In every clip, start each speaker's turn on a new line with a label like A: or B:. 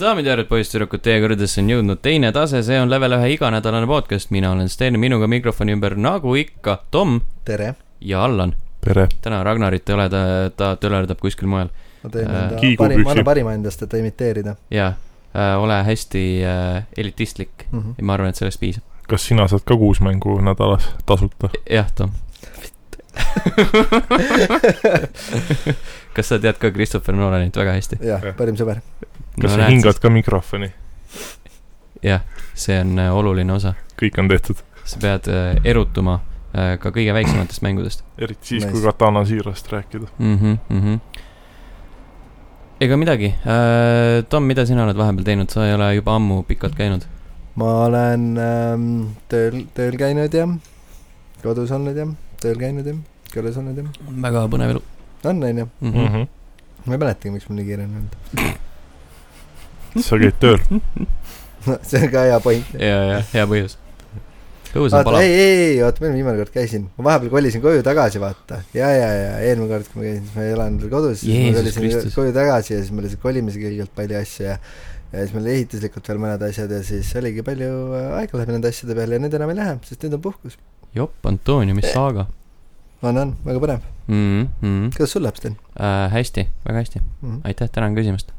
A: daamid ja härrad , poisssüdrukud , teie kõrgedesse on jõudnud teine tase , see on level ühe iganädalane podcast , mina olen Sten , minuga mikrofoni ümber nagu ikka Tom
B: tere ,
A: ja Allan .
C: tere .
A: täna Ragnarit ei ole , ta , ta tölerdab kuskil mujal
B: ma teen
A: Äh,
B: enda
C: kiigu
B: parim , ma annan
C: püksi.
B: parima endast , et imiteerida
A: ja äh, ole hästi äh, elitistlik
B: mm . -hmm.
A: ja ma arvan , et sellest piisab .
C: kas sina saad ka kuus mängu nädalas tasuta ?
A: jah , Tom . kas sa tead ka Christopher Nolanit väga hästi ?
B: jah , parim sõber .
C: kas no, sa hingad ? ka mikrofoni ?
A: jah , see on äh, oluline osa ,
C: kõik on tehtud .
A: sa pead äh, erutuma äh, ka kõige väiksematest mängudest .
C: eriti siis
B: Nice.
C: nice. , kui Katana siirast rääkida .
A: mhm , mhm . ega midagi . Tom , mida sina oled vahepeal teinud , sa ei ole juba ammu pikalt käinud .
B: ma olen ähm, tööl , tööl käinud ja kodus olnud ja tööl käinud ja küljes olnud ja
A: väga põnev elu
B: on , on ju ,
A: mm .
C: Mm
A: -hmm.
C: -hmm.
B: ma ei mäletagi , miks mul nii kiire on olnud .
C: sa käid tööl ?
B: see on ka hea point .
A: ja , ja hea põhjus . õhus on
B: vaata ,
A: palav .
B: ei , ei , ei , oota , millal ma viimane kord käisin ? ma vahepeal kolisin koju tagasi , vaata . ja , ja , ja eelmine kord , kui ma käisin , siis ma ei elanud veel kodus , siis ma
A: Jeesus
B: kolisin
A: Kristus.
B: koju tagasi ja siis meil oli see kolimise kõigepealt palju asju ja ja siis meil oli ehituslikult veel mõned asjad ja siis oligi palju äh, aega läheb nende asjade peale ja nüüd enam ei lähe , sest nüüd on puhkus .
A: jopp , Antonio , mis saaga
B: on , on , väga põnev .
A: mm . -hmm.
B: kuidas sul läheb , Sten
A: Äh, hästi , väga hästi ,
B: mm ? -hmm.
A: aitäh , tänan küsimast .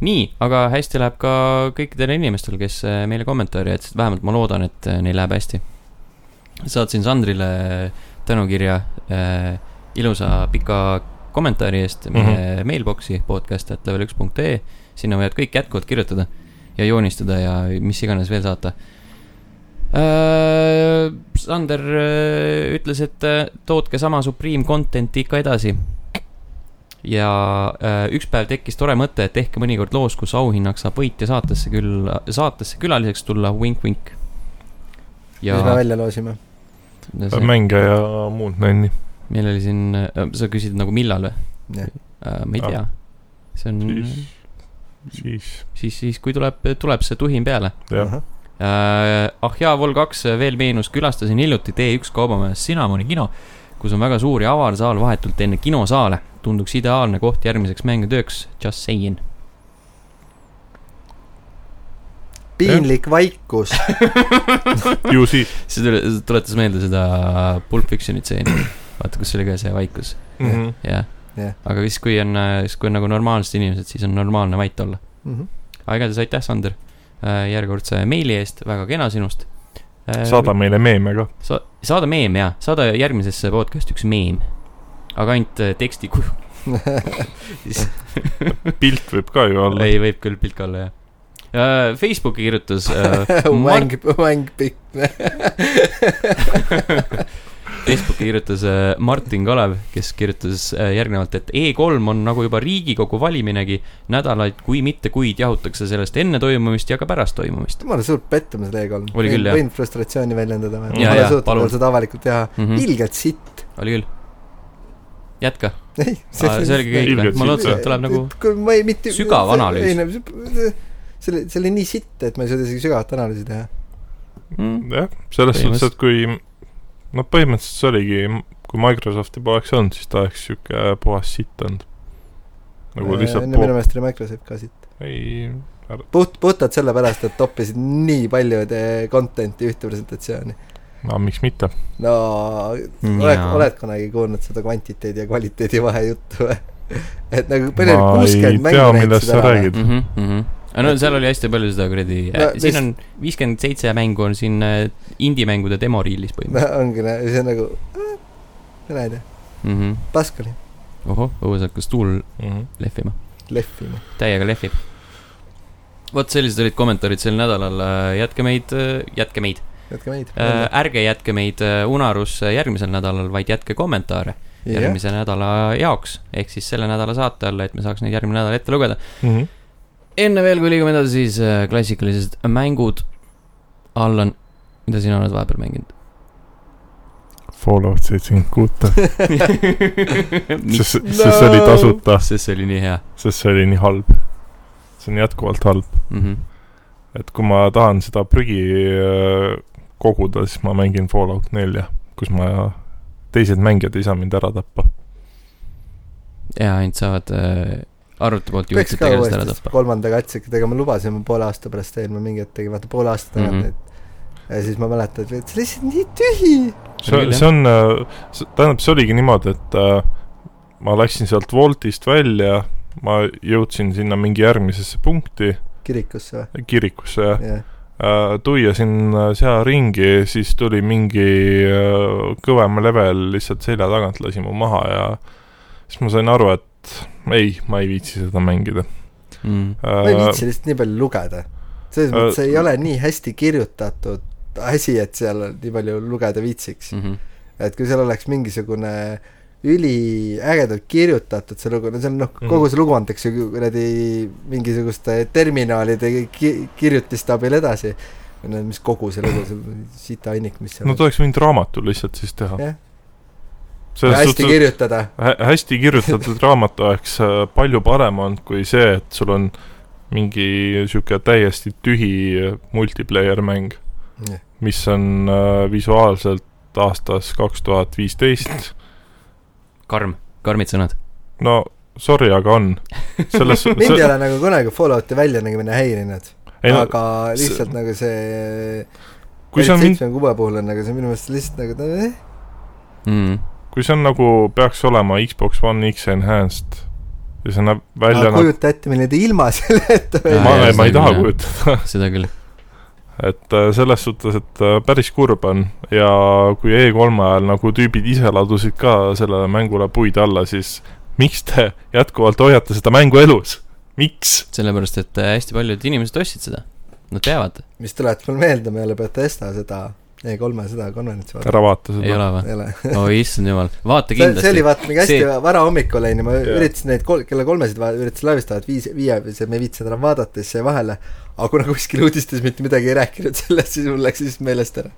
A: nii , aga hästi läheb ka kõikidele inimestele , kes äh, meile kommentaare jätsid , vähemalt ma loodan , et äh, neil läheb hästi . saatsin Sandrile tänukirja äh, ilusa pika kommentaari eest meie mm -hmm. mailbox'i podcast.level1.ee , sinna võivad kõik jätkuvalt kirjutada ja joonistada ja mis iganes veel saata . Sander äh, ütles , et äh, tootke sama Supreme content'i ikka edasi . ja äh, üks päev tekkis tore mõte , et tehke mõnikord loos , kus auhinnaks saab võitja saatesse küll , saatesse külaliseks tulla , vink-vink .
B: mis me välja loosime ?
A: See-
C: mänge ja muud nänni .
A: meil oli siin , sa küsid nagu millal või ?
B: jah ,
A: ma ei tea . see on
C: siis
A: siis ,,
C: siis
A: siis, siis , kui tuleb , tuleb see tuhin peale .
C: jah ,
A: ah jaa , Vol2 veel meenus , külastasin hiljuti T1 kaubamajas Cinnamoni kino , kus on väga suur ja avar saal vahetult enne kinosaale . tunduks ideaalne koht järgmiseks mängutööks , just saying .
B: piinlik vaikus .
C: ju siis
A: see tule- see tuletas meelde seda Pulp Fictioni tseeni , vaata , kus oli ka see vaikus ,
C: mm . -hmm.
A: jah
B: Jah. .
A: aga siis , kui on , siis kui on nagu normaalsed inimesed , siis on normaalne vait olla .
B: Mhm.
A: aga igatahes aitäh , Sander , järjekordse meili eest , väga kena sinust .
C: saada meile meeme ka .
A: sa, . saada meem jaa , saada järgmisesse podcast'i üks meem . aga ainult äh, teksti kujul ,
C: pilt võib ka ju olla .
A: ei võib küll pilk olla jah . Facebooki kirjutas äh, Mart ,
B: Mäng , mängpikk .
A: Facebooki kirjutas äh, Martin Kalev , kes kirjutas äh, järgnevalt , et E3 on nagu juba Riigikogu valiminegi , nädalaid , kui mitte kuid jahutakse sellest enne toimumist ja ka pärast toimumist
B: jumala suur pettumus Leegol .
A: Oli küll, jah.
B: võin frustratsiooni väljendada või ?
C: Jaa,
B: ma ei
A: jaa,
B: suutnud
A: palun.
B: veel seda avalikult teha .
A: mm . -hmm.
B: ilgelt sitt .
A: oli küll . jätka ,
B: ei ,
A: see oligi kõik või
C: Ilgelt ,
A: ma
C: sitt,
A: lootsin , et tuleb nagu
B: kuule , ma ei mitte .
A: Sügav analüüs.
B: ei no , see oli , see oli nii sitt , et ma ei suuda isegi sügavat analüüsi teha .
A: mm,
C: jah , selles suhtes ,
A: Põhimõtteliselt.
C: et kui , no põhimõtteliselt see oligi , kui Microsofti poleks olnud , siis ta oleks sihuke puhas sitt olnud . nagu lihtsalt
B: Äh, minu
C: po- ,
B: meelest oli Microsoft ka sitt .
C: ei ,
B: puht , puhtalt sellepärast , et toppisid nii palju te- content'i ühte presentatsiooni .
C: no miks mitte .
B: no oled ,
A: Jaa.
B: oled kunagi kuulnud seda kvantiteedi ja kvaliteedi vahe juttu või ? et nagu palju
C: Ma ei
B: kuuskümmend mängu
C: tea,
B: näitasid
C: millest sa
B: ära või?
C: räägid.
A: mm . -hmm, mm -hmm. aga no seal oli hästi palju seda kuradi
B: No,
A: no, , siin
B: mis-
A: on viiskümmend seitse mängu on siin äh, indie-mängude demoriilis
B: no
A: põhimõtteliselt
B: ongi , see on nagu , mina ei tea ,
A: mm -hmm. .
B: paskali ,
A: ohoh , õues hakkas tuul
C: Mm -hmm.
A: lehvima ,
B: lehvima .
A: täiega lehvib . vot sellised olid kommentaarid sel nädalal , jätke meid , jätke meid ,
B: jätke meid .
A: ärge jätke meid äh, unarusse järgmisel nädalal , vaid jätke kommentaare
B: jah ,
A: järgmise nädala jaoks , ehk siis selle nädala saate alla , et me saaks neid järgmine nädal ette lugeda .
C: Mm -hmm.
A: enne veel , kui liigume edasi , siis äh, klassikalised mängud . Allan , mida sina oled vahepeal mänginud ?
C: Fallout seitsekümmend kuute ,
A: sest
C: sest , sest see oli
B: No.
C: tasuta ,
A: see oli nii hea
C: sest see oli nii halb . see on jätkuvalt halb ,
A: mm . -hmm.
C: et kui ma tahan seda prügi äh, koguda , siis ma mängin Fallout nelja , kus ma , teised mängijad ei saa mind ära tappa .
A: ja ainult saavad äh, arvuti poolt
B: peaks
A: juhitud
B: ka
A: tegelast ära
B: uuesti
A: tappa .
B: kolmanda katsega tegema , lubasin , ma poole aasta pärast teen , ma mingi hetk tegin , vaata poole aasta tagant
A: Mhm.
B: mm , -hmm. et ja siis ma mäletan , et see oli lihtsalt nii tühi .
C: see ,
A: Real,
C: see on , tähendab , see oligi niimoodi , et äh, ma läksin sealt Woltist välja , ma jõudsin sinna mingi järgmisesse punkti ,
B: kirikusse või ?
C: kirikusse jah
B: jah ,
C: äh, , tuiasin äh, seal ringi , siis tuli mingi äh, kõvem level lihtsalt selja tagant lasi mu maha ja siis ma sain aru , et ei , ma ei viitsi seda mängida
A: mm. .
B: ma ei
C: äh, .
B: viitsi lihtsalt nii palju lugeda . selles
C: Äh,
B: mõttes see ei ole nii hästi kirjutatud asi , et seal on nii palju lugeda
C: Mhm.
B: viitsiks .
A: Mm -hmm.
B: et kui seal oleks mingisugune üliägedalt kirjutatud see lugu , no see on noh ,
C: Mhm.
B: kogu see lugu antakse ju kuradi mingisuguste terminaalide ki- , kirjutiste abil edasi . või no mis kogu see lugu , see sita ainult , mis seal
C: Nad oleks võinud raamatu lihtsalt siis teha .
B: jah , hästi kirjutada .
C: hä- hästi kirjutatud raamat oleks äh, palju parem olnud kui see , et sul on mingi sihuke täiesti tühi äh, multiplayer mäng , mis on äh, visuaalselt aastas kaks tuhat viisteist .
A: karm , karmid sõnad .
C: no sorry , aga on . selles
B: mind ei
C: see,
B: ole nagu kunagi Fallouti väljanägemine häirinud ,
C: ei no
B: aga
C: see-
B: lihtsalt nagu see
C: kui see on mind ,
B: seitsme kuue puhul on nagu see minu meelest lihtsalt nagu ta eh,
A: mm. .
C: kui see on nagu peaks olema Xbox One X enhanced ja see näeb välja
B: aga
C: nagu ,
B: kujuta ette , milline ta ilma selle ette
A: Aa,
C: ma
A: jaa,
B: välja
C: ei ,
A: see
C: ma ei
A: on
C: taha
A: küll, jah.
C: kujutada
A: seda küll .
C: et äh, selles suhtes , et äh, päris kurb on ja kui E3 ajal nagu tüübid ise ladusid ka sellele mängule puid alla , siis miks te jätkuvalt hoiate seda mängu elus ? miks ?
A: sellepärast , et äh, hästi paljud inimesed ostsid seda . Nad peavad ,
B: mis tuletas mulle meelde , ma ei ole Betesta seda E3-e seda konverentsi vaadanud .
C: ära vaata
A: ei ole
C: seda .
A: või ?
B: ei ole .
A: oh issand jumal , vaata
B: see see oli
A: kindlasti .
B: vaata mingi hästi
A: See-
B: varahommikul onju , ma
C: Jaa.
B: üritasin neid kol- , kella kolmesid va- üritasin laevist vaadata , viis , viie , see me ei viitsinud enam vaadata , siis jäi vahele . aga kuna kuskil uudistes mitte midagi ei rääkinud sellest , siis mul läks lihtsalt meelest ära .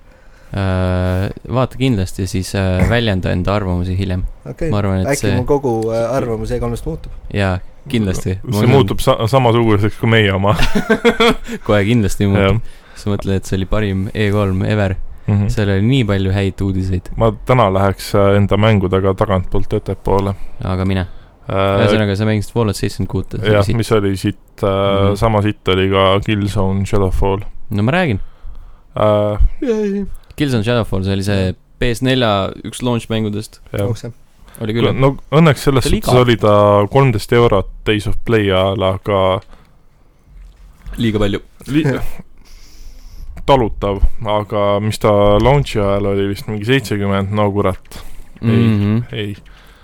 A: äh, vaata kindlasti , siis äh, väljenda enda arvamusi hiljem .
B: okei
A: ma arvan , et
B: okay. , äkki see...
A: see
B: mu kogu äh, arvamus E3-st muutub .
A: jaa , kindlasti .
C: see . muutub sa- , samasuguseks kui meie oma .
A: kohe kindlasti
C: jah
A: muutub . sa mõtled , et see oli parim E3 ever ,
C: Mhm.
A: seal oli nii palju häid uudiseid ,
C: ma täna läheks äh, enda mängudega tagantpoolt ettepoole .
A: aga mine . ühesõnaga , sa mängisid Fallout seitsekümmend kuute .
C: Äh, jah , mis oli siit
A: Mhm.
C: äh, , sama siit oli ka Killzone Shadowfall
A: no ma räägin ,
C: äh, .
A: Killzone Shadowfall , see oli see PS4 üks launch mängudest ,
C: jah ,
B: ausam .
A: oli küll .
C: no õnneks selles
A: See oli
C: suhtes
A: igav.
C: oli ta kolmteist eurot Days of Play ajal , aga
A: liiga palju .
C: li- talutav , aga mis ta launch'i ajal oli vist mingi seitsekümmend , no kurat ,
A: no
C: ei .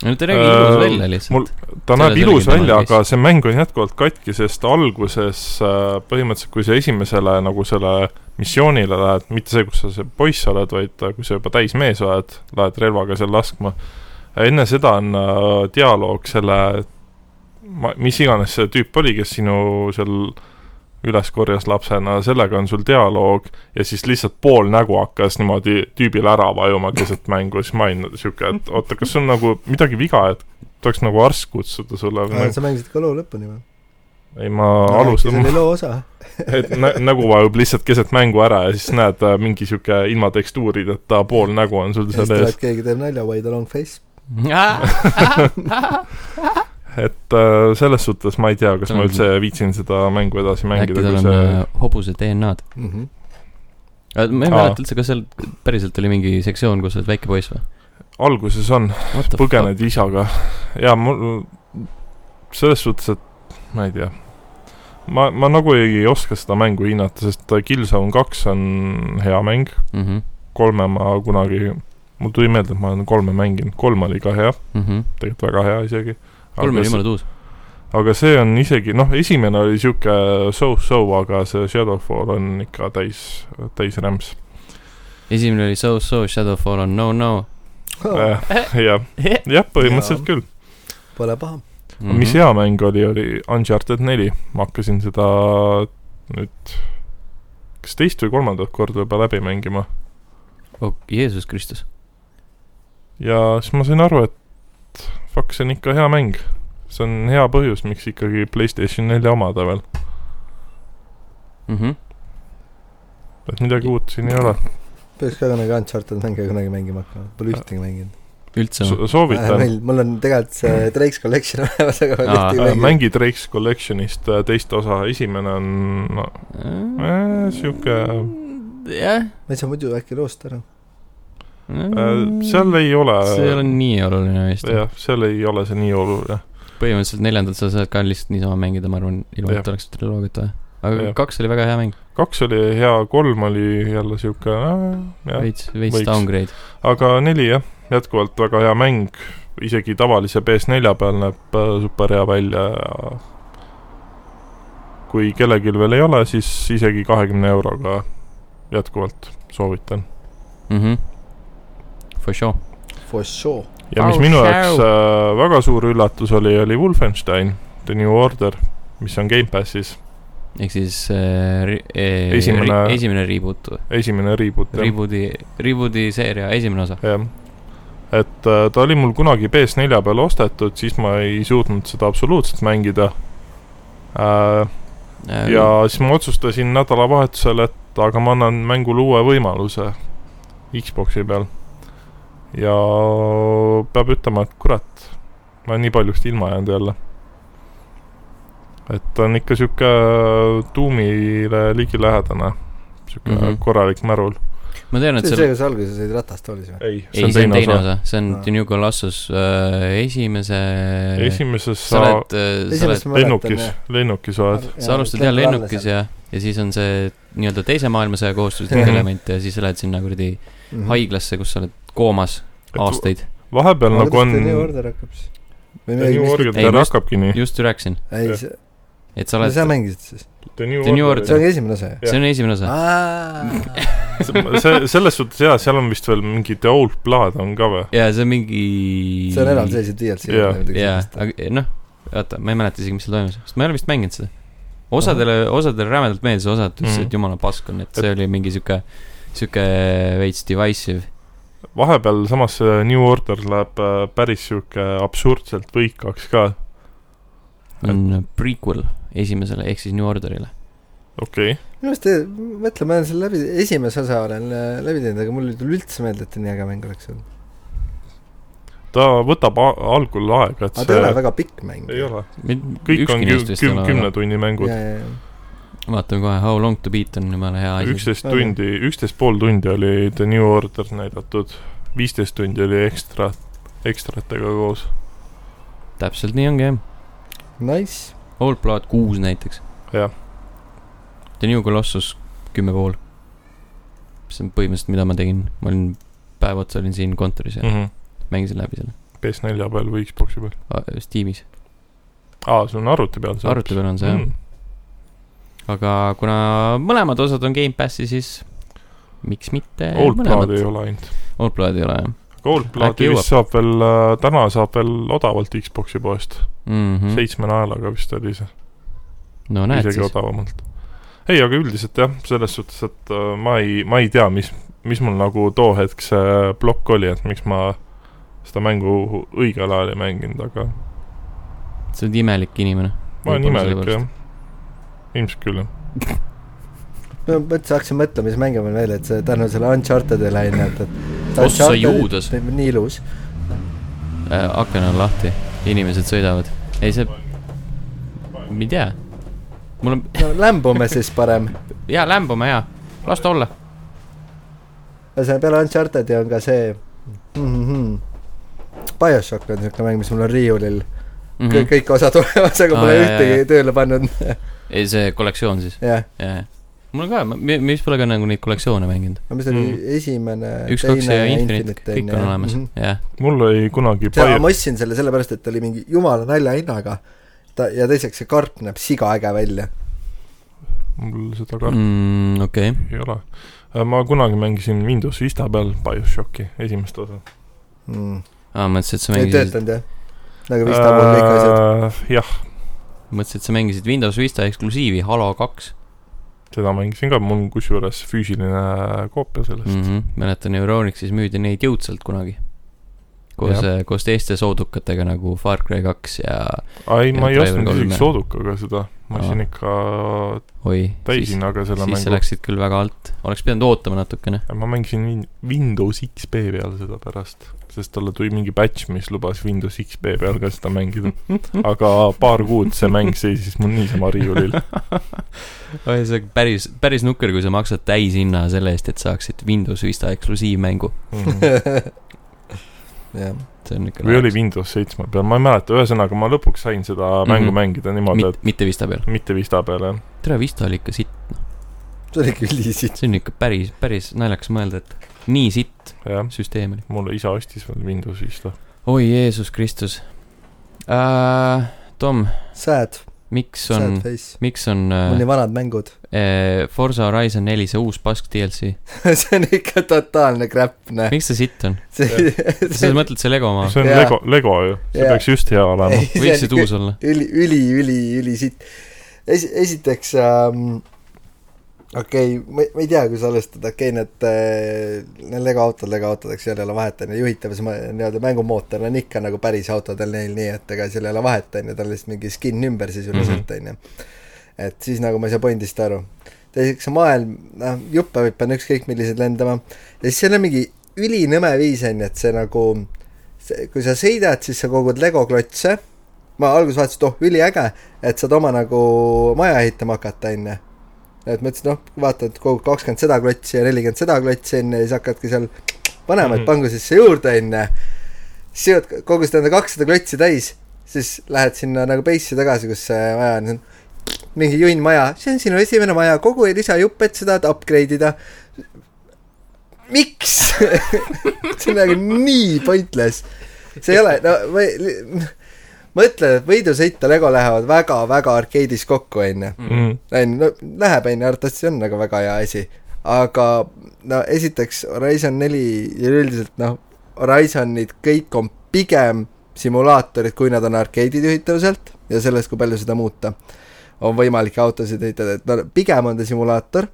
A: ta räägib ilus
C: Mhm. Äh,
A: välja lihtsalt .
C: mul- ta
A: Selles
C: näeb
A: oligi
C: ilus
A: tema
C: välja ,
A: case.
C: aga see mäng on jätkuvalt katki , sest alguses äh, põhimõtteliselt , kui sa esimesele nagu selle missioonile lähed , mitte see , kus sa see poiss oled , vaid äh, kui sa juba täismees oled , lähed relvaga seal laskma , enne seda on äh, dialoog selle , ma , mis iganes see tüüp oli , kes sinu seal üles korjas lapsena , sellega on sul dialoog ja siis lihtsalt pool nägu hakkas niimoodi tüübile ära vajuma keset mängu , siis ma olin siuke , et oota , kas on nagu midagi viga , et tuleks nagu arst kutsuda sulle või nagu,
B: sa mängisid ka loo lõpuni või ?
C: ei ma alustan
B: see , oli loo osa .
C: et nä- nägu vajub lihtsalt keset mängu ära ja siis näed äh, mingi siuke ilma tekstuurideta pool nägu on sul
B: ja siis
C: seal ees
B: tuleb , keegi teeb nalja , wide long face .
C: et äh, selles suhtes ma ei tea , kas ma
A: Mhm.
C: üldse viitsin seda mängu edasi
A: äkki
C: mängida ,
A: tal
C: kui
A: on
C: see
A: äh, hobuse DNA-d .
B: Mm -hmm.
A: Äh, ma ei
C: Aa.
A: mäleta üldse , kas seal päriselt oli mingi sektsioon , kus sa oled väike poiss või ?
C: alguses on , põgened isaga ja mul selles suhtes , et ma ei tea , ma , ma nagu ei oska seda mängu hinnata , sest Killzone kaks on hea mäng ,
A: Mhm.
C: kolme ma kunagi , mul tuli meelde , et ma olen kolme mänginud , kolm oli ka hea , tegelikult väga hea isegi .
A: Mhm. kolm on jumala tuus .
C: aga see on isegi , noh , esimene oli sihuke so-so , aga see Shadowfall on ikka täis , täis rämps .
A: esimene oli So So Shadowfall on No No .
B: Oh,
C: Äh, jah , jah , põhimõtteliselt
B: Jaa.
C: küll .
B: pole paha .
C: mm .
A: Mhm.
C: -hmm. mis hea mäng oli , oli Uncharted neli , ma hakkasin seda nüüd kas teist või kolmandat korda juba läbi mängima
A: oh, . Jeesus Kristus .
C: ja siis ma sain aru , et fuck , see on ikka hea mäng . see on hea põhjus , miks ikkagi Playstation nelja omada veel ,
A: Mhm.
C: et midagi uut siin ei ole .
B: peaks ka kunagi Uncharted mänge kunagi mängima hakkama , pole ühtegi mänginud .
A: üldse
C: so- , soovitan .
B: meil , mul on tegelikult see Drake's Collection olemas , aga ma
A: Aa,
B: tihti
A: aa,
B: ei mängi .
C: mängi Drake's äh, Collectionist äh, teist osa , esimene on no, Eh, sihuke-
A: Mm, jah ,
B: ma ei saa muidu äkki loost ära .
C: äh, seal ei ole ,
A: Mm. see ei ole nii oluline vist .
C: jah , seal ei ole see nii oluline .
A: põhimõtteliselt neljandat sa saad ka lihtsalt niisama mängida , ma arvan , ilma et
C: Jah.
A: oleks triloogiat vaja . aga
C: Jah.
A: kaks oli väga hea mäng ,
C: kaks oli hea , kolm oli jälle sihuke äh, , jah ,
A: veits , veits
C: võiks.
A: downgrade .
C: aga neli jah , jätkuvalt väga hea mäng , isegi tavalise PS4 peal näeb äh, super hea välja ja kui kellelgi veel ei ole , siis isegi kahekümne euroga jätkuvalt soovitan .
A: mhmh , Mhm. for sure .
B: For sure .
C: ja mis
A: Oh,
C: minu
A: show.
C: jaoks äh, väga suur üllatus oli , oli Wolfenstein The New Order , mis on Gamepassis ,
A: ehk siis äh, ri- eh,
C: Esimene-
A: ri- esimene reboot ,
C: esimene reboot .
A: reboot'i , reboot'i seeria esimene osa .
C: jah , et äh, ta oli mul kunagi PS4 peal ostetud , siis ma ei suutnud seda absoluutselt mängida äh, .
A: Ähm,
C: ja siis ma otsustasin nädalavahetusel , et aga ma annan mängule uue võimaluse Xbox'i peal . ja peab ütlema , et kurat , ma olen nii paljust ilma jäänud jälle . et ta on ikka sihuke tuumile ligilähedane , sihuke mm
A: Mhm.
C: -hmm. korralik märul .
A: ma tean , et
B: see on
A: seal
B: see , kus alguses olid ratastoolis või ?
C: ei ,
A: ei , see on teine osa , see on
B: Aa.
A: The New Colossus äh, esimese
C: esimeses
A: sa
C: sa
A: oled , sa oled ,
B: esimest ma mäletan
C: lennukis , lennukis oled .
A: sa alustad jah lennukis ja , ja siis on see nii-öelda teise maailmasõja kohustuslik
C: Mhm.
A: element ja siis sa lähed sinna kuradi
B: Mhm.
A: haiglasse , kus sa oled koomas aastaid .
C: vahepeal nagu on ,
B: New Order hakkab siis ? või
C: The New Order
A: Ei,
C: tal
A: ma just-
C: hakkabki nii .
A: just rääkisin ,
B: ei , see ,
A: et sa
B: no
A: oled
B: sa , mängisid siis ?
A: The New Order-
B: see ongi esimene osa ju ?
A: see on esimene osa .
C: see , see , selles suhtes jaa , seal on vist veel mingi The Old Blood on ka või ?
A: ja see on mingi .
B: see on eraldiseisv DLC .
C: Jaa.
A: jaa , aga noh , oota , ma ei mäleta isegi , mis seal toimus , sest ma ei ole vist mänginud seda . osadele , osadele rämedalt meeldis , osad ütlesid mm. ,
C: Mhm.
A: et jumala pask on , et see oli mingi sihuke , sihuke veits divisive .
C: vahepeal samas see New Order läheb äh, päris sihuke absurdselt võikaks ka ,
A: on prequel esimesele ehk siis New Orderile .
C: okei okay. .
B: minu meelest , mõtle , ma olen selle läbi , esimese osa olen äh, läbi teinud , aga mul ei tule üldse meelde , et ta nii äge mäng oleks olnud .
C: ta võtab a- algul aega , et
B: aga ta ei ole
C: see
B: väga pikk mäng .
C: ei ole , kõik on
A: ükski
C: küm-
A: neist , vist ei
C: küm- ,
A: ole
C: kümne
A: väga .
C: tunni mängud .
A: vaatame kohe , How long to beat on jumala hea asi .
C: üksteist tundi , üksteist pool tundi oli The New Order näidatud , viisteist tundi oli ekstra , ekstratega koos .
A: täpselt nii ongi jah .
B: Nice .
A: Old Blood kuus näiteks .
C: Jah. .
A: The New Colossus kümme pool . see on põhimõtteliselt , mida ma tegin , ma olin päev otsa olin siin kontoris ja
C: Mm
A: mm.
C: -hmm.
A: mängisin läbi selle
C: PS4 peal või Xbox'i peal .
A: A- Steamis ,
C: aa , see on arvuti peal see .
A: arvuti peal on see jah
C: Mhm.
A: mm. , aga kuna mõlemad osad on Gamepassi , siis miks mitte
C: Old Blood ei
A: mõlemad .
C: ole ainult .
A: Old Blood ei ole jah
C: Gold
A: Äkki
C: Bloodi
A: jõuab.
C: vist saab veel , täna saab veel odavalt Xbox'i poest
A: mm .
C: mm. ,
A: -hmm.
C: seitsme naelaga vist oli see ,
A: no näed
C: isegi
A: siis ,
C: odavamalt . ei , aga üldiselt jah , selles suhtes , et äh, ma ei , ma ei tea , mis , mis mul nagu too hetk see plokk oli , et miks ma seda mängu õigel ajal ei mänginud , aga
A: sa oled imelik inimene .
C: ma olen imelik jah . ilmselt küll jah .
B: no ma üldse hakkasin mõtlema , siis mängima veel , et see tänu selle Unchartedile on ju , et , et .
A: Ossa juudes. .
B: nii ilus .
A: äh, . aken on lahti , inimesed sõidavad , ei see , ma ei tea , mul on ,
B: no lämbume siis parem .
A: jaa , lämbume jaa , las ta olla .
B: ühesõnaga peale Unchartedi on ka see mm . -hmm. BioShock on siuke mäng , mis mul on riiulil mm
A: Mm
B: -hmm. , kõik osad olemas , aga
A: Aa,
B: pole
A: Ah, jaa, jaa,
B: ühtegi
A: jaa.
B: tööle pannud .
A: ei , see kollektsioon siis ,
B: jah ,
A: jajah . mul on ka , ma , mis pole ka nagu neid kollektsioone mänginud .
B: no mis oli
C: Mm.
B: mm. esimene .
A: Mhm. üks , kaks ja Infinite , kõik on olemas , jah .
C: mul oli kunagi
B: Mhm. seda
C: Bio-
B: ma , ostsin selle sellepärast , et ta oli mingi jumala nalja hinnaga . ta ja teiseks see karp näeb siga äge välja .
C: mul seda ka mm.
A: okei ,
C: ei ole . ma kunagi mängisin Windows Vista peal BioShocki esimest osa .
B: mm. .
A: aa , mõtlesin , et sa
B: ei
A: mängisid ,
B: töötanud jah ? nagu vist on mul kõik asjad .
C: Äh, jah ,
A: mõtlesin , et sa mängisid Windows Vista eksklusiivi Halo kaks .
C: seda mängisin ka , mul on kusjuures füüsiline koopia sellest mm. .
A: Mhm. mäletan , Euronixis müüdi neid jõudsalt kunagi . koos , koos teiste soodukatega nagu Far Cry kaks ja
C: ei , ma ei
A: Ja
C: ostnud
A: Driver kolme.
C: isegi soodukaga seda , ma ostsin
A: Aa.
C: ikka
A: oi , siis ,
C: täishinnaga selle
A: siis sa
C: mängu .
A: läksid küll väga alt , oleks pidanud ootama natukene .
C: ma mängisin Win- Windows XP peal seda pärast , sest talle tuli mingi patch , mis lubas Windows XP peal ka seda mängida . aga paar kuud see mäng seisis mul niisama riiulil .
A: oi , see on päris , päris nukker , kui sa maksad täishinna selle eest , et saaksid Windows Vista eksklusiivmängu .
B: jah ,
A: see on ikka
C: või oli Windows seitsme peal , ma ei mäleta , ühesõnaga ma lõpuks sain seda
A: Mhm.
C: mängu mängida niimoodi ,
A: Mit, mitte Vista peal .
C: et mitte vista peale , jah .
A: tere , Vista oli ikka sitt ,
B: see oli küll easy .
A: see on ikka päris , päris naljakas mõelda , et nii sitt
C: jah ,
A: süsteem oli .
C: mulle isa ostis veel Windows Vista .
A: oi Jeesus Kristus uh, . Tom ,
B: Sad ,
A: miks on
B: sad , face .
A: miks on
B: mul
A: uh,
B: nii vanad mängud .
A: uh, Forza Horizon neli see uus pask DLC ,
B: see on ikka totaalne crap , näe .
A: miks see sitt on ?
B: see ,
A: sa mõtled see Lego oma ?
C: see on
B: Jaa.
C: Lego , Lego ju , see
B: Jaa.
C: peaks just hea olema .
B: Ei,
A: võiks
B: see
A: see
B: on
A: tuus olla ?
B: üli , üli , üli , üli siit . Esi- , esiteks ähm, , okei okay, , ma ma ei tea , kus alustada , okei okay, , need äh, , need Lego autod , Lego autodeks , seal ei ole vahet , on ju , juhitavas ma- nii-öelda mängumootor on ikka nagu päris autodel neil , nii et ega seal ei ole vahet , on ju , tal on lihtsalt mingi skin ümber sisuliselt , on ju . et siis nagu ma ei saa pointist aru . teiseks , see maailm , noh , juppe võib panna ükskõik millised lendama ja siis seal on mingi ülinõme viis , on ju , et see nagu , kui sa sõidad , siis sa kogud Lego klotse ma alguses vaatasin , et oh , üliäge , et saad oma nagu maja ehitama hakata , onju . et mõtlesin , noh , vaata , et kogu kakskümmend seda klotsi ja nelikümmend seda klotsi , onju , ja siis hakkadki seal panema , et
C: Mhm.
B: pangu siis see juurde , onju . seod kogu seda enda kakssada klotsi täis , siis lähed sinna nagu base'i tagasi , kus see maja on . mingi junn maja , see on sinu esimene maja , kogu lisajupp , et seda upgrade ida . miks ? see on nagu nii pointless . see ei ole , no ma ei mõtle , et võidusõita Lego lähevad väga-väga arkeedis kokku , onju .
C: Mm,
B: onju , no läheb , onju , arvatavasti on nagu väga hea asi . aga no esiteks Horizon neli ja üldiselt noh , Horizonid kõik on pigem simulaatorid , kui nad on arkeedid juhitavuselt ja sellest , kui palju seda muuta . on võimalik autosid ehitada , et no pigem on ta simulaator .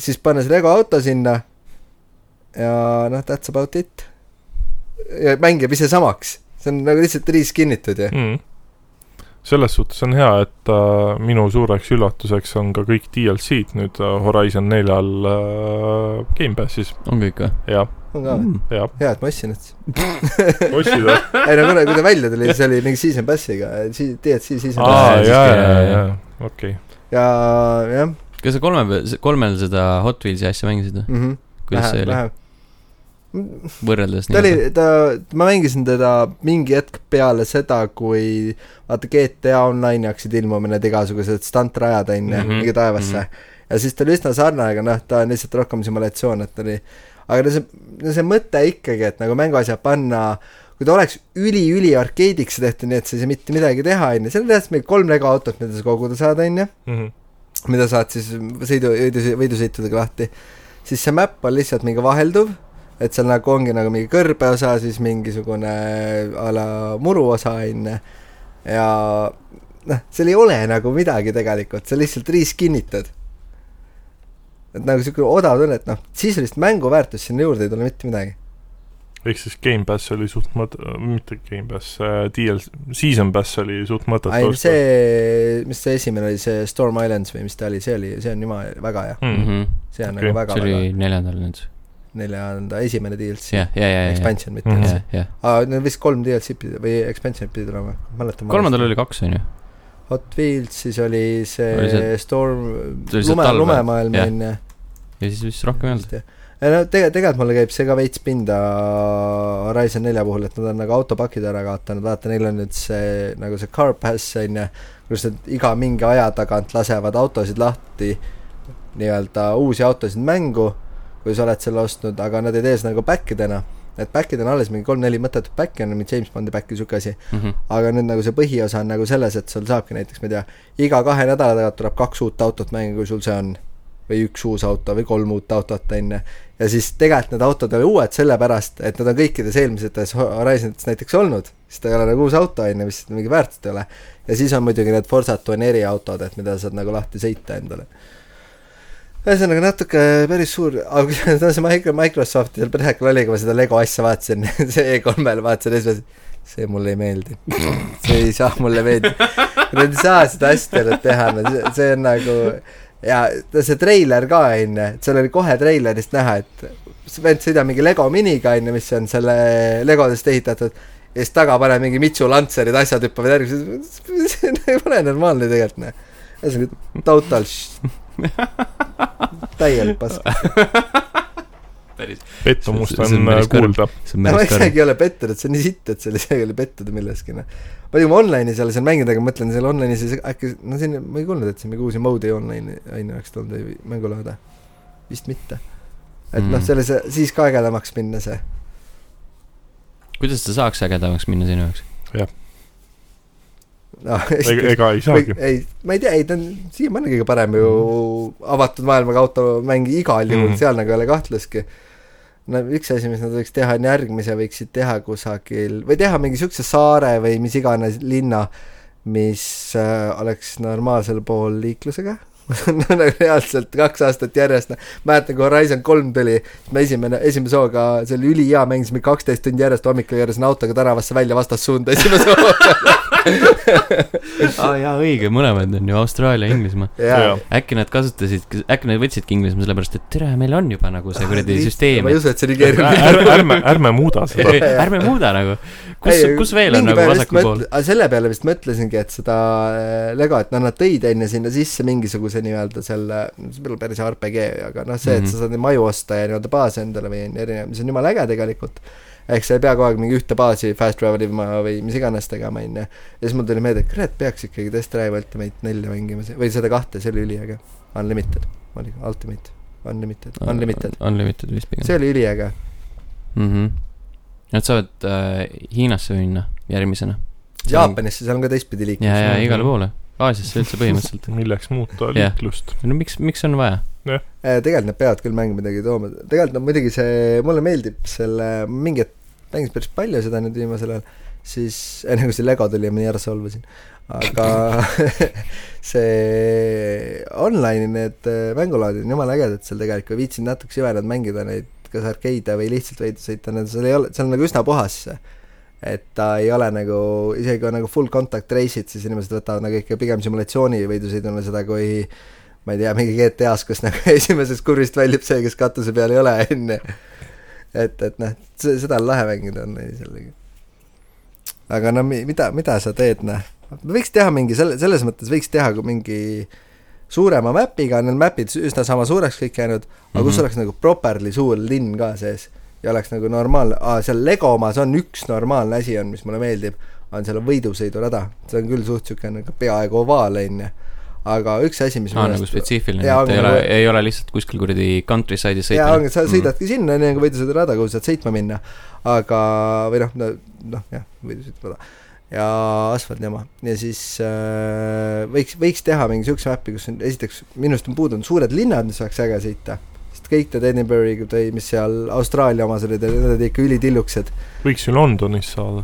B: siis panna see Lego auto sinna ja noh , that's about it . ja mäng jääb ise samaks , see on nagu lihtsalt reskin itud ju .
C: mm. . selles suhtes on hea , et äh, minu suureks üllatuseks on ka kõik DLC-d nüüd äh, Horizon neljal äh, Gamepassis
A: on kõik või ? Hmm.
C: ja ,
B: on ka
A: Mm.
B: või ?
C: ja
B: hea , et ma ostsin , et
C: ostsid või ?
B: ei no kuna , kui ta välja tuli , siis oli mingi season pass'iga , DLC season
C: aa ,
A: siis-
B: pass
C: jaa ,
A: jaa,
C: jaa ,
A: jaa.
C: jaa , okei .
B: ja jah
A: kas sa kolme , kolmel seda Hot Wheelsi asja mängisid või ?
B: mm -hmm. ,
A: kuidas see oli ,? võrreldes
B: ta oli
A: nii-öelda ?,
B: ta , ma mängisin teda mingi hetk peale seda , kui vaata GTA Online'i hakkasid ilmuma need igasugused stuntrajad onju mm
A: Mhm,
B: -hmm. , mingi taevasse mm . -hmm. ja siis ta oli üsna sarnane , aga noh , ta on lihtsalt rohkem simulatsioon , et ta oli , aga no see , no see mõte ikkagi , et nagu mänguasjad panna , kui ta oleks üli-üli arkeediks tehtud , nii et sa ei saa mitte midagi teha onju , seal on täpselt mingi kolm lego autot , mida sa koguda saad onju .
C: Mhm.
B: mida saad siis sõidu , võidusõitudega lahti , siis see map on lihtsalt mingi vahelduv , et seal nagu ongi nagu mingi kõrbeosa , siis mingisugune a la muruosa on ju , ja noh , seal ei ole nagu midagi tegelikult , sa lihtsalt riskinnitad . et nagu niisugune odav tunne , et noh , sisulist mänguväärtust sinna juurde ei tule mitte midagi .
C: ehk siis Gamepass oli suht mõt- , mitte Gamepass , DLC , Season Pass oli suht mõttetu
B: ainult . see , mis see esimene oli , see Storm Islands või mis ta oli , see oli , see on jumala , väga hea ,
C: Hmm. Mhm.
A: Mhm.
B: see on
C: Okei,
B: okay. nagu
A: see
B: väga-väga
A: oli neljandal nüüd .
B: neljanda , esimene DLC
A: jah , ja , ja , ja ,
B: expansion , mitte
C: Mhm.
B: mm
A: ja , ja ,
B: -hmm.
A: ja .
B: aa , need vist kolm DLC pidi või expansion'it pidi tulema , mäletan .
A: kolmandal oli kaks , on ju ?
B: Hot Wheels , siis oli see,
A: Oli
B: oli
A: see-
B: see Storm ,
A: see
B: lume ,
A: talve-
B: lumemaailm
A: jah,
B: on ju .
A: ja siis vist rohkem ei olnud .
B: ei no tegelikult , tegelikult mulle käib see ka veits pinda Horizon nelja puhul , et nad on nagu autopakid ära kaotanud , vaata neil on nüüd see nagu see car pass on ju , kus nad iga mingi aja tagant lasevad autosid lahti , nii-öelda uusi autosid mängu , kui sa oled selle ostnud , aga nad ei tee seda nagu back idena . et back'id on alles mingi kolm-neli mõttetut back'i on , mingi James Bondi back'i , sihuke asi . aga nüüd nagu see põhiosa on nagu selles , et sul saabki näiteks , ma ei tea , iga kahe nädala tagant tuleb kaks uut autot mängu , kui sul see on . või üks uus auto või kolm uut autot , on ju . ja siis tegelikult need autod ei ole uued sellepärast , et nad on kõikides eelmisetes Ho- Horizonites näiteks olnud . siis ta ei ole nagu uus auto , on ju , mis mingi väärtust ei ole . ja siis on muidugi need Forza Tuoneri autod , et mida saad nagu lahti sõita endale ühesõnaga natuke päris suur , aga no see Micro- , Microsofti seal põhjakul oli , kui ma seda Lego asja vaatasin , see E3-l vaatasin ja siis ma see mulle ei meeldi . see ei saa mulle meeldida . Nad ei saa seda asja nüüd teha , see on nagu ja no see treiler ka onju , et seal oli kohe treilerist näha , et vend sõidab mingi Lego miniga onju , mis on selle legodest ehitatud ja siis taga paneb mingi Mitsu Lancerid , asjad hüppavad järgi , see ei ole normaalne tegelikult noh . ühesõnaga total sh- täielik pask .
A: päris .
C: pettumust
A: See- see on
C: on äh,
A: päris karm.
C: kuulda .
A: see on
B: ma
A: päris karm .
B: isegi ei ole pettunud , see on nii sitt , et seal isegi ei ole pettuda milleski noh . muidugi ma online'i seal ei saa mängida , aga ma mõtlen seal online'is ei saa- äkki , no siin ma ei kuulnud , et siin mingi uusi mode'i online'i on ju oleks tulnud või mängulaade . vist mitte . et noh ,
A: Mm.
B: selles , siis ka ägedamaks minna see .
A: kuidas ta saaks ägedamaks minna sinu jaoks ?
B: noh ,
C: ega ei
B: või
C: saagi .
B: ei , ma ei tea , ei ta on siiamaani kõige parem ju
C: Mm.
B: avatud maailmaga automäng igal juhul
C: Mhm.
B: mm. , seal nagu ei ole kahtlustki . no üks asi , mis nad võiks teha , on järgmise võiksid teha kusagil või teha mingi siukse saare või mis iganes linna , mis äh, oleks normaalsel pool liiklusega . no nagu reaalselt kaks aastat järjest , noh , mäletan kui Horizon kolm tuli , me esimene , esimese hooga , see oli ülihea mäng , siis me kaksteist tundi järjest hommikul järjest autoga tänavasse välja vastassuunda esimese hooga .
A: aa Ah, jaa , õige , mõlemad on ju Austraalia ja Inglismaa .
C: Jaa.
A: äkki nad kasutasid , äkki nad võtsidki Inglismaa sellepärast , et tere , meil on juba nagu see kuradi
B: Lihtsalt,
A: süsteem
B: ma , ei usu , et see nii keeruline on .
C: ärme , ärme , ärme muuda seda .
A: et ärme muuda nagu . kus , kus veel on nagu vasakul pool ??
B: selle peale vist mõtlesingi , et seda äh, Lego , et noh , nad tõid enne sinna sisse mingisuguse nii-öelda selle , see pole päris RPG , aga noh , see , et
A: Mhm.
B: sa saad neid maju osta ja nii-öelda baase endale või erinevaid , mis on jumala äge tegelikult . ehk sa ei pea kogu aeg mingi ühte baasi fast travel ima või mis iganes tegema , onju . ja siis mul tuli meelde , et kurat , peaks ikkagi Death Drive Ultimate nelja mängima , või seda kahte , see oli üliäge . Unlimited , oli Ultimate , Unlimited , Unlimited .
A: Unlimited vist pigem .
B: see oli üliäge .
A: mhmh . Nad saavad äh, Hiinasse minna järgmisena .
B: Jaapanisse , seal on ka teistpidi liiklus .
A: ja , ja igale poole , Aasiasse üldse põhimõtteliselt .
C: milleks muuta
A: Jah.
C: liiklust ?
A: no miks , miks on vaja ?
B: Eh, tegelikult nad peavad küll mängu midagi tooma , tegelikult nad muidugi see , mulle meeldib selle , mingi hetk mängisin päris palju seda nüüd viimasel ajal , siis enne kui see Lego tuli ja ma nii ära solvasin , aga see online'i need eh, mängulaadid on jumala ägedad seal tegelikult , kui viitsid natuke süvenenud mängida neid kas arkeide või lihtsalt veidi sõita , need seal ei ole , seal on nagu üsna puhas see . et ta ei ole nagu , isegi kui on nagu full contact reisid , siis inimesed võtavad nagu ikka pigem simulatsiooni võidusõiduna seda , kui ma ei tea , mingi GTA-s , kus nagu esimesest kurvist väljub see , kes katuse peal ei ole , onju . et , et noh , seda on lahe mängida on neil sellega . aga no mi- mida , mida sa teed , noh . võiks teha mingi selle , selles mõttes võiks teha kui mingi suurema map'iga , on need map'id sü- üsna sama suureks kõik jäänud , aga mm -hmm. kus
A: Mhm.
B: oleks nagu properly suur linn ka sees ja oleks nagu normaalne , seal Lego omas on üks normaalne asi on , mis mulle meeldib , on seal on võidusõidurada , see on küll suht siuke nagu peaaegu ovaal , onju . aga üks asi , mis
A: aa ,
B: minu
A: nagu
B: arust-
A: spetsiifiline ,
B: jaa,
A: et ei
B: aga
A: ole ,
B: nagu-
A: ei ole lihtsalt kuskil kuradi countryside'is sõita .
B: jaa , ongi , sa sõidadki mm. sinna , nii nagu võidusõidurada , kuhu saad sõitma minna , aga , või noh , noh jah , võidusõidurada ja asfaldijama ja siis äh, võiks , võiks teha mingi siukse äppi , kus on esiteks minu arust on puudu on suured linnad , mis oleks äge sõita , sest kõik need Edinburgh'i tõi , mis seal Austraalia omas olid , need olid ikka ülitillukesed ,
C: võiks ju Londonis saada .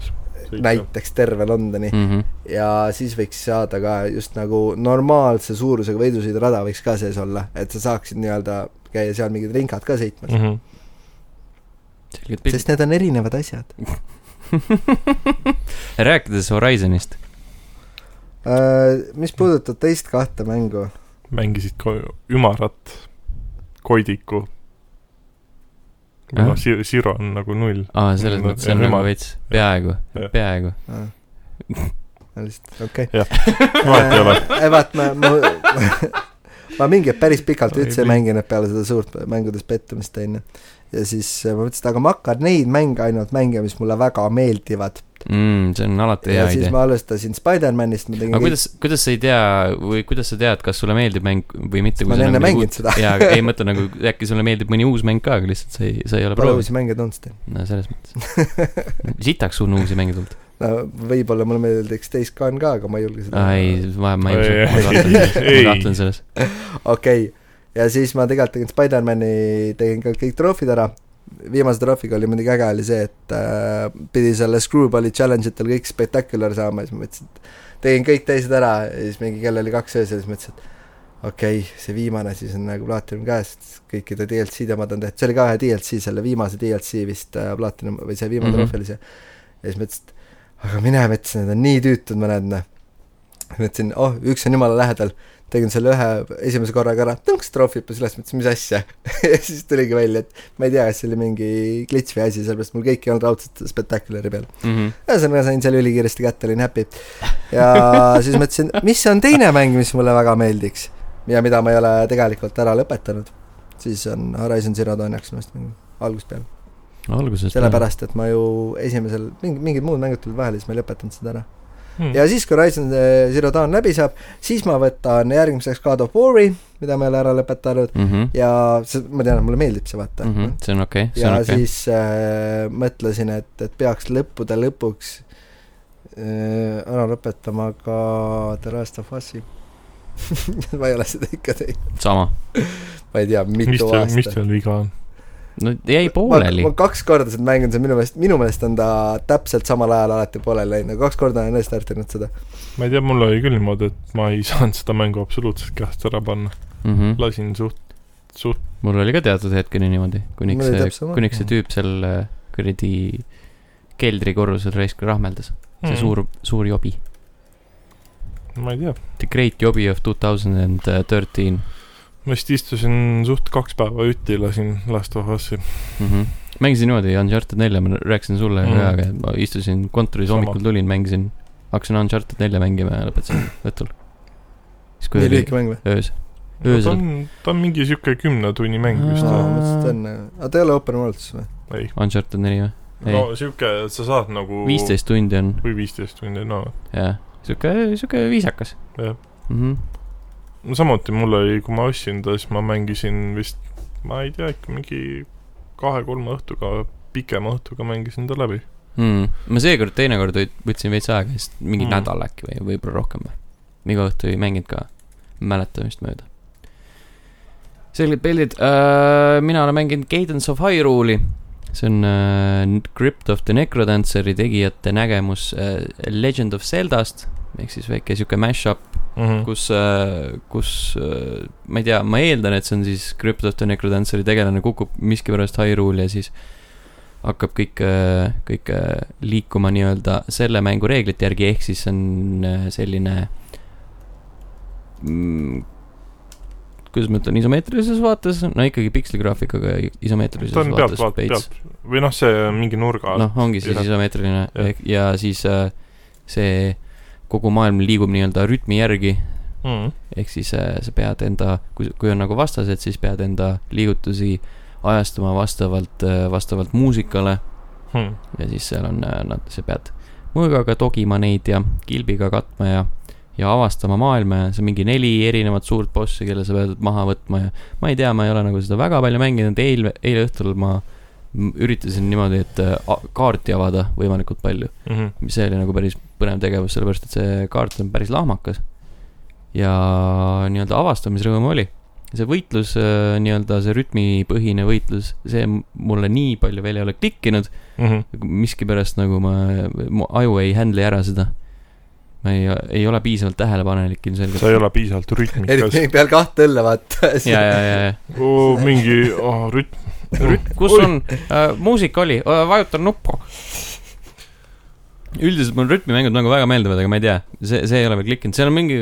B: näiteks terve Londoni
A: mm .
B: ja siis võiks saada ka just nagu normaalse suurusega võidusõidurada võiks ka sees olla , et sa saaksid nii-öelda käia seal mingid ringad ka sõitmas .
C: -hmm.
A: selgelt pilt .
B: sest need on erinevad asjad .
A: rääkides Horizonist ,
B: Äh, mis puudutab teist kahte mängu ,
C: mängisid ko- ümarat , koidiku .
A: Ahah.
C: noh , si- , siro on nagu null .
A: aa , selles
C: No,
A: mõttes on
C: ja
A: nagu
C: nemad-
A: veits , peaaegu
C: Jah. ,
A: peaaegu .
B: äh, lihtsalt okei
C: vahet ei ole .
B: okay. . vaat ma , ma ma mingi hetk päris pikalt
C: Oi,
B: üldse ei
C: nii.
B: mänginud peale seda suurt mängudes pettumist onju . ja siis äh, ma mõtlesin , et aga ma hakkan neid mänge ainult mängima , mis mulle väga meeldivad .
A: Mm, see on alati
B: ja
A: hea
B: siis
A: idee .
B: ma alustasin Spider-manist , ma tegin
A: aga . kuidas , kuidas sa ei tea või kuidas sa tead , kas sulle meeldib mäng või mitte ?
B: ma olen enne mänginud seda .
A: jaa , aga ei mõtle nagu , äkki sulle meeldib mõni uus mäng ka , aga lihtsalt sa ei , sa ei ole
B: Pole
A: proovinud .
B: uusi mänge tundnud seda .
A: no selles mõttes . sitaks on uusi mänge tulnud .
B: no võib-olla mulle meeldiks teist ka on ka , aga ma ei julge seda
A: aa . ei , ma , ma ei
C: Ei,
A: usu , ma
C: ei,
A: kahtlen , ma
C: ei.
A: kahtlen selles .
B: okei okay. , ja siis ma tegelikult tegin Spider-mani , tegin ka kõik troofid ära , viimase troofiga oli muidugi äge , oli see , et äh, pidi selle screwball'i challenge itel kõik spectacular saama ja siis ma mõtlesin , et tegin kõik teised ära ja siis mingi kell oli kaks öösel , siis mõtlesin , et okei okay, , see viimane siis on nagu platinum käes , kõikide DLC-de omad on tehtud , see oli ka ühe DLC , selle viimase DLC vist äh, platinum või see viimane
A: Mhm.
B: mm -hmm. troof oli see , ja siis mõtlesin , et aga mine metsa , need on nii tüütud mõned , noh . mõtlesin , oh , üks on jumala lähedal , tegin selle ühe esimese korraga ära, tõmbasin trahvipa selles mõttes, mis asja ja siis tuligi välja, et ma ei tea, kas see oli mingi klits või asi, sellepärast mul kõik ei olnud raudselt Spectacular'i peal.
A: mm .
B: ühesõnaga sain selle ülikiiresti kätte, olin happy . ja siis mõtlesin, mis on teine mäng, mis mulle väga meeldiks ja mida ma ei ole tegelikult ära lõpetanud. siis on Horizon Zero Dawn jaoks minu arust mingi algusest peale ,
A: -hmm. alguses .
B: sellepärast et ma ju esimesel mingi mingid muud mängud tulid vahele, siis ma ei lõpetanud seda ära .
A: Mhm.
C: hmm.
B: ja siis , kui Horizon eh, Zero Dawn läbi saab , siis ma võtan järgmiseks God of War'i , mida ma ei ole ära lõpetanud
A: mm . -hmm.
B: ja see , ma tean , mulle meeldib see vaata
A: Mm
B: mm .
A: -hmm.
B: -hmm.
A: see on okei okay. , see
B: ja
A: on okei okay. .
B: siis äh, mõtlesin , et , et peaks lõppude lõpuks äh, ära lõpetama ka The Last of Us'i . ma ei ole seda ikka teinud ,
A: sama .
B: ma ei tea ,
C: mis
B: mitu
C: teil , mis
B: aastat .
C: teil viga on ?
A: no jäi pooleli
B: ma . kaks korda seda mänginud , see on minu meelest , minu meelest on ta täpselt samal ajal alati pooleli läinud , kaks korda olen restartinud seda .
C: ma ei tea , mul oli küll niimoodi , et ma ei saanud seda mängu absoluutselt käest ära panna .
A: Mm -hmm.
C: lasin suht , suht ,
A: mul oli ka teatud hetkeni niimoodi , kuniks
B: Mul oli
A: see
B: täpselt , sama.
A: kuniks see tüüp seal äh, kuradi keldrikorrusel raisk rahmeldas . see
C: Mhm.
A: mm. suur , suur jobi .
C: Hmm. ma ei tea ,
A: The great jobi of two thousand and thirteen .
C: ma vist istusin suht kaks päeva üti , lasin Last of Us'i .
A: Mhm. mängisin niimoodi Uncharted nelja , ma rääkisin sulle
C: Mhm.
A: mm. reaga , et ma istusin kontoris
C: Sama.
A: hommikul tulin , mängisin , hakkasin Uncharted nelja mängima ja lõpetasin õhtul . siis kui
B: nii
A: oli
B: lühike mäng või ?
A: öös .
C: ta
A: Öösel.
C: on , ta on mingi sihuke kümne tunni mäng vist
A: Aa.
B: aa ,
C: või ?
B: ma mõtlesin , et on , aga ta ei ole open world siis või ?
C: ei ,
A: Uncharted neli või ? Ei.
C: no sihuke , sa saad nagu
A: viisteist tundi on ,
C: või viisteist tundi , no
A: jah . sihuke , sihuke viisakas .
C: Jah.
A: -hmm.
C: No samuti mul oli , kui ma ostsin ta , siis ma mängisin vist , ma ei tea , ikka mingi kahe-kolme õhtuga , pikema õhtuga mängisin ta läbi .
A: Mm. ma seekord , teinekord võt- võtsin veits aega , sest mingi
C: Mm.
A: mm. nädal äkki või võib-olla rohkem või . iga õhtu ei mänginud ka , mäletan vist mööda . selged pildid uh, , mina olen mänginud Cadence of Hyrule'i . see on uh, Crypt of the Necrodanceri tegijate nägemus uh, Legend of Zeldast ehk siis väike sihuke mash-up ,
C: Mm
A: kus , kus äh, ma ei tea , ma eeldan , et see on siis Crypt of the Necrodanceri tegelane kukub miskipärast Hyrule'i ja siis hakkab kõik , kõik äh, liikuma nii-öelda selle mängu reeglite järgi , ehk siis on äh, selline mm, kuidas ma ütlen , isomeetrilises vaates , no ikkagi piksligraafikaga ja isomeetrilises
C: ta on pealt
A: vaates
C: vaat- ,
A: veits
C: pealt või noh , see on mingi nurga alt no. .
A: noh , ongi siis
C: jah.
A: isomeetriline
C: Jah.
A: ehk- ja siis äh, see kogu maailm liigub nii-öelda rütmi järgi
C: Mm
A: ehk siis äh, sa pead enda , kui , kui on nagu vastased , siis pead enda liigutusi ajastama vastavalt , vastavalt muusikale
C: -hmm.
A: ja siis seal on , nad , sa pead mõõgaga togima neid ja kilbiga katma ja , ja avastama maailma ja see on mingi neli erinevat suurt bossi , kelle sa pead maha võtma ja ma ei tea , ma ei ole nagu seda väga palju mänginud , eile , eile õhtul ma m- üritasin niimoodi , et äh, a- kaarti avada võimalikult palju .
C: Mm -hmm.
A: mis see oli nagu päris põnev tegevus , sellepärast et see kaart on päris lahmakas . ja nii-öelda avastamisrõõm oli . see võitlus , nii-öelda see rütmipõhine võitlus , see m- mulle nii palju veel ei ole klikkinud ,
C: Mm -hmm.
A: miskipärast nagu ma , mu aju ei handle'i ära seda . ma ei , ei ole piisavalt tähelepanelik
C: sa ei
A: ilmselgelt .
C: ole piisavalt rütmikas
B: eriti . peal kahte õlle vaata .
A: ja , ja , ja , ja .
C: oo , mingi oh, rütm , rütm ,
A: kus
C: Oi.
A: Oi. on äh, , muusika oli äh, , vajutan nuppu . üldiselt mulle rütmimängud nagu väga meeldivad , aga ma ei tea , see , see ei ole veel klikkinud , seal on mingi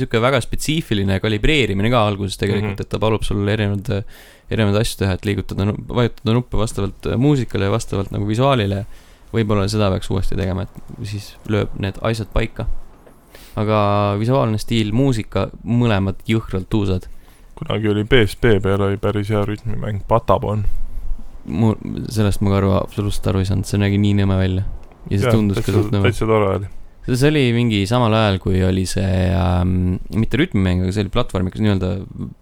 A: sihuke väga spetsiifiline kalibreerimine ka alguses tegelikult mm ,
C: Mhm.
A: -hmm. et ta palub sul erinevaid , erinevaid asju teha , et liigutada , vajutada nuppe vastavalt äh, muusikale ja vastavalt nagu visuaalile . võib-olla seda peaks uuesti tegema , et siis lööb need asjad paika . aga visuaalne stiil , muusika , mõlemad jõhkralt tuusad .
C: kunagi oli PSP peal oli päris hea rütmimäng , Patabon .
A: mu , sellest ma ka aru , absoluutselt aru ei saanud , see nägi nii nõme välja . ja see tundus ka suht nagu- nõme .
C: täitsa tore oli .
A: see oli mingi samal ajal , kui oli see ähm, , mitte rütmimäng , aga see oli platvormikas , nii-öelda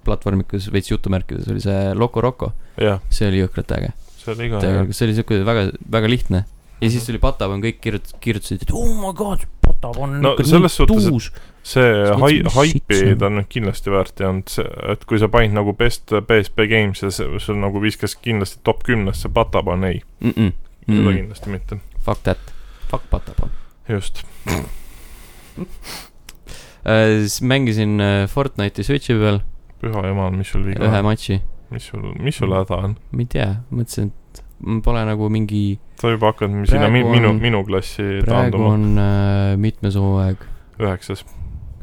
A: platvormikas veits jutumärkides oli see Loco Roco .
C: jah ,
A: see oli jõhkralt äge .
C: see oli ka hea .
A: see oli siuke väga , väga lihtne . ja siis tuli Patapon , kõik kirjutas , kirjutasid , et oh my god , Patapon on
C: No
A: ikka
C: selles
A: nii
C: suhtes, et-
A: tuus .
C: see
A: Siis
C: hai-
A: mõtlesin, , mis sitt see
C: haipi
A: on.
C: ta on nüüd kindlasti väärt ei olnud , see , et kui sa panid nagu best PSP games ja see, sul nagu viskas kindlasti top kümnesse Patabon , ei , seda
A: Mm-mm.
C: kindlasti mitte ,
A: Fuck that , fuck Patapon .
C: just .
A: siis mängisin äh, Fortnite'i Switch'i peal
C: püha jumal , mis sul viga
A: ühe
C: on ,
A: matši ,
C: mis sul , mis sul häda on ?
A: ma ei tea , mõtlesin , et m- pole nagu mingi
C: sa juba hakkad mi- sinna mi-
A: Praegu
C: minu ,
A: on-
C: minu klassi
A: praegu
C: taanduma ,
A: on äh, mitmes hooaeg ,
C: üheksas ,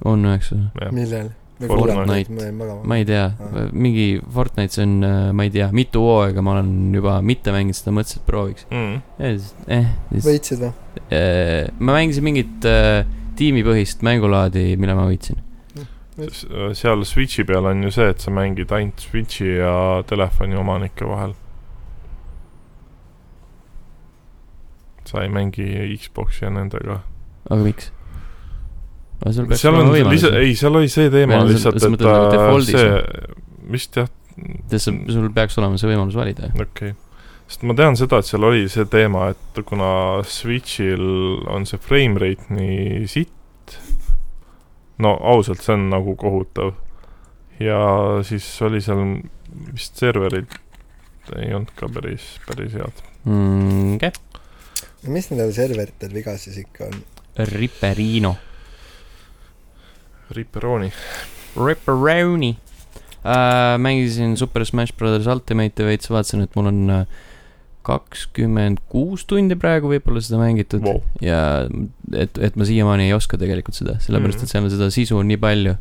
A: on üheksas ,
C: jah .
B: millal ?
A: Fortnite.
B: ma jäin magama .
A: ma ei tea
B: Aa. ,
A: mingi Fortnite , see on , ma ei tea , mitu hooaega ma olen juba mitte mänginud seda , mõtlesin , et prooviks .
C: mm. .
A: eh , siis
B: võitsid või ?
A: eh, ma mängisin mingit eh, tiimipõhist mängulaadi , mille ma võitsin .
C: seal Switchi peal on ju see , et sa mängid ainult Switchi ja telefoni omanike vahel . sa ei mängi Xbox'i ja nendega .
A: aga miks ? aga sul peaks
C: seal on
A: olema
C: lisa ,
A: võimalus .
C: ei , seal oli see teema
A: Või on see-
C: lihtsalt ,
A: sa
C: et
A: mõtled nagu
C: äh,
A: default'is
C: see , vist jah ,
A: sul peaks olema see võimalus valida .
C: okei okay. . sest ma tean seda , et seal oli see teema , et kuna Switch'il on see frame rate nii sitt , no ausalt , see on nagu kohutav . ja siis oli seal vist serverid ei olnud ka päris , päris head .
A: okei ,
B: mis nendel serveritel viga siis ikka on ?
A: Ripperino .
C: Ripperoni .
A: Ripperoni uh, . mängisin Super Smash Brothers Ultimate'i veits , vaatasin , et mul on äh, kakskümmend kuus tundi praegu võib-olla seda mängitud
C: Wow.
A: ja et , et ma siiamaani ei oska tegelikult seda , sellepärast
C: Mhm.
A: et seal on seda sisu nii palju ,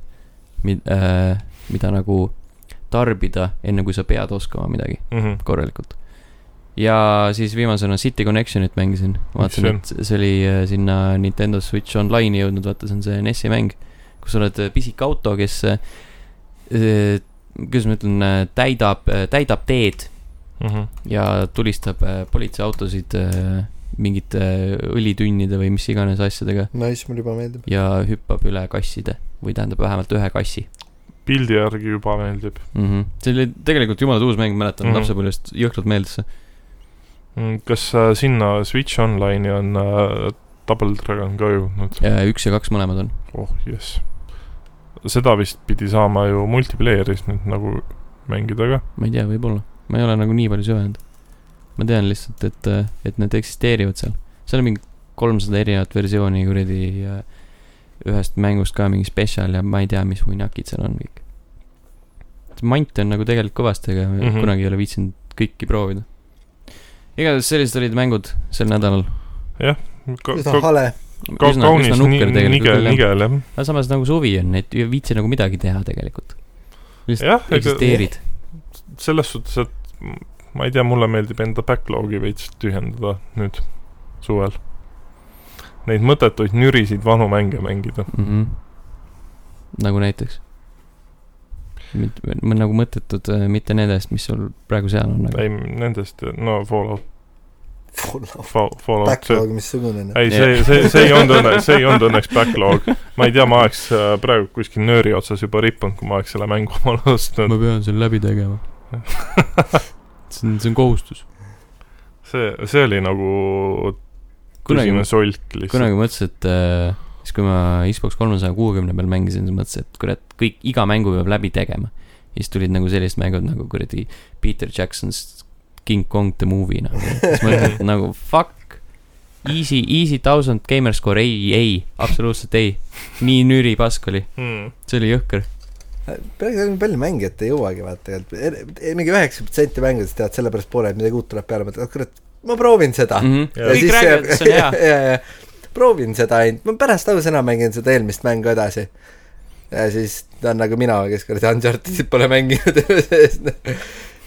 A: mida uh, , mida nagu tarbida , enne kui sa pead oskama midagi
C: Mm -hmm.
A: korralikult . ja siis viimasena City Connectionit mängisin , vaatasin ,
C: see on?
A: et see oli äh, sinna Nintendo Switch Online'i jõudnud , vaata , see on see NES-i mäng , kus sa oled äh, pisik auto , kes , kuidas ma ütlen , täidab , täidab teed
C: Mm -hmm.
A: ja tulistab äh, politseiautosid äh, mingite äh, õlitünnide või mis iganes asjadega
B: Nice , mulle juba meeldib .
A: ja hüppab üle kasside või tähendab vähemalt ühe kassi
C: pildi järgi juba meeldib
A: mm . -hmm. see oli tegelikult jumala tuus mäng , mäletan mm
C: Mhm.
A: -hmm. lapsepõlvest jõhkralt meeldis see .
C: mm, . kas äh, sinna Switch Online'i on äh, Double Dragon ka jõudnud ?
A: Äh, üks ja kaks mõlemad on .
C: oh jess . seda vist pidi saama ju multiplayeris nüüd nagu mängida ka .
A: ma ei tea , võib-olla . ma ei ole nagu nii palju süvenenud . ma tean lihtsalt , et , et need eksisteerivad seal . seal on mingi kolmsada erinevat versiooni kuradi ja ühest mängust ka mingi spetsial ja ma ei tea , mis huinakid seal on kõik . mante on nagu tegelikult kõvasti , aga mm
C: Mhm.
A: -hmm. kunagi ei ole viitsinud kõiki proovida . igatahes sellised olid mängud sel nädalal .
B: üsna hale .
A: üsna , üsna nukker tegelikult
C: nigel ,
A: küll jah .
C: nigel jah .
A: aga samas nagu suvi on , et ei viitsi nagu midagi teha tegelikult .
C: jah , ega
A: eksisteerid .
C: selles suhtes , et m- ma ei tea , mulle meeldib enda backlog'i veits tühjendada nüüd suvel . Neid mõttetuid nürisid vanu mänge mängida .
A: mm . -hmm. nagu näiteks ? nagu mõttetud , mitte nendest , mis sul praegu seal on , aga
C: ei , nendest , no Fallout ,
A: Oh,
C: Fallout , see ,
B: Backlog , missugune noh .
C: ei , see , see , see ei olnud õnne , see ei olnud õnneks backlog . ma ei tea , ma oleks äh, praegu kuskil nööri otsas juba rippunud , kui ma oleks selle mängu omale ostnud .
A: ma pean selle läbi tegema . see on , see on kohustus .
C: see , see oli nagu
A: kunagi
C: tõsine , solk lihtsalt .
A: kunagi mõtlesin , et äh, siis , kui ma Xbox kolmesaja kuuekümne peal mängisin , siis mõtlesin , et kurat , kõik , iga mängu peab läbi tegema . ja siis tulid nagu sellised mängud nagu kuradi Peter Jackson's King Kong the movie , noh . siis mõtlesin , et nagu fuck , easy , easy thousand gamer score , ei , ei , absoluutselt ei . nii nüri pask oli ,
C: Mm.
A: see oli jõhker .
B: palju , palju mängijat ei jõuagi vaata tegelikult , mingi üheksakümmend protsenti mängijatest teavad sellepärast poole , et midagi uut tuleb peale , mõtled , et kurat , ma proovin seda .
C: Ja
A: Mhm. kõik
C: siis
A: räägivad , et see on hea .
B: hea . proovin seda ainult , ma pärast ausõna mängin seda eelmist mängu edasi . ja siis ta on nagu mina , kes kuradi Unchartedit pole mänginud elu sees .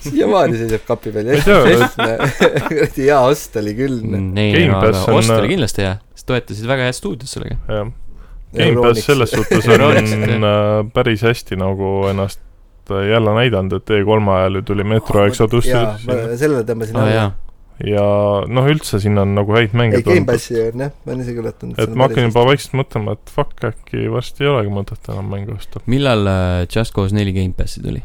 B: siiamaani seisab kapi peal
C: Ei Mm. tea.
B: kuradi hea ost oli küll . noh.
A: Mm, ei ,
C: Game
A: aga
C: Pass on- äh,
A: ost oli kindlasti hea , sest toetasid väga head stuudiot sellega .
C: jah , Gamepass selles suhtes
A: Euroniks, et-
C: on äh, päris hästi nagu ennast äh, jälle näidanud , et E3 ajal ju tuli Metro Exodus
B: jaa , Ah, ma
C: sinna.
B: selle tõmbasin
A: aa Ah, jaa
B: alla .,
C: ja noh , üldse sinna on nagu häid mänge
B: ei ,
C: tulnud .
B: Gamepassi on jah , ma olen isegi üllatunud .
C: et ma hakkan juba vaikselt mõtlema , et fuck , äkki varsti ei olegi mõtet enam mängu osta .
A: millal äh, Just Cause neli Gamepassi tuli ?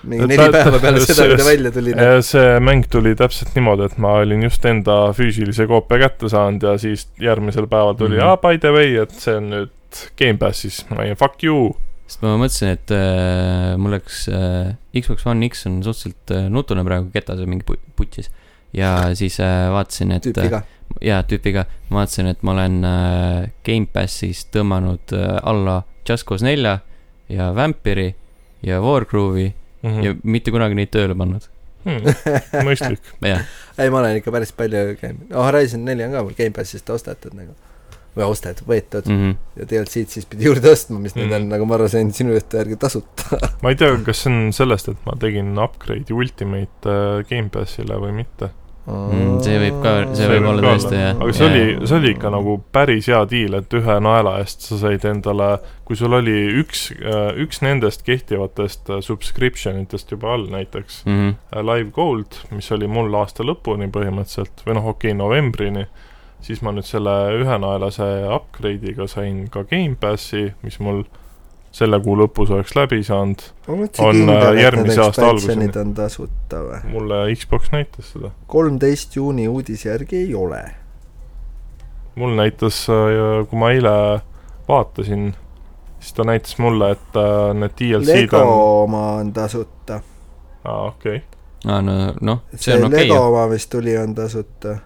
B: mingi
C: et
B: neli
C: ta-
B: päeva peale seda , kui ta
C: see-
B: välja tuli . noh,
C: Ja see mäng tuli täpselt niimoodi , et ma olin just enda füüsilise koopia kätte saanud ja siis järgmisel päeval tuli mm
A: Mhm.
C: -hmm. ah, by the way , et see on nüüd Gamepassis , ma olin fuck you .
A: sest ma mõtlesin , et äh, mul läks äh, , Xbox One X on suhteliselt äh, nutune praegu ketas ja mingi pu- putšis . ja siis äh, vaatasin , et
B: tüüp viga .
A: äh, jaa , tüüpiga , ma vaatasin , et ma olen äh, Gamepassis tõmmanud äh, alla Just Cause nelja ja Vampire'i ja Wargroove'i
C: Mm
B: Mhm.
A: mm. ja mitte kunagi neid tööle pannud .
C: Hmm, mõistlik .
A: jah ,
B: ei , ma olen ikka päris palju käinud , Horizon neli on ka mul Gamepassis ostetud nagu . või osted , võetud mm.
A: mm . -hmm.
B: ja DLC-d siis pidi juurde ostma , mis mm.
C: Mhm.
B: need on , nagu ma aru sain , sinu jutu järgi tasuta .
C: ma ei tea , kas see on sellest , et ma tegin upgrade'i Ultimate äh, Gamepassile või mitte .
A: Mm, see võib ka- see võib olla
C: ka
A: tõesti, jah.
C: aga see oli , see oli ikka nagu päris hea diil , et ühe naela eest sa said endale , kui sul oli üks , üks nendest kehtivatest äh, subscription itest juba all näiteks
A: Mm -hmm.
C: äh, Live Gold , mis oli mul aasta lõpuni põhimõtteliselt või noh , okei okay, , novembrini , siis ma nüüd selle ühenaelase upgrade'iga sain ka Gamepassi , mis mul selle kuu lõpus oleks läbi saanud , on, äh, järgmise aasta
B: alguseni . on tasuta või ?
C: mulle Xbox näitas seda .
B: kolmteist juuni uudise järgi ei ole .
C: mul näitas , kui ma eile vaatasin , siis ta näitas mulle , et äh, need DLC-d
B: Lego
C: on ,
B: oma on tasuta .
C: aa okei okay. .
A: aa , no , noh , see
B: see
A: on okei
B: Lego
A: okay, .
B: oma , mis tuli , on tasuta .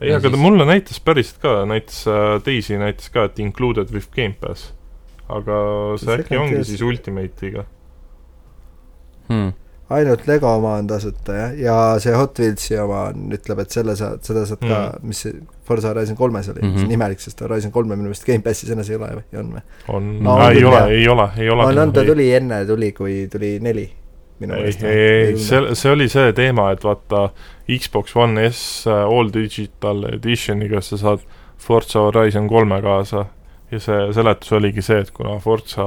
C: ei ,
A: Ja
C: aga ta
A: siis-
C: mulle näitas päriselt ka , näitas äh, teisi näitas ka , et included with Gamepass . aga see
B: See
C: äkki
B: ka
C: ongi
B: tead-
C: siis Ultimate'iga .
A: Hmm.
B: ainult Lego oma on tasuta jah , ja see Hot Wheelsi oma on , ütleb , et selle saad , seda saad mm.
C: Mhm.
B: ka , mis see Forza Horizon kolmes oli mm , -hmm. see
A: Mhm.
B: on imelik , sest Horizon kolme minu meelest Gamepassis enes ei ole või , on või ?
C: on
A: No,
C: no, ,
A: on
C: ei
B: küll,
C: ole
B: jah. ,
C: ei ole , ei ole .
B: on , on , ta tuli enne , tuli , kui tuli neli minu
C: ei ,
B: meelest .
C: ei , ei , see , see oli see teema , et vaata Xbox One S äh, All Digital Editioniga sa saad Forza Horizon kolme kaasa ja see seletus oligi see , et kuna Forza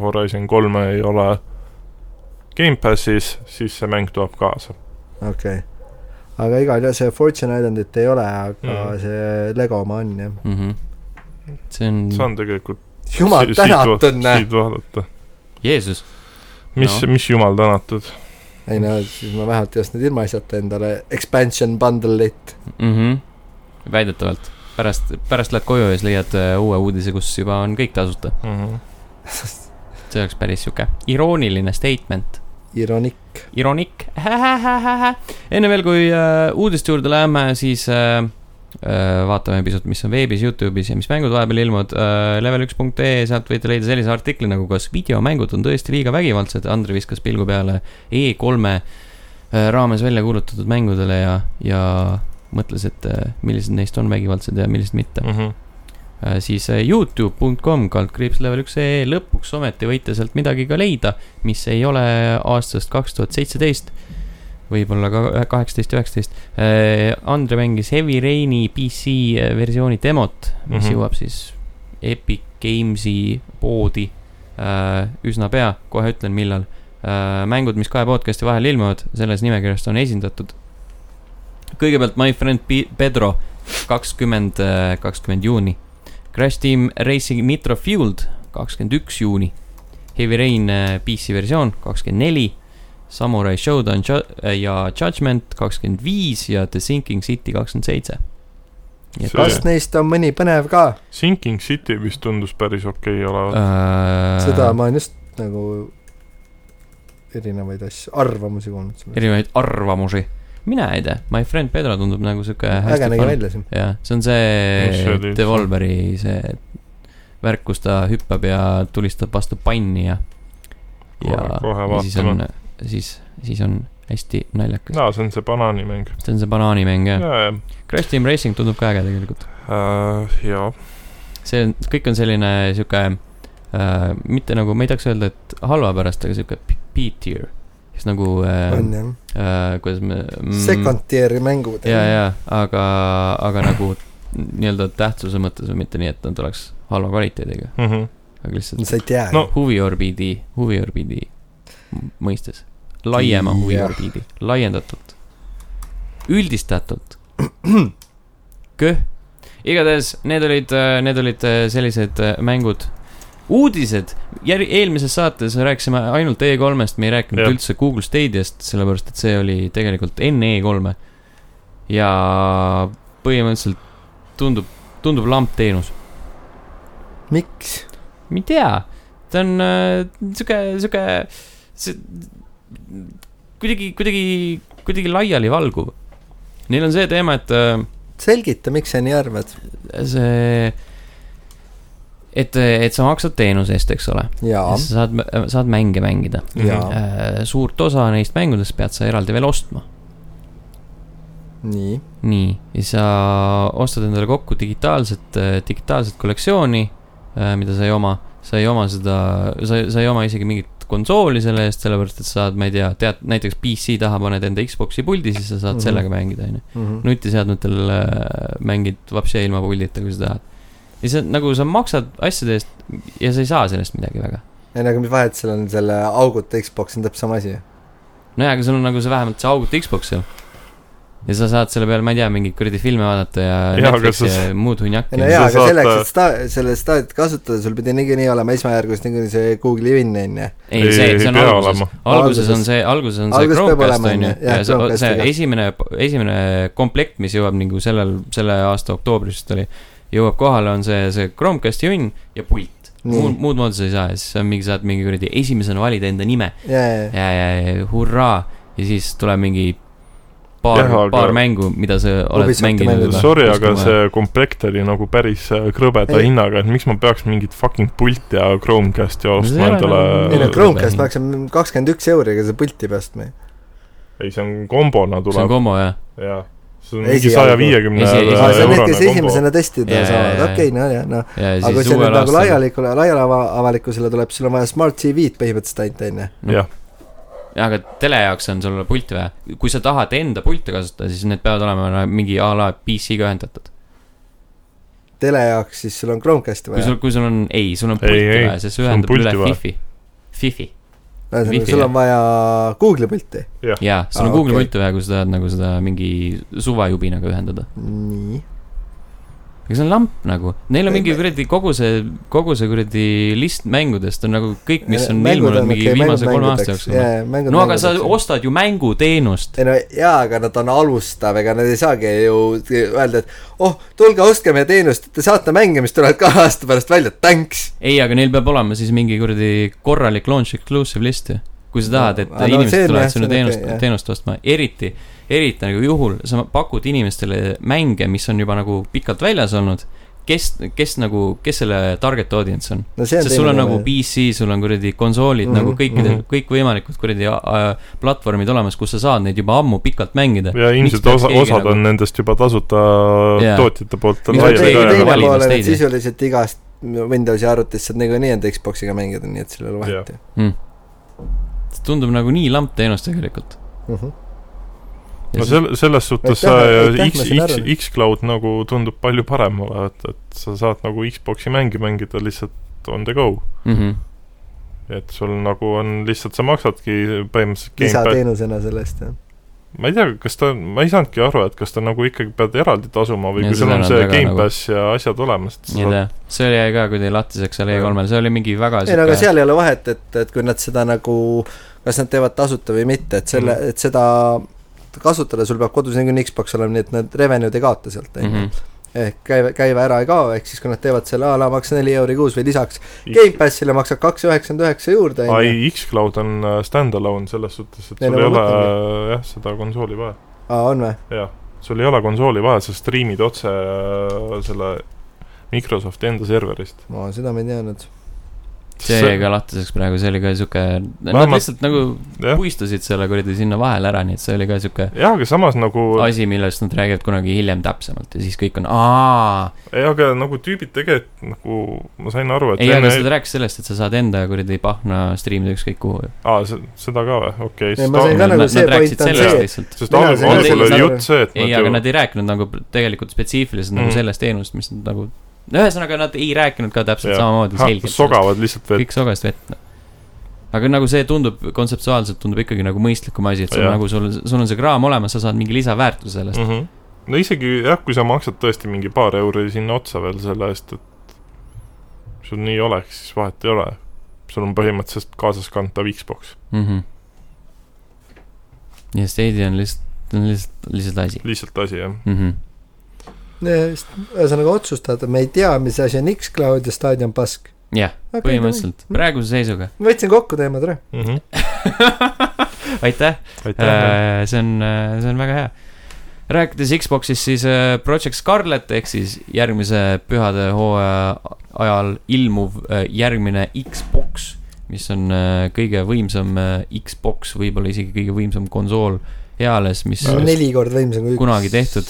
C: Horizon kolme ei ole Gamepassis , siis see mäng tuleb kaasa .
B: okei okay. . aga igal juhul see Fortune Islandit ei ole , aga
C: Mhm.
B: mm. see Lego oma on jah .
A: Mm -hmm. see on,
C: see
A: on... ,
C: on tegelikult
B: jumal
C: si- siit
B: tänatud
C: vaat- ,
B: näe .
C: siit vaadata ,
A: Jeesus ,
C: mis
A: No.
C: no. , mis jumal tänatud .
B: ei no siis ma vähemalt ei ostnud ilmaasjata endale expansion bundle'it .
A: mm . -hmm. väidetavalt . pärast , pärast lähed koju ja siis leiad äh, uue uudise , kus juba on kõik tasuta .
C: Mm -hmm.
A: see oleks päris sihuke irooniline statement .
B: Ironik .
A: Ironik . enne veel , kui äh, uudiste juurde läheme , siis äh, äh, vaatame pisut , mis on veebis , Youtube'is ja mis mängud vahepeal ilmuvad äh, . level1.ee , sealt võite leida sellise artikli nagu kas videomängud on tõesti liiga vägivaldsed , Andri viskas pilgu peale E3-e äh, raames välja kuulutatud mängudele ja , ja mõtles , et äh, millised neist on vägivaldsed ja millised mitte .
C: Mm -hmm.
A: Äh, siis äh, Youtube.com kaldkriips level üks ee , lõpuks ometi võite sealt midagi ka leida , mis ei ole aastast kaks tuhat seitseteist , võib-olla ka kaheksateist , üheksateist . Andre mängis Heavy Raini PC versiooni demot , mis mm
C: Mhm.
A: -hmm. jõuab siis Epic Games'i poodi äh, üsna pea , kohe ütlen , millal . mängud , mis kahe podcast'i vahel ilmuvad , selles nimekirjas on esindatud . kõigepealt My Friend Pi- Pedro , kakskümmend , kakskümmend juuni Crash Team Racing Nitro Fueled , kakskümmend üks juuni . Heavy Rain äh, PC versioon , kakskümmend neli . Samurai Showdown ju- äh, ja Judgment , kakskümmend viis ja The Sinking City , kakskümmend seitse .
C: See-
B: kas neist on mõni põnev ka ?
C: Sinking City vist tundus päris okei okay
A: Äh,
C: olevat .
B: seda
A: seda
B: ma olen just nagu erinevaid asju , arvamusi kuulnud selle .
A: erinevaid arvamusi . mina ei tea , My Friend Pedro tundub nagu sihuke
B: äge
A: hästi
B: nägi
A: fun .
B: välja siin .
A: jah , see on
C: Mis see
A: see
C: oli?
A: Devolveri see värk , kus ta hüppab ja tulistab vastu panni ja .
C: Kohe- kohe
A: ja siis on äh,
C: vaatame. ,
A: siis , siis on hästi naljakas .
C: aa , see on see banaanimäng .
A: see on see banaanimäng jah ja. .
C: jaa , jaa
A: Crash Team Racing tundub ka äge tegelikult .
C: äh, . jaa ,
A: see on , kõik on selline sihuke äh, , mitte nagu , ma ei tahaks öelda , et halva pärast , aga sihuke p- B-tier . kes nagu äh, ,
B: on jah .
A: äh, kuidas me mm,
B: Second tier'i mängud .
A: ja , ja , aga , aga nagu nii-öelda tähtsuse mõttes või mitte nii , et nad oleks halva kvaliteediga , aga lihtsalt
B: sa ei tea
C: Mhm. No,
B: no, .
A: huviorbiidi , huviorbiidi m- mõistes . laiema
B: Jah.
A: huviorbiidi , laiendatult , üldistatult . köh , igatahes need olid , need olid äh, sellised äh, mängud , uudised . Jär- , eelmises saates rääkisime ainult E3-st , me ei rääkinud
C: Jah.
A: ja. üldse Google Stadiast , sellepärast et see oli tegelikult enne E3-e . ja põhimõtteliselt tundub , tundub lamp teenus ,
B: miks ?
A: ma ei tea , ta on äh, sihuke , sihuke , see kuidagi , kuidagi , kuidagi laialivalguv . Neil on see teema , et äh,
B: selgita , miks sa nii arvad .
A: see , et , et sa maksad teenuse eest , eks ole .
B: jaa ,
A: sa saad , saad mänge mängida . Äh,
B: jaa .
A: suurt osa neist mängudest pead sa eraldi veel ostma .
B: nii ,
A: nii , ja sa ostad endale kokku digitaalset , digitaalset kollektsiooni , mida sa ei oma . sa ei oma seda , sa , sa ei oma isegi mingit konsooli selle eest , sellepärast et saad , ma ei tea , tead näiteks PC taha paned enda Xbox'i puldi , siis sa saad
B: Mhm.
A: sellega mängida , onju . nutiseadmetel äh, mängid vapsi ilma puldita , kui sa tahad . ja see on nagu sa maksad asjade eest ja sa ei saa sellest midagi väga .
B: ei no aga nagu, mis vahet seal on , selle auguta Xbox on täpselt sama asi ju .
A: nojah , aga sul on nagu see vähemalt see auguti Xbox seal . ja sa saad selle peal , ma ei tea , mingeid kuradi filme vaadata ja,
C: Jaa,
A: ja
C: aga
A: Netflixi
C: sa-
A: ja muud hunjaki
B: ei no
C: Ja
B: jaa ,
C: sa
B: aga
C: saad,
B: selleks ,
C: äh,
B: et sta- , selle staadiot kasutada , sul pidi niikuinii olema esmajärgus niikuinii see Google'i Win on ju .
A: ei , see , see on
C: pea
A: alguses
C: olema. .
A: alguses on
B: Alguses.
A: see , alguses on see
B: Alguses peab
A: Chromecast
B: olema,
A: on ju
B: on ju. , Jah,
A: ja see , see
B: Chromecastiga.
A: esimene , esimene komplekt , mis jõuab nagu sellel , selle aasta oktoobris vist oli , jõuab kohale , on see , see Chromecasti hunn ja pult .
B: Nii.
A: muud , muud moodi sa ei saa ja siis on mingi , saad mingi kuradi esimesena valida enda nime
B: jaa , jaa ,
A: ja , ja , ja hurraa ja siis tuleb mingi paar
C: Jah, , aga-
A: paar mängu , mida sa oled
B: Ubisofti
A: mänginud
B: mängud
A: juba .
C: Sorry , aga . see komplekt oli nagu päris äh, krõbeda
B: Ei.
C: hinnaga , et miks ma peaks mingit fucking pult ja Chromecasti
A: No see ei
C: ostma
A: ole
C: endale
A: nagu-
B: ei no
A: Äh, äh,
B: Chromecast maksab kakskümmend üks euri , ega sa pulti ei pea ostma ju .
C: ei , see on kombona
A: see on
C: tuleb ,
A: kombo jah ,
C: jaa . see on
B: Esialgu.
C: mingi saja viiekümne
A: Esi-
B: aa , see on need , kes
C: eurone nagu kombo .
B: esimesena testida
A: Jaa,
B: saavad ,
A: jaa, jaa.
B: okei , no jaa , noh .
A: ja
B: aga kui
A: siis
B: see nüüd
A: uuel
B: nagu
A: aastal ,
B: laialikule , laiale ava- avalikkusele tuleb , sul on vaja Smart TV-d põhimõtteliselt ainult , on ju .
A: aga tele jaoks on sul pult vaja , kui sa tahad enda pilte kasutada , siis need peavad olema no mingi a la PC-ga ühendatud .
B: tele jaoks siis sul on Chromecasti
A: kui
B: vaja .
A: sul , kui sul on , ei , sul on
C: Ei,
A: pulti
C: ei,
A: vaja , sest see
C: sul on
A: ühendab
C: pulti
A: üle
C: vaja.
A: Fifi , Fifi
B: ühesõnaga ,
A: wifi,
B: sul
A: jah.
B: on vaja Google'i pulti .
A: ja sul
C: Ah,
A: on
B: Aa,
A: Google'i
B: okei.
A: pulti vaja , kui sa tahad nagu seda mingi suvajubinaga ühendada .
B: nii .
A: aga see on lamp nagu , neil on mingi kuradi kogu see , kogu see kuradi list mängudest on nagu kõik , mis
C: Äh,
A: on ilmunud mingi viimase kolme aasta jooksul .
B: jooksul
A: no aga sa . ostad ju mänguteenust .
B: ei no jaa , aga nad on alustav , ega nad ei saagi ju öelda , et oh , tulge ostke meie teenust , te saate mänge , mis tulevad kahe aasta pärast välja , thanks .
A: ei , aga neil peab olema siis mingi kuradi korralik launch exclusive list ju . kui sa tahad , et
B: Aa, no see
A: inimesed
B: on
A: tulevad
B: jah,
A: sinu
B: see on
A: teenust
B: okei, , jah.
A: teenust ostma , eriti , eriti nagu juhul sa pakud inimestele mänge , mis on juba nagu pikalt väljas olnud , kes , kes nagu , kes selle target audience on ?
B: no see on
A: sest sul on nagu . PC , sul on kuradi konsoolid mm -hmm.
B: Mhm.
A: nagu kõikidel mm
C: Mhm.
A: -hmm. , kõikvõimalikud kuradi äh, platvormid olemas , kus sa saad neid juba ammu pikalt mängida .
C: ja ilmselt
A: peaks
C: osa ,
A: keegi
C: osad
A: nagu-
C: on nendest juba tasuta
A: Jaa.
C: tootjate poolt
A: Miks nad
C: laiali
A: keegi nagu
C: ka
A: teine
B: teine
C: ära
A: valima
B: pool on ,
A: seda ei
B: et
A: tee?
B: sisuliselt igast Windowsi arvutist saad niikuinii enda Xboxiga mängida , nii et sul ei ole vahet ju
A: tundub nagu nii lamp teenus tegelikult .
B: Mhm.
C: no sel- , selles suhtes
B: Aitäh,
C: äh,
B: aitäh,
C: X
B: ma , sain
C: X
B: aru. ,
C: X-Cloud nagu tundub palju parem olevat , et sa saad nagu Xbox'i mänge mängida lihtsalt on the go .
A: mm . -hmm.
C: et sul nagu on lihtsalt , sa maksadki põhimõtteliselt gamepad ,
B: lisateenusena selle eest , jah .
C: ma ei tea , kas ta , ma ei saanudki aru , et kas ta nagu ikkagi pead eraldi tasuma või
A: Ja
C: kui sul
A: seda
C: on
A: nad
C: see
A: väga nagu-
C: Gamepass nagu... ja asjad olemas , et
A: ei
C: sa saad
A: tea , see jäi ka kuidagi lahtiseks seal
C: Jah.
A: E3-l , see oli mingi väga
B: ei no aga
A: siuke ,
B: seal ei ole vahet , et , et kui nad seda nagu , kas nad teevad tasuta või mitte , et selle ,
A: Mhm.
B: et seda kasutada sul peab kodus niikuinii Xbox olema , nii et nad revenue'd ei kaota sealt , on
A: Mhm.
B: ju . ehk käive , käive ära ei kao , ehk siis kui nad teevad selle a la maksa neli euri kuus või lisaks Gamepassile maksab kaks üheksakümmend üheksa juurde , on ju .
C: ai , X-Cloud on äh, stand-alone selles suhtes , et
B: Ei,
C: sul
B: no ma
C: ei ole äh,
B: mõtlengi.
C: jah , seda konsooli vaja ,
B: aa , on või ?
C: jah . sul ei ole konsooli vaja , sa striimid otse äh, selle Microsofti enda serverist .
B: ma seda ma ei teadnud .
A: see jäi ka lahtiseks praegu , see oli ka siuke , nad
C: Vähemalt-
A: lihtsalt nagu
C: jah ,
A: puistasid selle kuradi sinna vahele ära , nii et see oli ka siuke
C: jah , aga samas nagu ,
A: asi , millest nad räägivad kunagi hiljem täpsemalt ja siis kõik on aa .
C: ei aga nagu tüübid tegelikult nagu , ma sain aru , et
A: ei , aga
C: enne ,
A: seda rääkis sellest , et sa saad enda kuradi pahna striimida ükskõik kuhu ju .
C: aa , seda ka või , okei
B: Ei, ma sain
C: okay,
B: ka . nagu
A: Nad
B: see
A: nad rääkisid
B: point on
A: sellest
B: see-
A: lihtsalt .
C: sest
B: mina
C: algul
A: sain ka
C: algul oli
B: sellest
C: jutt see , et
A: ei , aga nad ei rääkinud nagu tegelikult spetsiifiliselt nagu
C: Mm.
A: sellest teenusest , mis nad nagu , ühesõnaga nad ei rääkinud ka täpselt
C: Jah.
A: samamoodi
C: ha,
A: selgelt .
C: sogavad lihtsalt veel ,
A: kõik sogast vett , noh . aga nagu see tundub , kontseptuaalselt tundub ikkagi nagu mõistlikum asi , et sul
C: Jah.
A: nagu sul , sul on see kraam olemas , sa saad mingi lisaväärtuse sellest .
C: mm . -hmm. no isegi jah , kui sa maksad tõesti mingi paar euri sinna otsa veel selle eest , et sul nii oleks , siis vahet ei ole . sul on põhimõtteliselt kaasaskantav Xbox ,
A: Mhm. ja Stadia on lihtsalt , on lihtsalt , lihtsalt asi
C: lihtsalt asi jah .
A: mm . -hmm.
B: ühesõnaga otsustada , me ei tea , mis asi on X-Cloud ja Stadion Pask .
A: jah , põhimõtteliselt , praeguse seisuga .
B: ma võtsin kokku teemad ära .
C: Mm -hmm.
A: aitäh ,
C: aitäh ,
A: Äh, see on , see on väga hea . rääkides Xbox'ist , siis äh, Project Scarlet ehk siis järgmise pühade hooaja ajal ilmuv äh, järgmine Xbox , mis on äh, kõige võimsam äh, Xbox , võib-olla isegi kõige võimsam konsool eales , mis
B: see on neli korda võimsam kui üks .
A: kunagi tehtud. .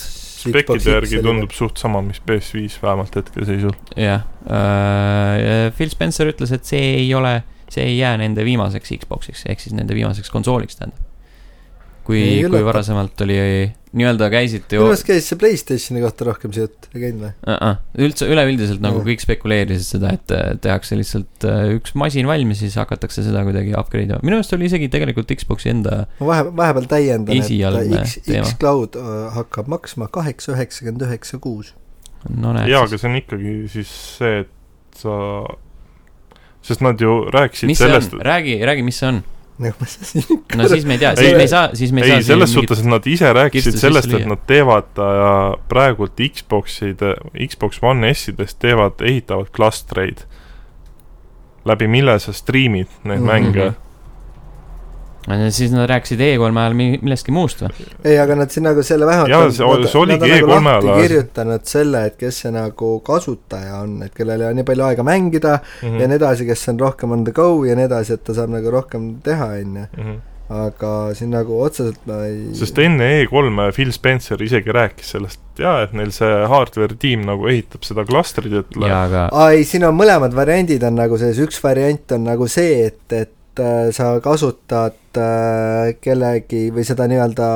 C: spekkide järgi tundub . suht sama , mis PS5 vähemalt hetkeseisul .
A: jah äh, , Phil Spencer ütles , et see ei ole , see ei jää nende viimaseks Xbox'iks ehk siis nende viimaseks konsooliks tähendab . kui
B: Ei ,
A: kui
B: üllata.
A: varasemalt oli , nii-öelda käisite ju
B: minu meelest käis see Playstationi kohta rohkem see jutt , ei käinud või ?
A: uh . -uh. üldse , üleüldiselt nagu
B: Jah.
A: kõik spekuleerisid seda , et äh, tehakse lihtsalt äh, üks masin valmis , siis hakatakse seda kuidagi upgrade ima . minu meelest oli isegi tegelikult Xbox'i enda ,
B: ma vahe , vahepeal täiendan , et
A: Esialgne
B: äh, X ,
A: teema.
B: X-Cloud äh, hakkab maksma kaheksa üheksakümmend üheksa kuus .
A: no näed
C: jaa ,
A: siis .
C: aga see on ikkagi siis see , et sa , sest nad ju rääkisid
A: mis see
C: sellest
A: on ,, räägi , räägi , mis see on .
B: nagu ma siin ,
A: no siis me ei tea ,
C: Ei,
A: siis me ei saa , siis me ei saa .
C: ei , selles suhtes , et nad ise rääkisid
A: kirstu
C: sellest ,
A: sisse
C: et
A: lüüa.
C: nad teevad äh, praegult Xbox'id , Xbox One S-idest teevad , ehitavad klastreid , läbi mille sa striimid neid
B: Mhm.
C: mänge .
A: Mhm. siis nad rääkisid E3 ajal mi- millestki muust või ?
B: ei , aga nad siin nagu selle vähemalt .
C: Jaa, see oli- see oligi E E3-e ajal ajal.
B: nagu kirjutanud selle , et kes see nagu kasutaja on , et kellel ei ole nii palju aega mängida mm.
A: Mhm.
B: ja nii edasi , kes on rohkem on the go ja nii edasi , et ta saab nagu rohkem teha , on ju . aga siin nagu otseselt ma ei .
C: Mhm. sest enne E3-e äh, Phil Spencer isegi rääkis sellest , jaa , et neil see hardware tiim nagu ehitab seda klastrit , et
A: jaa , aga
B: aa ei , siin on mõlemad variandid on nagu selles , üks variant on nagu see , et , et äh, sa kasutad äh, kellegi või seda nii-öelda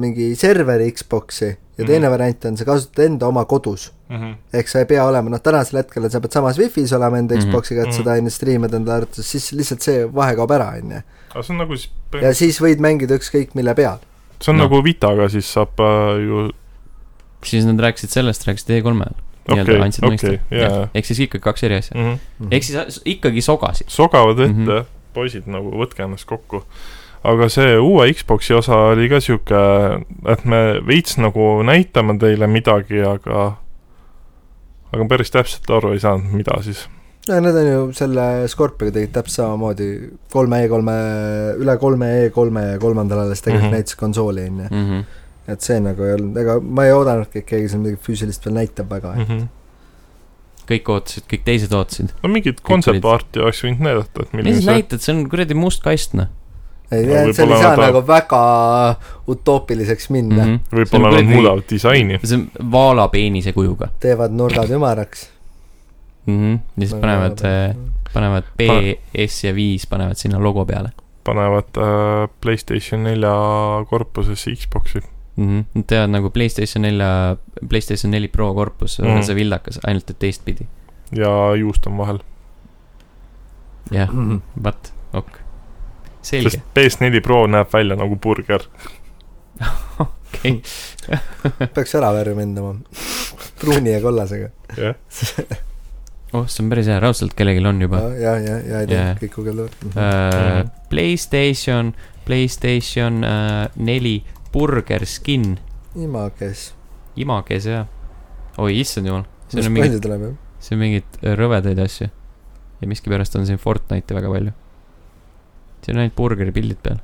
B: mingi serveri Xbox'i ja teine
C: Mhm.
B: mm. variant on , sa kasutad enda oma kodus .
C: Mhm.
B: ehk sa ei pea olema , noh tänasel hetkel sa pead samas wifi's olema enda mm
A: Mhm.
B: -hmm. Xbox'iga , et
C: Mhm.
B: seda enne striimida enda arvates , siis lihtsalt see vahe kaob ära , on ju .
C: aga see on nagu siis
B: ja siis võid mängida ükskõik mille peal .
C: see on
A: No.
C: no. nagu Vitaga , siis saab äh, ju
A: siis nad rääkisid sellest , rääkisid E3-e ajal .
C: Okei, okei, jaa, jaa.
A: ehk siis ikkagi kaks eri asja .
C: mm -hmm.
A: ehk siis äh, ikkagi sogasid .
C: sogavad ette mm ,
A: Mhm.
C: -hmm. poisid nagu võtke ennast kokku . aga see uue Xbox'i osa oli ka sihuke , et me veits nagu näitame teile midagi , aga aga ma päris täpselt aru ei saanud , mida siis .
B: no need on ju selle Scorpioniga tegid täpselt samamoodi , kolme E3-e , üle kolme E3-e ja kolmandal alles tegelikult mm
C: Mhm.
B: -hmm. näitas konsooli , on ju .
A: Mm -hmm.
B: et see nagu ei olnud , ega ma ei oodanudki , et keegi seal midagi füüsilist veel näitab väga
A: Mhm.
B: mm .
A: kõik ootasid , kõik teised ootasid .
C: no mingit kontsertpaarti oleks võinud näidata , et
A: mis
C: milline
A: sa
C: see
A: näitad , see on kuradi must kast , noh .
B: -hmm. ei
C: No
B: tea , seal
C: võib-olla
B: ei saa
C: nad-
B: nagu väga utoopiliseks minna
A: Mhm.
B: mm , -hmm.
C: võib-olla
A: see on
C: nad
A: kuradi-
C: muudavad disaini .
A: see on vaala peenise kujuga
B: teevad nurgad Nagu ümaraks .
A: mm . -hmm. ja siis panevad , panevad B , S ja viis panevad sinna logo peale
C: panevad äh, Playstation nelja korpusesse Xbox'i .
A: mm . -hmm. Nad teevad nagu Playstation nelja , Playstation neli Pro korpus mm ,
C: Mhm.
A: -hmm. see vildakas , ainult et teistpidi .
C: ja juust on vahel ,
A: jah , vot , ok . selge
C: sest , PS4 Pro näeb välja nagu burger .
A: okei . äh,
B: peaks ära värvi mindama , pruuni ja kollasega .
C: jah ,
A: oh , see on päris hea , raudselt kellelgi on juba
B: ja , ja , ja , Ah, ja ei tea
A: Jaa. ,
B: kõik guugeldavad .
A: Äh,
C: Mhm.
A: Playstation , Playstation äh, neli , Burger Skin ,
B: imakes .
A: imakes ja . oi , issand jumal , siin
B: mis
A: on
B: palju
A: mingid ,
B: tuleb jah ?
A: siin on mingeid rõvedaid asju . ja miskipärast on siin Fortnite'i väga palju . siin on ainult burgeri pildid peal .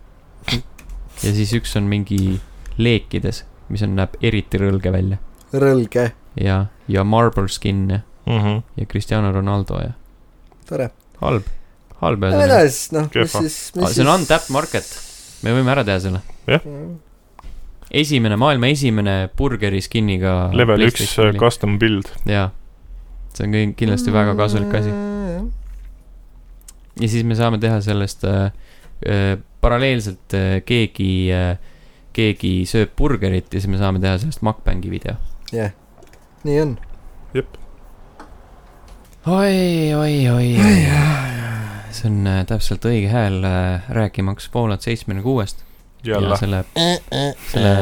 A: ja siis üks on mingi leekides , mis on , näeb eriti rõlge välja
B: rõlge ,
A: ja , ja Marble Skin ja ,
C: mm -hmm.
A: ja Cristiano Ronaldo ja
B: tore .
A: halb , halb ühesõnaga .
B: edasi , noh , mis
C: Kehva.
B: siis , mis siis .
A: see on untapped market , me võime ära teha selle . esimene , maailma esimene burgeri skin'iga .
C: level üks äh, . custom build .
A: jaa , see on kõik kindlasti väga kasulik asi . ja siis me saame teha sellest äh, äh, paralleelselt äh, keegi äh, , keegi sööb burgerit ja siis me saame teha sellest mukbangi video .
B: jah , nii on .
A: oi , oi , oi , oi , see on äh, täpselt õige hääl äh, rääkimaks Fallout seitsmekümne kuuest ja
C: jälle .
A: selle , selle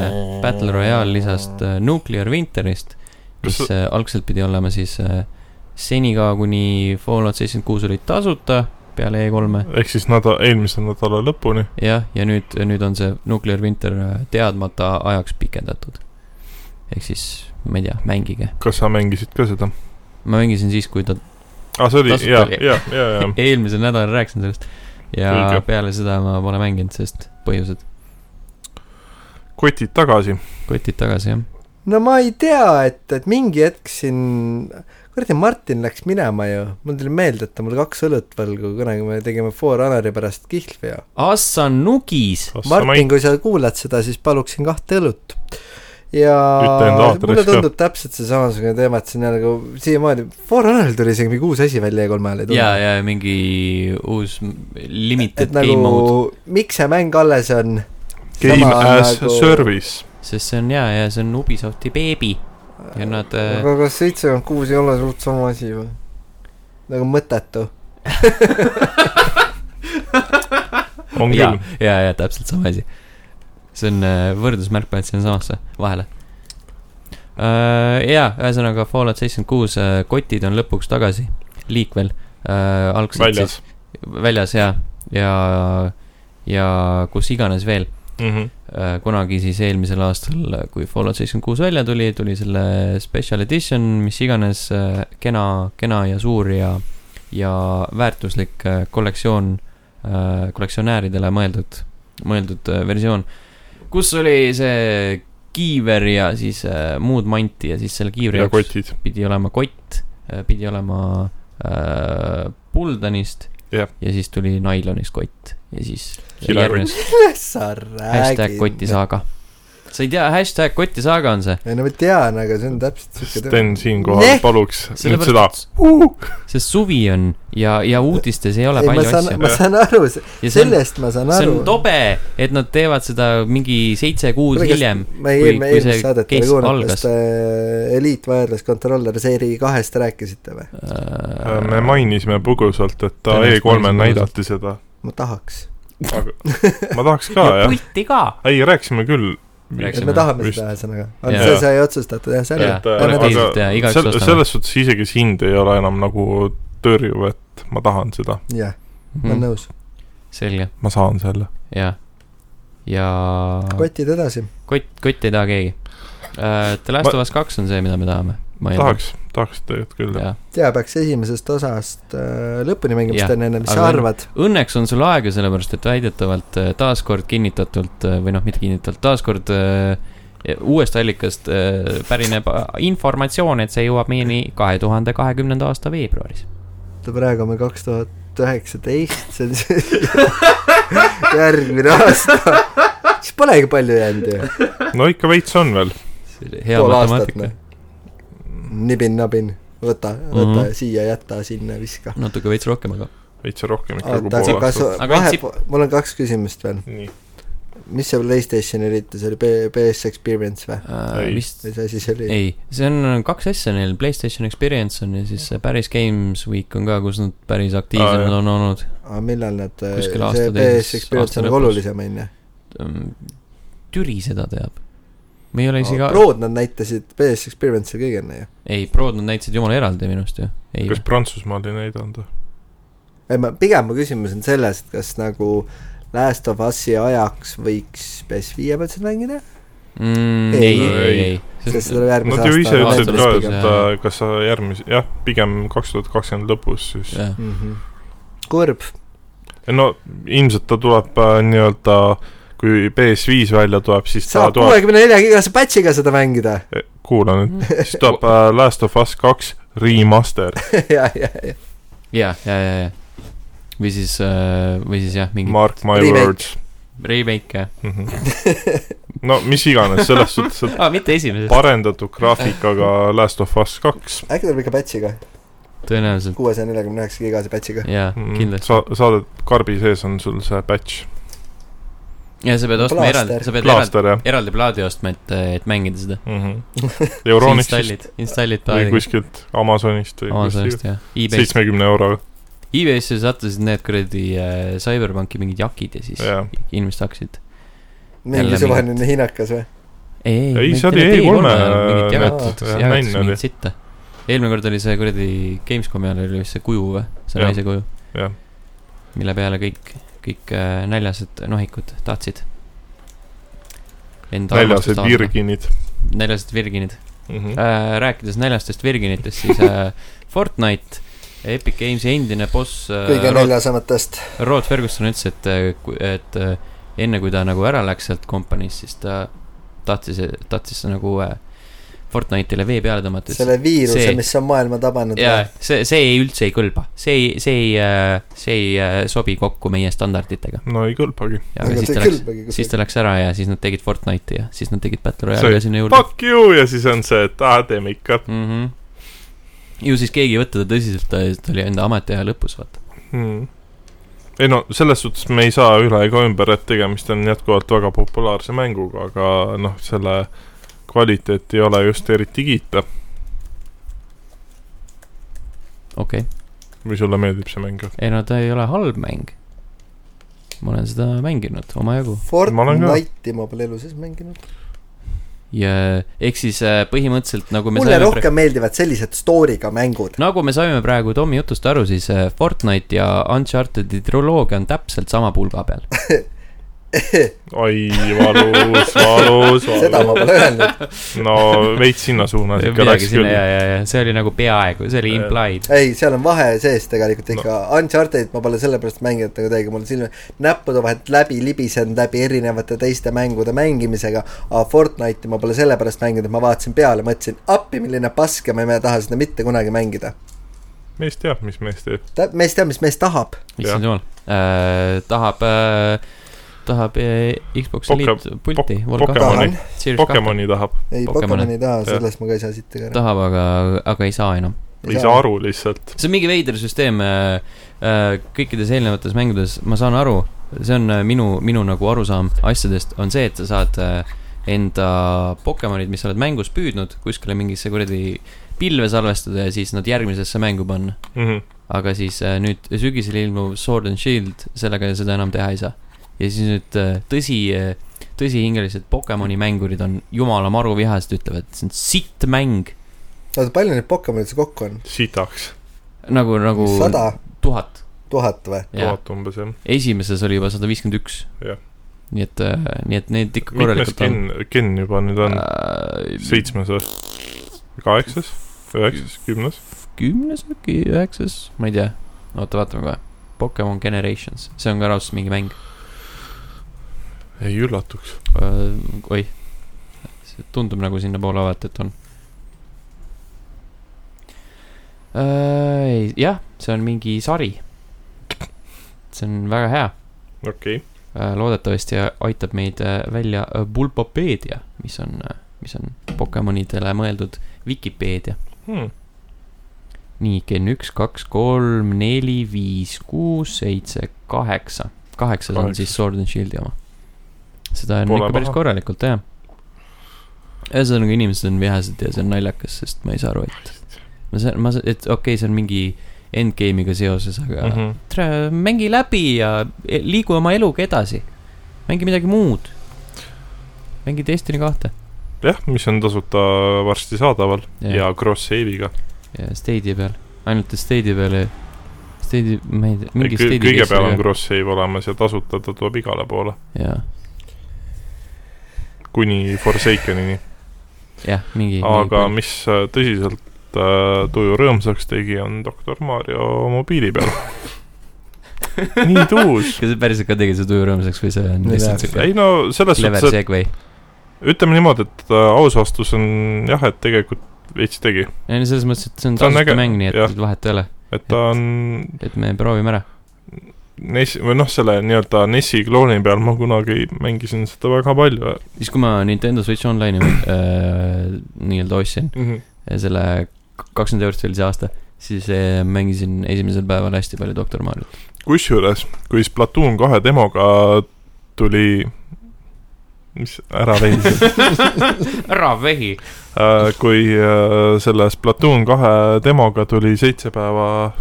A: Battle Royale lisast äh, Nuclear Winterist . mis
C: kas ,
A: äh, algselt pidi olema siis äh, senikaua , kuni Fallout seitsekümmend kuus oli tasuta peale E E3-e .
C: ehk siis nädal , eelmise nädala lõpuni .
A: jah , ja nüüd , nüüd on see Nuclear Winter äh, teadmata ajaks pikendatud . ehk siis , ma ei tea , mängige .
C: kas sa mängisid ka seda ?
A: ma mängisin siis , kui ta ,
C: aa , see oli ,
A: Tasuta
C: jaa ,
A: oli.
C: jaa , jaa , jaa .
A: eelmisel nädalal rääkisin sellest . ja
C: Õige.
A: Õige. peale seda ma pole mänginud , sest põhjused .
C: kotid tagasi .
A: kotid tagasi , jah .
B: no ma ei tea , et , et mingi hetk siin kuradi Martin läks minema ju , mul tuli meelde , et ta mul kaks õlut võlgu , kunagi me tegime For Honori pärast kihlveo .
A: Assan nugis .
B: Martin , kui sa kuulad seda , siis paluksin kahte õlut . ja
C: Ütle enda aadress
B: mulle
C: ka.
B: tundub täpselt see samasugune teema , et siin nagu siiamaani , For Honoril tuli isegi mingi uus asi välja ja kolmele ei
A: ja ,
B: tulnud .
A: ja mingi uus limited
B: et
A: et, game
B: nagu
A: mode ,,
B: miks see mäng alles on ?
C: Game as nagu... . service .
A: sest see on ja , ja see on Ubisofti beebi ja nad äh,
B: aga kas seitsekümmend kuus ei ole suht sama asi või ? nagu mõttetu .
C: on
A: ja
C: küll ,,
A: ja , ja täpselt sama asi . see on äh, võrdusmärk , paned sinna samasse vahele äh, . ja , ühesõnaga Fallout seitsekümmend kuus äh, kotid on lõpuks tagasi liikvel äh, . algselt siis
C: väljas .
A: väljas ja , ja , ja kus iganes veel .
C: Mhm.
A: Äh, kunagi siis eelmisel aastal , kui Fallout seitsekümmend kuus välja tuli , tuli selle special edition , mis iganes äh, kena , kena ja suur ja , ja väärtuslik äh, kollektsioon , kollektsionääridele mõeldud , mõeldud äh, versioon , kus oli see kiiver ja siis äh, muud manti ja siis selle kiivri
C: ja kotid .
A: pidi olema kott , pidi olema äh, puldanist
C: Jah.
A: ja siis tuli nailonist kott ja siis
C: Kilekott.
A: järgnes
B: millest sa
A: hashtag kotti
B: räägid ?
A: saaga . sa ei tea , hashtag kotti saaga on see .
B: ei no ma tean , aga see on täpselt siuke teema .
C: Sten siinkohal
B: Neh.
C: paluks nüüd seda .
A: sest suvi on ja , ja uudistes ei ole
B: ei , ma
A: palju
B: saan ,
A: asju .
B: ma saan aru ,
A: ja see on ,
B: sellest ma saan
A: see
B: aru
A: on . tobe , et nad teevad seda mingi seitse kuud hiljem .
B: ma ei ,
A: kui-
B: ma
A: kui
B: eelmist
A: see
B: saadet ei
A: case
B: kuulnud ,
A: algas.
B: kas te Elite Wireless Controller seeri kahest rääkisite või ?
C: Äh, me mainisime põgusalt , et ta
A: Äh, Tõenäoliselt
C: E3-l
A: mainisime
C: näidati seda .
B: ma tahaks .
C: aga ma tahaks ka ,
A: ja
C: jah .
A: pulti ka .
C: ei , rääkisime küll .
B: et
A: Rääkisime.
B: me tahame
C: Vist.
B: seda ühesõnaga . aga
A: Jaa.
B: see sai otsustatud jah , selge
A: Jaa. . Paneme teised ja igaüks
C: äh, sel-
A: ostame.
C: selles suhtes isegi see hind ei ole enam nagu tõrjuv , et ma tahan seda ,
B: jah ,
A: Mm.
B: ma
A: Hmm.
B: olen nõus .
A: selge ,
C: ma saan selle .
A: ja , ja
B: kotid edasi .
A: kott , kotti ei taha keegi . The Last
C: Ma-
A: of Us kaks on see , mida me tahame .
C: tahaks , tahaks tegelikult küll .
A: jah .
B: tea , peaks esimesest osast äh, lõpuni mängima ,
A: Jah.
B: Sten , enne , mis sa
A: Aga-
B: arvad ?
A: õnneks on sul aega , sellepärast et väidetavalt äh, taaskord kinnitatult äh, või noh , mitte kinnitatult , taaskord äh, uuest allikast äh, pärineb äh, informatsioon , et see jõuab meieni kahe tuhande kahekümnenda aasta veebruaris .
B: praegu on meil kaks tuhat üheksateist , see on siis järgmine aasta . siis polegi palju jäänud ju .
C: no ikka veits on veel .
A: hea
B: pool aastat ,
A: matemaatika
B: noh .. nibin-nabin , võta , võta mm
A: Mhm.
B: -hmm. siia , jäta sinna , viska .
A: natuke veits rohkem , aga .
C: veits rohkem ikka kui
B: oota , aga
C: pool
B: Ah, kas
C: aastat .
A: Aga
B: vahe
A: Insip- ,
B: mul on kaks küsimust veel .
C: nii ,
B: mis see Playstationi üritus oli , PS Experience või ?
C: Ei.
A: äh, vist ,
B: mis asi see oli ?
A: ei , see on kaks asja neil , Playstation Experience on ja siis see päris Games Week on ka , kus nad päris aktiivsed
C: jah.
A: on olnud .
B: aga millal nad ,
A: Kuskil
B: see
A: aasta teises-
B: PS Experience
A: aasta
B: on nagu
A: lõpus.
B: olulisem , on ju ?
A: Mm, Türi seda teab . me ei ole isegi ,
B: Prod nad näitasid PS Experience'i kõige enne ju .
A: ei , Prod nad näitasid jumala eraldi minu arust ju . ei
C: kas , Prantsusmaal ei näidanud või ?
B: ei ma , pigem mu küsimus on selles , et kas nagu Last of Us'i ajaks võiks PS5 peal seda mängida ,
A: mm, .
B: Ei.
A: ei , ei , ei .
B: sest seda tuleb järgmise
C: Nad ju ise
A: aasta
C: ütlesid ka ,
A: lõpus,
C: et
A: jah.
C: äh, kas sa järgmise , jah , pigem kaks tuhat kakskümmend lõpus siis .
A: jah ,
B: mm . -hmm. kurb ,
C: no ilmselt ta tuleb äh, nii-öelda , kui PS5 välja tuleb , siis ta
B: saab
C: tuleb ,
B: kuuekümne nelja gigase patch'iga seda mängida .
C: kuula nüüd ,
B: Mhm.
C: siis tuleb äh, Last of Us kaks remaster .
B: ja , ja , ja
A: ja , ja , ja , ja . või siis , või siis jah , mingi
C: Mark my
B: Remake.
C: words .
A: remake , jah .
C: no mis iganes , selles suhtes , et
A: aa , mitte esimesest .
C: parendatud graafikaga Last of Us kaks .
B: äkki tuleb ikka patch'iga ,
A: tõenäoliselt ,
B: kuuesaja neljakümne üheksa gigase patch'iga .
A: jaa , kindlasti .
C: Mm, sa , saadet karbi sees on sul see patch ,
A: ja sa pead ostma
B: Plaaster.
A: eraldi , sa pead eraldi ,
C: plaaster jah
A: eraldi plaadi ostma , et , et mängida seda .
C: mm -hmm. . Euronist vist
A: installid , installid
C: või
A: plaadi .
C: kuskilt Amazonist või kuskilt
A: Amazonist , jah . e-base ,
C: seitsmekümne euroga ,
A: e-base'i sattusid need kuradi äh, CyberPunki mingid jakid ja siis
C: jah .
A: inimesed hakkasid .
B: mingi
A: Jälle Äh,
B: suvaline hinnakas või ?
A: ei ,
C: Ei,
A: ei ,
C: see oli E3-e
A: mingit
C: need-
A: jagatud ,
C: jah,
A: jagatud
C: nänn oli.
A: mingit sitta . eelmine kord oli see kuradi Gamescomi ajal oli vist see kuju või , see
C: Jah.
A: naise kuju
C: Jah. .
A: mille peale kõik , kõik äh, näljased nohikud tahtsid . Enda
C: väljased
A: armastust avaldada.
C: virginid
A: näljased virginid
C: mm . -hmm.
A: äh, . rääkides näljastest virginitest , siis äh, Fortnite , Epic Games'i endine boss äh,
B: kõige
A: Rod-
B: näljasematest .
A: Rod Ferguson ütles , et , et äh, enne kui ta nagu ära läks sealt kompaniist , siis ta tahtis , tahtis nagu äh, Fortnite'ile vee peale tõmmata , ütles
B: selle viiruse
A: see- ,
B: mis on maailma tabanud .
A: jaa , see , see ei üldse ei kõlba , see ei , see ei , see ei äh, sobi kokku meie standarditega .
C: no ei kõlbagi .
A: aga siis ta läks , siis ta läks ära ja siis nad tegid Fortnite'i ja siis nad tegid Battle
C: See-
A: Royale'i ka sinna juurde .
C: Fuck you ja siis on see , et aa , teeme ikka
A: Mm -hmm. ju siis keegi ei võta teda tõsiselt , ta oli enda ametiaja lõpus , vaata .
C: hmm. . ei no selles suhtes me ei saa üle ega ümber , et tegemist on jätkuvalt väga populaarse mänguga , aga noh , selle kvaliteet ei ole just eriti kiita ,
A: okei okay. ,
C: kui sulle meeldib see mäng .
A: ei no ta ei ole halb mäng . ma olen seda mänginud omajagu
C: Ma olen ka.
B: Fortnite'i ma pole elu sees mänginud .
A: ja ehk siis äh, põhimõtteliselt nagu me
B: mulle
A: saime praegu ,
B: rohkem meeldivad sellised story'ga mängud .
A: nagu me saime praegu Tommy jutust aru , siis äh, Fortnite ja Uncharted'i triloogia on täpselt sama pulga peal .
C: ai , valus , valus ,
B: seda
C: valus .
B: ma pole öelnud .
C: no veits sinna suunas ikka
A: midagi
C: läks
A: sinna
C: küll Äh,
A: ja , ja , ja see oli nagu peaaegu , see oli
C: Jah.
A: implied .
B: ei , seal on vahe sees tegelikult ikka no. . Uncharted'it ma pole sellepärast mänginud nagu teiega , mul silme , näppude vahelt läbi libisenud läbi erinevate teiste mängude mängimisega , aga Fortnite'i ma pole sellepärast mänginud , et ma vaatasin peale , mõtlesin appi , milline pask ja ma ei taha seda mitte kunagi mängida .
C: mees teab , mis mees teeb .
B: ta , mees teab , mis mees tahab .
A: issand jumal äh, , tahab äh, , tahab äh, Xbox
C: Poke-
A: Elite pulti ,
C: Pokemoni.
B: tahan ,
C: Pokemoni tahab ,
B: ei
A: Pokemoni.
B: Pokemoni ei taha ,
C: Jah.
B: sellest ma ka ei saa siit ega ära .
A: tahab , aga , aga ei saa enam .
C: ei saa . aru lihtsalt .
A: see on mingi veider süsteem äh, äh, kõikides eelnevates mängudes , ma saan aru , see on äh, minu , minu nagu arusaam asjadest , on see , et sa saad äh, enda Pokemonid , mis sa oled mängus püüdnud , kuskile mingisse kuradi pilve salvestada ja siis nad järgmisesse mängu panna .
C: Mhm.
A: aga siis äh, nüüd sügisel ilmuv Sword and Shield , sellega seda enam teha ei saa . ja siis nüüd äh, tõsi , tõsihingelised Pokemoni mängurid on jumala maru vihased , ütlevad , et see on sitt mäng .
B: oota , palju neid Pokemonid seal kokku on ?
C: sitaks ,
A: nagu , nagu
B: sada ,
A: tuhat .
B: tuhat või ?
A: jah ,
C: tuhat umbes jah .
A: esimeses oli juba sada viiskümmend üks
C: Jah. .
A: nii et , nii et neid ikka
C: mitmes
A: korralikult on .
C: gen , gen juba nüüd on ?
A: Äh,
C: seitsmes või ? kaheksas , üheksas , kümnes ?
A: kümnes äkki , üheksas , ma ei tea . oota , vaatame kohe . Pokemon Generations , see on ka raudselt mingi mäng .
C: ei üllatuks .
A: oih , Äh, see tundub nagu sinnapoole olevat , et on . Äh, jah , see on mingi sari . see on väga hea .
C: okei okay. ,
A: loodetavasti aitab meid äh, välja äh, Bulbapeedia , mis on , mis on Pokemonidele mõeldud Vikipeedia .
C: hmm.
A: nii , Gen üks , kaks , kolm , neli , viis , kuus , seitse , kaheksa . kaheksas on
C: Kaheksas.
A: siis Sword and Shieldi oma . seda on
C: Pole
A: ikka päris
C: paha.
A: korralikult , jah . ühesõnaga , inimesed on vihased ja see on naljakas , sest ma ei saa aru , et ma saan , ma , et okei okay, , see on mingi endgame'iga seoses , aga
C: mm
A: mm -hmm.
C: -hmm.
A: tra- , mängi läbi ja e- liigu oma eluga edasi . mängi midagi muud . mängi Destiny kahte
C: jah , mis on tasuta varsti saadaval
A: Jah.
C: yeah. ja cross-save'iga .
A: ja Stadia peal , ainult et Stadia peal ei , Stadia , ma ei tea , mingi Stadia
C: kõige peal on . cross-save olemas ja tasuta ta tuleb igale poole ,
A: jaa ,
C: kuni Forsakenini .
A: jah , mingi .
C: aga . mis äh, tõsiselt äh, tuju rõõmsaks tegi , on Doktor Mario mobiili peal . nii tuus .
A: kas see päriselt ka tegi su tuju rõõmsaks või see on
B: Ei
A: lihtsalt
B: tea.
A: siuke
C: ei no selles
A: clever
C: suhtes ,
A: segway ?
C: et ütleme niimoodi , et äh, aus vastus on jah , et tegelikult veits tegi ,
A: ei no selles mõttes , et see on
C: See on äge-
A: tasuta mäng , nii
C: jah.
A: et vahet ei ole ,
C: et ta on
A: et me proovime ära .
C: NES-i või noh , selle nii-öelda NES-i klooni peal ma kunagi mängisin seda väga palju
A: siis , kui ma Nintendo Switch Online'i äh, nii-öelda ostsin ,
C: mm . -hmm.
A: selle kakskümmend eurot oli see aasta , siis äh, mängisin esimesel päeval hästi palju Doktor Mariot .
C: kusjuures , kui Splatoon kahe demoga tuli , mis , ära veidi ,
A: ära vehi .
C: kui äh, selle Splatoon kahe demoga tuli seitse päeva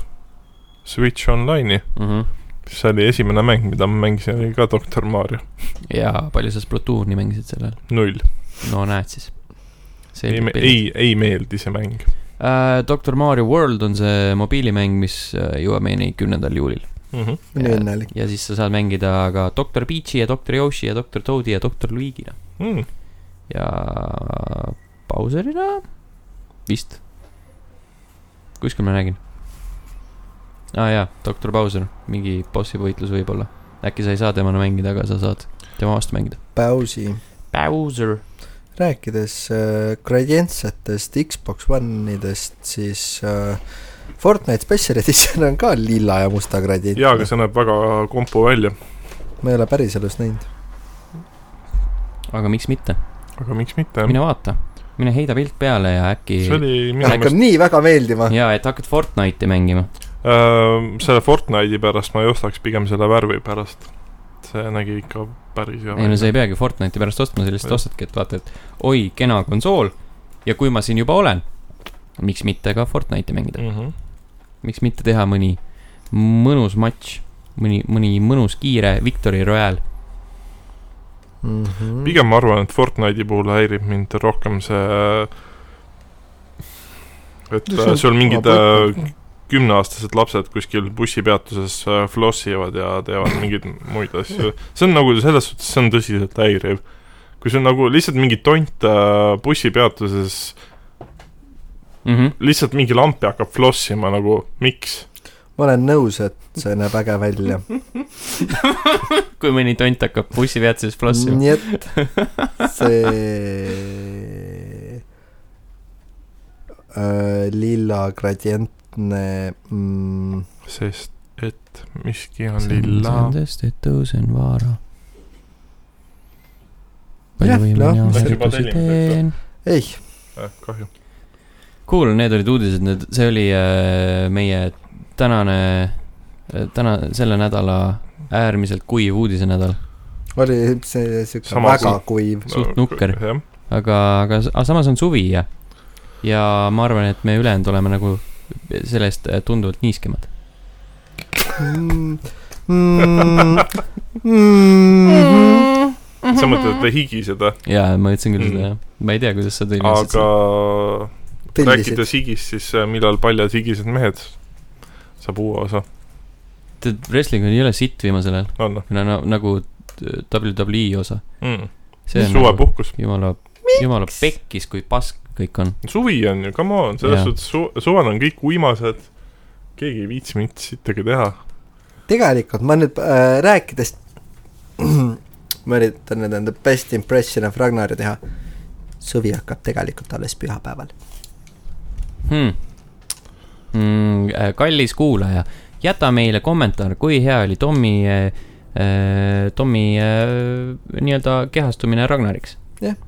C: Switch Online'i , siis see oli esimene mäng , mida ma mängisin , oli ka Doktor Mario ,
A: ja palju sa Splatooni mängisid sellel ?
C: null .
A: no näed siis .
C: ei , ei , ei meeldi see mäng .
A: Uh, Doctor Mario World on see mobiilimäng , mis äh, jõuab meieni kümnendal juulil .
C: Mm -hmm.
B: nii õnnelik .
A: ja siis sa saad mängida ka Doctor Peach'i ja Doctor Yoshi ja Doctor Toad'i ja Doctor Luigi'na
C: mm.
A: ja äh, Bowser'ina vist . kuskil ma nägin . aa ah, jaa , Doctor Bowser , mingi bossi võitlus võib-olla . äkki sa ei saa temana mängida , aga sa saad tema vastu mängida .
B: Bowsi .
A: Bowser ,
B: rääkides äh, gradientsetest Xbox One'idest , siis äh, Fortnite Special Edition on ka lilla ja musta
C: jaa , aga
B: gradient .
C: see näeb väga kompu välja ,
B: ma ei ole päris elus näinud .
A: aga miks mitte ,
C: aga miks mitte .
A: mine vaata , mine heida pilt peale ja äkki
C: see oli minu meelest
B: hakkab nii väga meeldima .
A: ja et hakkad Fortnite'i mängima .
C: äh, selle Fortnite'i pärast ma ei ostaks , pigem selle värvi pärast . see nägi ikka päris hea
A: ei no sa ei
C: välja .
A: peagi Fortnite'i pärast ostma , sa lihtsalt
C: Jah.
A: ostadki , et vaata , et oi , kena konsool ja kui ma siin juba olen , miks mitte ka Fortnite'i mängida ,
C: Mm -hmm.
A: miks mitte teha mõni mõnus matš , mõni , mõni mõnus kiire Victory Royale .
B: Mhm.
C: pigem ma arvan , et Fortnite'i puhul häirib mind rohkem see , et
B: No see
C: äh,
B: on
C: sul mingid
B: oma
C: äh, kümneaastased lapsed kuskil bussipeatuses äh, flossivad ja teevad mingeid muid asju . see on nagu selles suhtes , see on tõsiselt häiriv . kui sul nagu lihtsalt mingi tont äh, bussipeatuses ,
A: Mm -hmm.
C: lihtsalt mingi lampi hakkab flossima nagu , miks ?
B: ma olen nõus , et see näeb äge välja .
A: kui mõni tont hakkab bussipeatuses flossima .
B: nii et see äh, lilla gradientne mm,
C: sest et miski on lilla .
A: tõesti , et tõusen vaara .
B: Jah, noh,
C: see-
B: ei ,
C: Ah, kahju .
A: Cool , need olid uudised , need , see oli äh, meie tänane , täna , selle nädala äärmiselt kuiv uudisenädal ,
B: oli see siuke
C: Sama
B: väga kuiv .
A: Suht nukker.
C: jah ,
A: aga , aga s- aga samas on suvi ja , ja ma arvan , et me ülejäänud oleme nagu sellest äh, tunduvalt niiskemad .
C: sa mõtled , et te higised või ?
A: ja ma ütlesin küll
C: Mm.
A: seda , jah . ma ei tea , kuidas sa tõlgisid
C: aga
A: aga...
B: tellisid ,
C: rääkides higist , siis äh, millal paljad higised mehed saab uue osa ?
A: seda . tead , wrestling ei ole sitt viimasel ajal ,
C: on või
A: no, no nagu t- WWE E osa .
C: mm. ?
A: see on nagu
C: suvepuhkus .
A: jumala , jumala pekkis , kui pask kõik on .
C: suvi on ju , come on , selles
A: Jah.
C: suhtes su- , suvel on kõik uimased , keegi ei viitsi mitte sittagi teha .
B: tegelikult ma nüüd äh, rääkides ma üritan nüüd enda best impression of Ragnari teha . suvi hakkab tegelikult alles pühapäeval .
A: hmm. . Mm, äh, kallis kuulaja , jäta meile kommentaar , kui hea oli Tommy äh, , äh, Tommy äh, nii-öelda kehastumine Ragnariks .
B: Jah.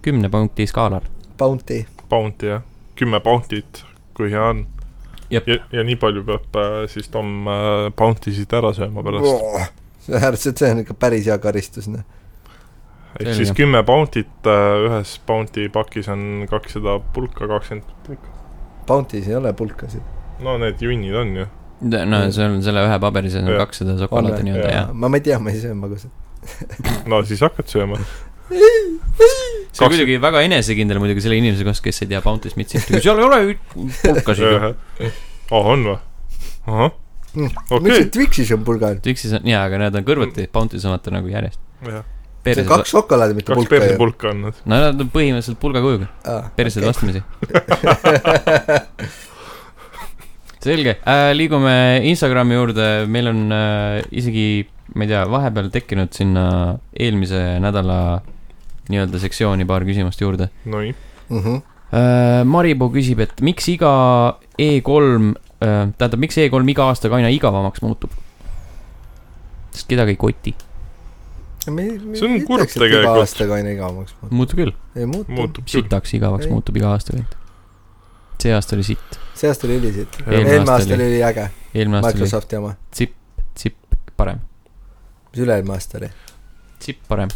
A: kümne punkti skaalal .
B: Bounty ,
C: Bounty jah , kümme bounty't , kui hea on .
A: Jep.
C: ja , ja nii palju peab äh, siis Tom äh, bounty sid ära sööma pärast .
B: äärmiselt , see on ikka päris hea karistus , noh .
C: ehk siis
A: selge.
C: kümme bounty't äh, ühes bounty pakis on kakssada pulka , kakskümmend pulka .
B: Bounty's ei ole pulkasid .
C: no need junnid on ju .
A: no see on selle ühe paberi sees on
C: Jah.
A: kakssada šokolaadi
B: On või?
A: nii-öelda
C: Jah.
A: jah .
B: ma , ma ei tea , ma ei söö magusat .
C: no siis hakkad sööma .
A: see on
C: Kaks-
A: muidugi väga enesekindel muidugi selle inimese kohta , kes ei tea Bounty Smith'i , seal ei ole üht- pulkasid ju .
C: aa , on või ? ahah ,
B: Hm, miks
C: okei
B: see . Twixis on pulgal ?
A: üksis on , jaa , aga need on kõrvuti , Bounty's on vaata nagu järjest .
B: see on kaks šokolaadi , mitte
C: kaks
B: pulka ju .
C: persepulka on need .
A: no nad on põhimõtteliselt pulgakujuga , persed okay. vastamisi . selge äh, , liigume Instagrami juurde , meil on äh, isegi , ma ei tea , vahepeal tekkinud sinna eelmise nädala nii-öelda sektsiooni paar küsimust juurde
C: Nonii ,
B: Mhm.
A: äh, . Maripuu küsib , et miks iga E3 äh, , tähendab , miks E3 iga aastaga aina igavamaks muutub ? sest kedagi ei koti .
C: See on kurb tegelikult.
B: iga aastaga aina igavamaks muutub .
A: muutub küll ,
B: ei muutu .
C: muutub küll .
A: sitaks igavaks
B: Ei.
A: muutub iga aasta kõik . see aasta oli sitt ,
B: see aasta oli ülisid .
C: Eelmine
B: eelmine
A: aasta
B: aasta
A: oli-
B: oli üliäge ,
A: eelmine aasta oli
B: Microsofti oma .
A: sipp parem ,
B: mis üle-eelmine aasta oli ?
A: sipp parem .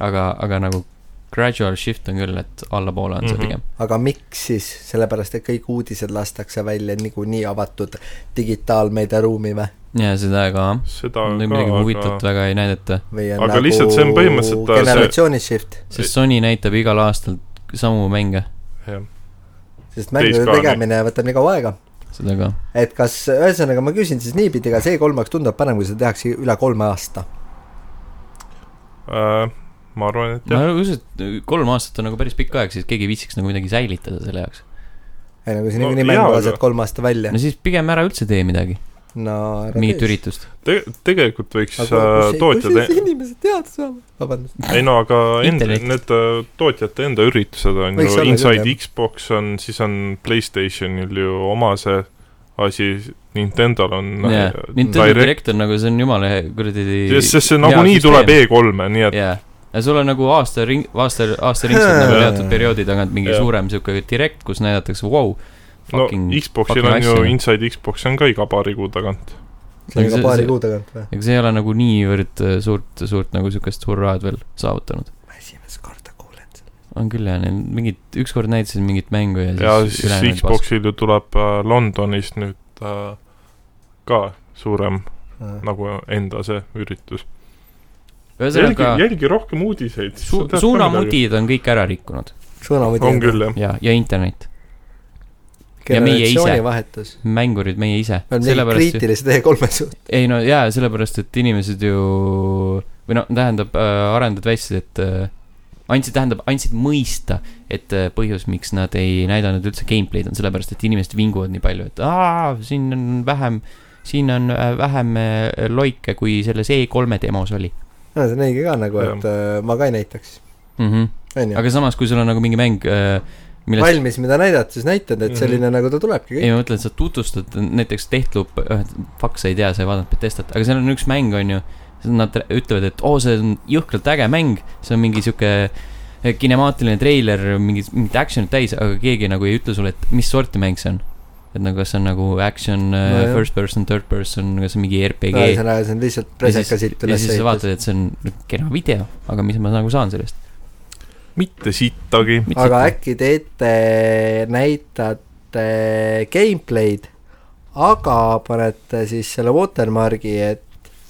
A: aga , aga nagu gradual shift on küll , et allapoole on see
C: Mhm.
A: pigem .
B: aga miks siis , sellepärast et kõik uudised lastakse välja niikuinii avatud digitaalmeediaruumi või ?
A: ja seda ka ,
C: seda
A: midagi
C: ka ,
A: huvitavat
C: aga
A: väga ei näidata ,
B: või on nagu
C: Aga lihtsalt see on põhimõtteliselt ta- see-
B: generatsiooni shift ,
A: sest Sony näitab igal aastal samu mänge ,
C: jah ,
B: sest mängude
C: Teist ka,
B: tegemine võtab nii kaua aega .
A: seda ka .
B: et kas , ühesõnaga ma küsin siis niipidi , kas E3-aks tundub parem , kui seda tehakse üle kolme aasta ?
C: Äh, ma arvan , et jah ,
A: ma usun , et kolm aastat on nagu päris pikk aeg , siis keegi ei viitsiks nagu midagi säilitada selle jaoks .
B: ei no kui sa
C: No
B: niikuinii
C: jaa,
B: mängu
C: aga-
B: lased kolm aastat välja
A: no . siis pigem ära üldse tee midagi .
B: naerad
A: mingit . üritust .
C: Te- , tegelikult võiks
B: aga
C: äh,
B: kus, kus
C: tootjad
B: siis , inimesed teada saavad ? vabandust .
C: ei no aga enda ,
A: Internet.
C: need äh, tootjate enda üritused on
B: Võiks
C: ju ,
B: olla küll,
C: Inside
B: jah.
C: Xbox on , siis on Playstationil ju oma see asi , Nintendo'l on äh,
A: jaa , Nintendo Direct on nagu , see on jumala hea kuradi
C: sest , sest see
A: hea
C: nagunii tuleb
A: süsteem.
C: E3-e , nii et
A: jaa , ja sul on nagu aasta ring , aasta , aastaringselt nagu
B: Jaa.
A: teatud perioodi tagant mingi
C: Jaa.
A: suurem sihuke direkt , kus näidatakse , vau .
C: no
A: Fucking-
C: Xboxil
A: fucking
C: on ju
A: asja.
C: Inside Xbox on ka iga paari kuu tagant .
B: see on
A: See-
B: ka paari
A: see-
B: kuu tagant või ?
A: ega see ei ole nagu niivõrd äh, suurt , suurt nagu siukest hurraad veel saavutanud .
B: ma esimest korda kuulen seda .
A: on küll jah , neil mingid , ükskord näitasid mingit mängu ja siis
C: ja siis
A: ülejäänud
C: Xboxil ju tuleb äh, Londonist nüüd äh, ka suurem nagu enda see üritus .
A: pask.
C: jälgi ,
A: ühesõnaga ,
C: jälgi rohkem uudiseid .
A: su- , suunamudid on kõik ära rikkunud
B: sõnavõtja .
C: on küll jah .
A: ja , ja internet , Ja meie ise.
B: generatsioonivahetus .
A: mängurid , meie ise .
B: me oleme nii
A: sellepärast ,
B: kriitilised E3-e suhtes .
A: ei no jaa , sellepärast , et inimesed ju või noh , tähendab äh, arendajad väitsid , et äh, andsid , tähendab , andsid mõista , et äh, põhjus , miks nad ei näidanud üldse gameplay'd , on sellepärast , et inimesed vinguvad nii palju , et aa , siin on vähem , siin on äh, vähem äh, loike , kui selles E3-e demos oli
B: no see on õige ka nagu ,
C: Jah.
B: et äh, ma ka ei näitaks .
A: mm . -hmm.
B: onju .
A: aga samas , kui sul on nagu mingi mäng , millest
B: valmis , mida näidata , siis näitad ,
C: Mhm.
B: et selline nagu ta tulebki
A: ei ,
B: kõik .
A: ma mõtlen , et sa tutvustad näiteks Deathloop , faks sa ei tea , sa ei vaadanud Betestat , aga seal on üks mäng , on ju . Nad rä- ütlevad , et oo , see on jõhkralt äge mäng , see on mingi sihuke kinemaatiline treiler , mingit , mingit action'it täis , aga keegi nagu ei ütle sulle , et mis sorti mäng see on . et nagu , kas see on nagu action no, ,
B: jah.
A: first person , third person , kas see on mingi RPG no, .
B: ühesõnaga , see on lihtsalt preseka siit
A: ja
B: üles
A: siis sa
B: ehitatud .
A: vaatad , et see on kena video , aga mis ma nagu saan sellest .
C: mitte sittagi .
B: aga äkki teete , näitate gameplay'd , aga panete siis selle watermargi , et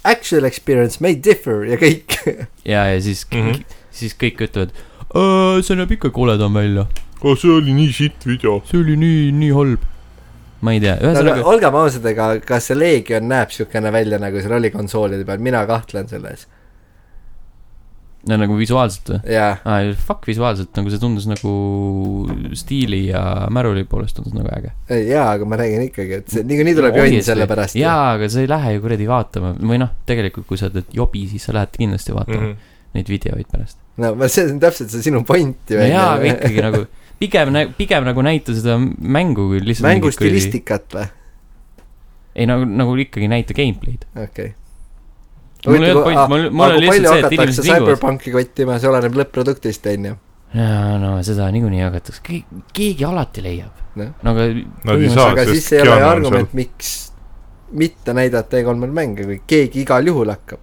B: actual experience may differ ja kõik .
A: ja , ja siis mm ,
C: Mhm.
A: -hmm. siis kõik ütlevad , Äh, see näeb ikka koledam välja
C: oh , see oli nii sitt video .
A: see oli nii , nii halb . ma ei tea ,
B: aga
A: ühesõnaga ,
B: olgem ausad , ega kas see Legion näeb siukene välja , nagu seal oli konsoolide peal , mina kahtlen selles .
A: no nagu visuaalselt või ?
B: jaa ,
A: aa , fuck visuaalselt , nagu see tundus nagu stiili ja märuli poolest tundus nagu äge .
B: jaa , aga ma räägin ikkagi , et see niikuinii tuleb jonn selle pärast .
A: Mm. jaa , aga sa ei lähe ju kuradi vaatama või noh , tegelikult kui sa teed jobi , siis sa lähed kindlasti vaatama
B: Mhm.
A: mm
C: see
A: -hmm. neid videoid pärast .
B: no ma- see on täpselt see sinu point ju .
A: no jaa , aga ikkagi nagu pigem , pigem nagu näita seda mängu kui lihtsalt .
B: mängu . stilistikat või ?
A: ei nagu , nagu ikkagi näita gameplay'd .
B: okei okay. .
A: mul ei olnud point , mul , mul oli lihtsalt see , et inimesed vinguvad .
B: Cyberpunki kottima , see oleneb lõpp-produktist , onju .
A: jaa , no seda niikuinii jagatakse , keegi alati leiab .
B: Noh.
A: no aga
C: Nad ei
A: põhimõtteliselt-
C: saa ,
B: aga siis
C: sest
B: ei ole ju
C: Keanu on seal
B: argument , miks mitte näidata E3-l mänge , kui keegi igal juhul hakkab .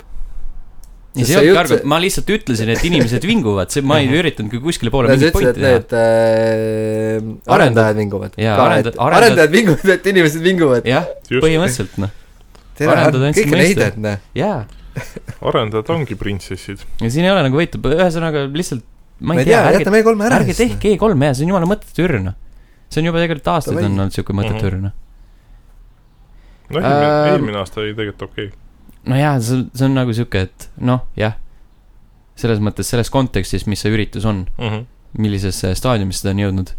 A: ei ,
B: Sest
A: see
B: see
A: ei olnudki
B: jutt-
A: argument , ma lihtsalt ütlesin , et inimesed vinguvad , see , ma ei üritanudki kuskile poole
B: no sa
A: mingit pointi
B: ütlesid , et
A: teha .
B: need äh, arendajad vinguvad .
A: Jaa, arenda- arendajad-
B: arendajad vinguvad , et inimesed vinguvad .
A: jah ,
C: Just.
A: põhimõtteliselt noh , arendajad andsid
B: kõik on
A: mõista.
B: heided , noh .
A: jaa .
C: arendajad ongi printsessid .
A: ja siin ei ole nagu võitu , ühesõnaga lihtsalt ma
B: ma
A: ei tea , ärge ,
B: jätame E3-e ära
A: ärge . tehke E3-e ja see on jumala mõttetu ürn . see on juba tegelikult aastaid
B: Davai.
A: on olnud siuke mõttetu noh. ürn .
C: Mhm. no
A: Ähm.
C: eelmine , eelmine aasta oli tegelikult okei okay. .
A: no jaa , see , see on nagu siuke , et noh , jah . selles mõttes , selles kontekstis , mis see üritus on ,
C: Mm -hmm.
A: millisesse staadiumisse ta on jõudnud ,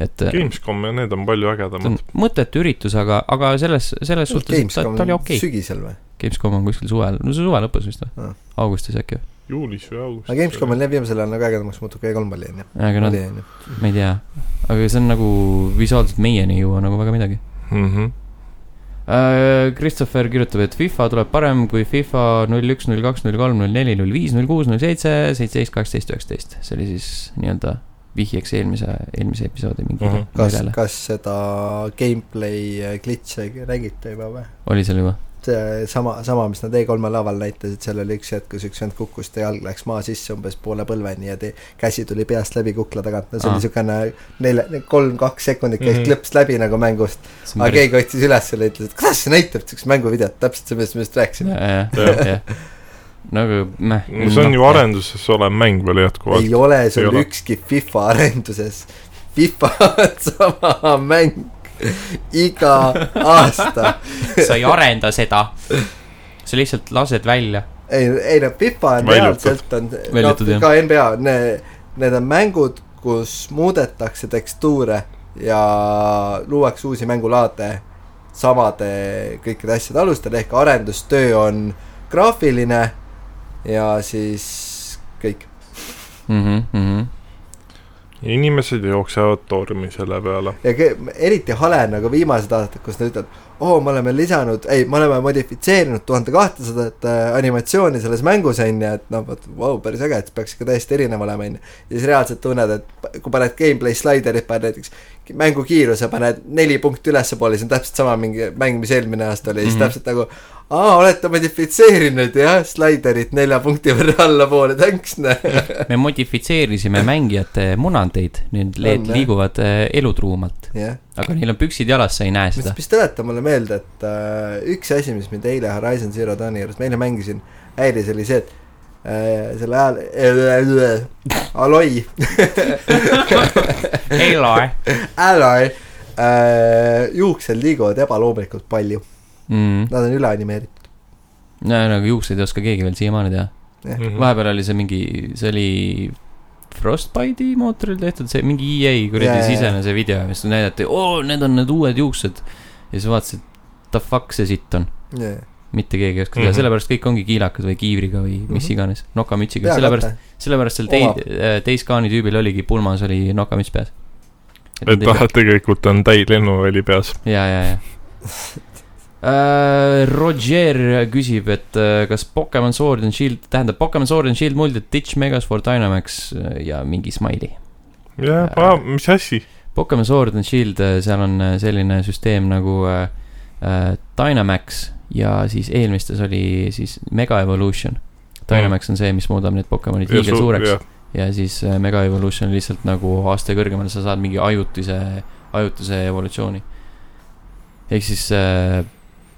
A: et äh,
C: Gamescom ja need on palju
A: see on
C: ägedamad .
A: mõttetu üritus , aga , aga selles , selles
B: Noh,
A: suhtes , et ta, ta oli okei .
B: sügisel või ?
A: Gamescom on kuskil suvel , no see suve lõpus vist või
B: Aa. ?
A: augustis äkki või ?
C: juulis või augustis .
B: aga Gamescomil jah , viimasel ajal nagu ägedamaks muutub ka E3 oli , onju .
A: aga nad ,
B: oli , onju .
A: ma ei tea , aga see on nagu visuaalselt meieni ei jõua nagu väga midagi .
C: mm . -hmm.
A: Christopher kirjutab , et FIFA tuleb parem kui FIFA null üks , null kaks , null kolm , null neli , null viis , null kuus , null seitse , seitseteist , kaksteist , üheksateist . see oli siis nii-öelda vihjeks eelmise , eelmise episoodi mingile
C: Mhm.
B: kas
A: millele ,.
B: kas seda gameplay äh, glitch'e räägiti juba või ?
A: oli seal juba ?
B: see äh, sama , sama , mis nad E3-e laval näitasid , seal oli üks hetk , kus üks vend kukkus , ta jalg läks maa sisse umbes poole põlveni ja te, käsi tuli peast läbi kukla tagant , no see
A: Aa.
B: oli siukene nelja , kolm-kaks sekundit käis
C: Mhm.
B: klõps läbi nagu mängust , aga keegi otsis üles selle ja ütles , et kuidas see näitab siukest mänguvideot , täpselt see , millest ma just rääkisin .
A: jah ,
C: Jah.
A: jah . nagu mäh .
C: see on ju . arenduses olev mäng veel jätkuvalt .
B: ei ole , see
C: Ei
B: on
C: ole.
B: ükski FIFA arenduses . FIFA on sama mäng iga aasta .
A: sa ei arenda seda . sa lihtsalt lased välja .
B: ei , ei no FIFA on
C: Väljutud.
B: reaalselt on , no
A: Väljutud, jah.
B: ka NBA , need , need on mängud , kus muudetakse tekstuure ja luuakse uusi mängulaade samade kõikide asjade alustel ehk arendustöö on graafiline ja siis kõik . Mhm,
A: mm . -hmm.
C: inimesed jooksevad tormi selle peale .
B: ja kõ- eriti hale on nagu viimased aastad , kus nad ütlevad , oo , me oleme lisanud , ei , me oleme modifitseerinud tuhande kahtesadat äh, animatsiooni selles mängus onju , et noh , vot vau , päris äge , et peaks ikka täiesti erinev olema onju . ja siis reaalselt tunned , et p- kui paned gameplay slaiderit , paned näiteks ki- mängu kiiruse , paned neli punkti ülespoole , siis on täpselt sama mingi mäng , mis eelmine aasta oli , siis
A: Mhm.
B: mm -hmm. täpselt nagu aa , olete modifitseerinud jah , slaiderit nelja punkti võrra allapoole , thanks noh .
A: me modifitseerisime mängijate munandeid , nüüd LED
B: On, jah.
A: liiguvad eh, elutruumalt ,
B: jah
A: aga neil on püksid jalas , sa ei näe
B: mis
A: seda .,
B: mis tuletab mulle meelde , et äh, üks asi , mis mind eile Horizon Zero Dawni juures , ma eile mängisin , häiris , oli see , et äh, selle ajal äh, , äh, Aloi ,
A: ei loe
B: Aloi äh, , juuksed liiguvad ebaloomulikult palju ,
A: mm. .
B: nad on üleanimeeritud .
A: no nagu juukseid ei oska keegi veel siiamaani teha . Mhm.
C: Mhm.
B: Mm.
A: vahepeal oli see mingi , see oli Frostbite'i mootoril tehtud , see mingi EA
B: Jaa,
A: kuradi
B: jaa,
A: sisene see video , mis näidati , oo , need on need uued juuksed . ja siis vaatasid , the fuck see sitt on , mitte keegi ei oska teha mm
C: Mhm.
A: -hmm. , sellepärast kõik ongi kiilakad või kiivriga või mis
B: Mhm.
A: iganes , nokamütsiga , sellepärast , sellepärast seal
B: Omab.
A: tei- , teiskaani tüübil oligi pulmas oli nokamüts peas .
C: et ta tegelikult on täi lennuväli peas .
A: ja , ja , ja . Äh, Roger küsib , et äh, kas Pokemon Sword and Shield , tähendab Pokemon Sword and Shield muldid Ditch Megas for Dynamax äh, ja mingi smiley . Äh,
C: jah , mis asi ?
A: Pokemon Sword and Shield , seal on äh, selline süsteem nagu äh, äh, Dynamax ja siis eelmistes oli siis Mega Evolution . Dynamax on see , mis muudab need Pokemonid liiga suureks . ja siis äh, Mega Evolution on lihtsalt nagu aste kõrgemal sa saad mingi ajutise , ajutise evolutsiooni . ehk siis äh,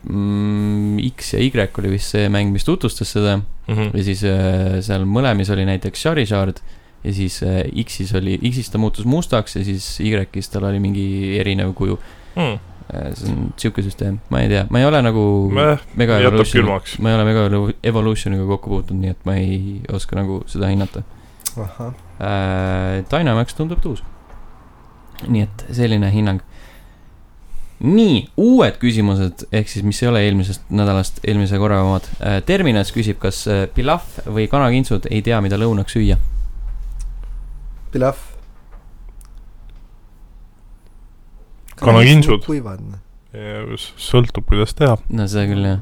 A: mm, X ja Y oli vist see mäng , mis tutvustas seda
C: Mhm.
A: ja siis äh, seal mõlemis oli näiteks Charizard ja siis äh, X-is oli , X-is ta muutus mustaks ja siis Y-is tal oli mingi erinev kuju .
C: Mhm.
A: see on sihuke süsteem , ma ei tea , ma ei ole nagu Mega
C: jätab
A: Evolutioni ,
C: külmaks .
A: ma ei ole Mega Evolu- Evolutioniga kokku puutunud , nii et ma ei oska nagu seda hinnata . äh, Dynamax tundub tuus . nii et selline hinnang . nii , uued küsimused , ehk siis , mis ei ole eelmisest nädalast , eelmise korra omad äh, . Terminas küsib , kas äh, pilaf või kanakintsud ei tea , mida lõunaks süüa .
B: Pilaf .
C: Kanakintsud.
B: kuivad . noh.
C: sõltub , kuidas teha .
A: no seda küll jah .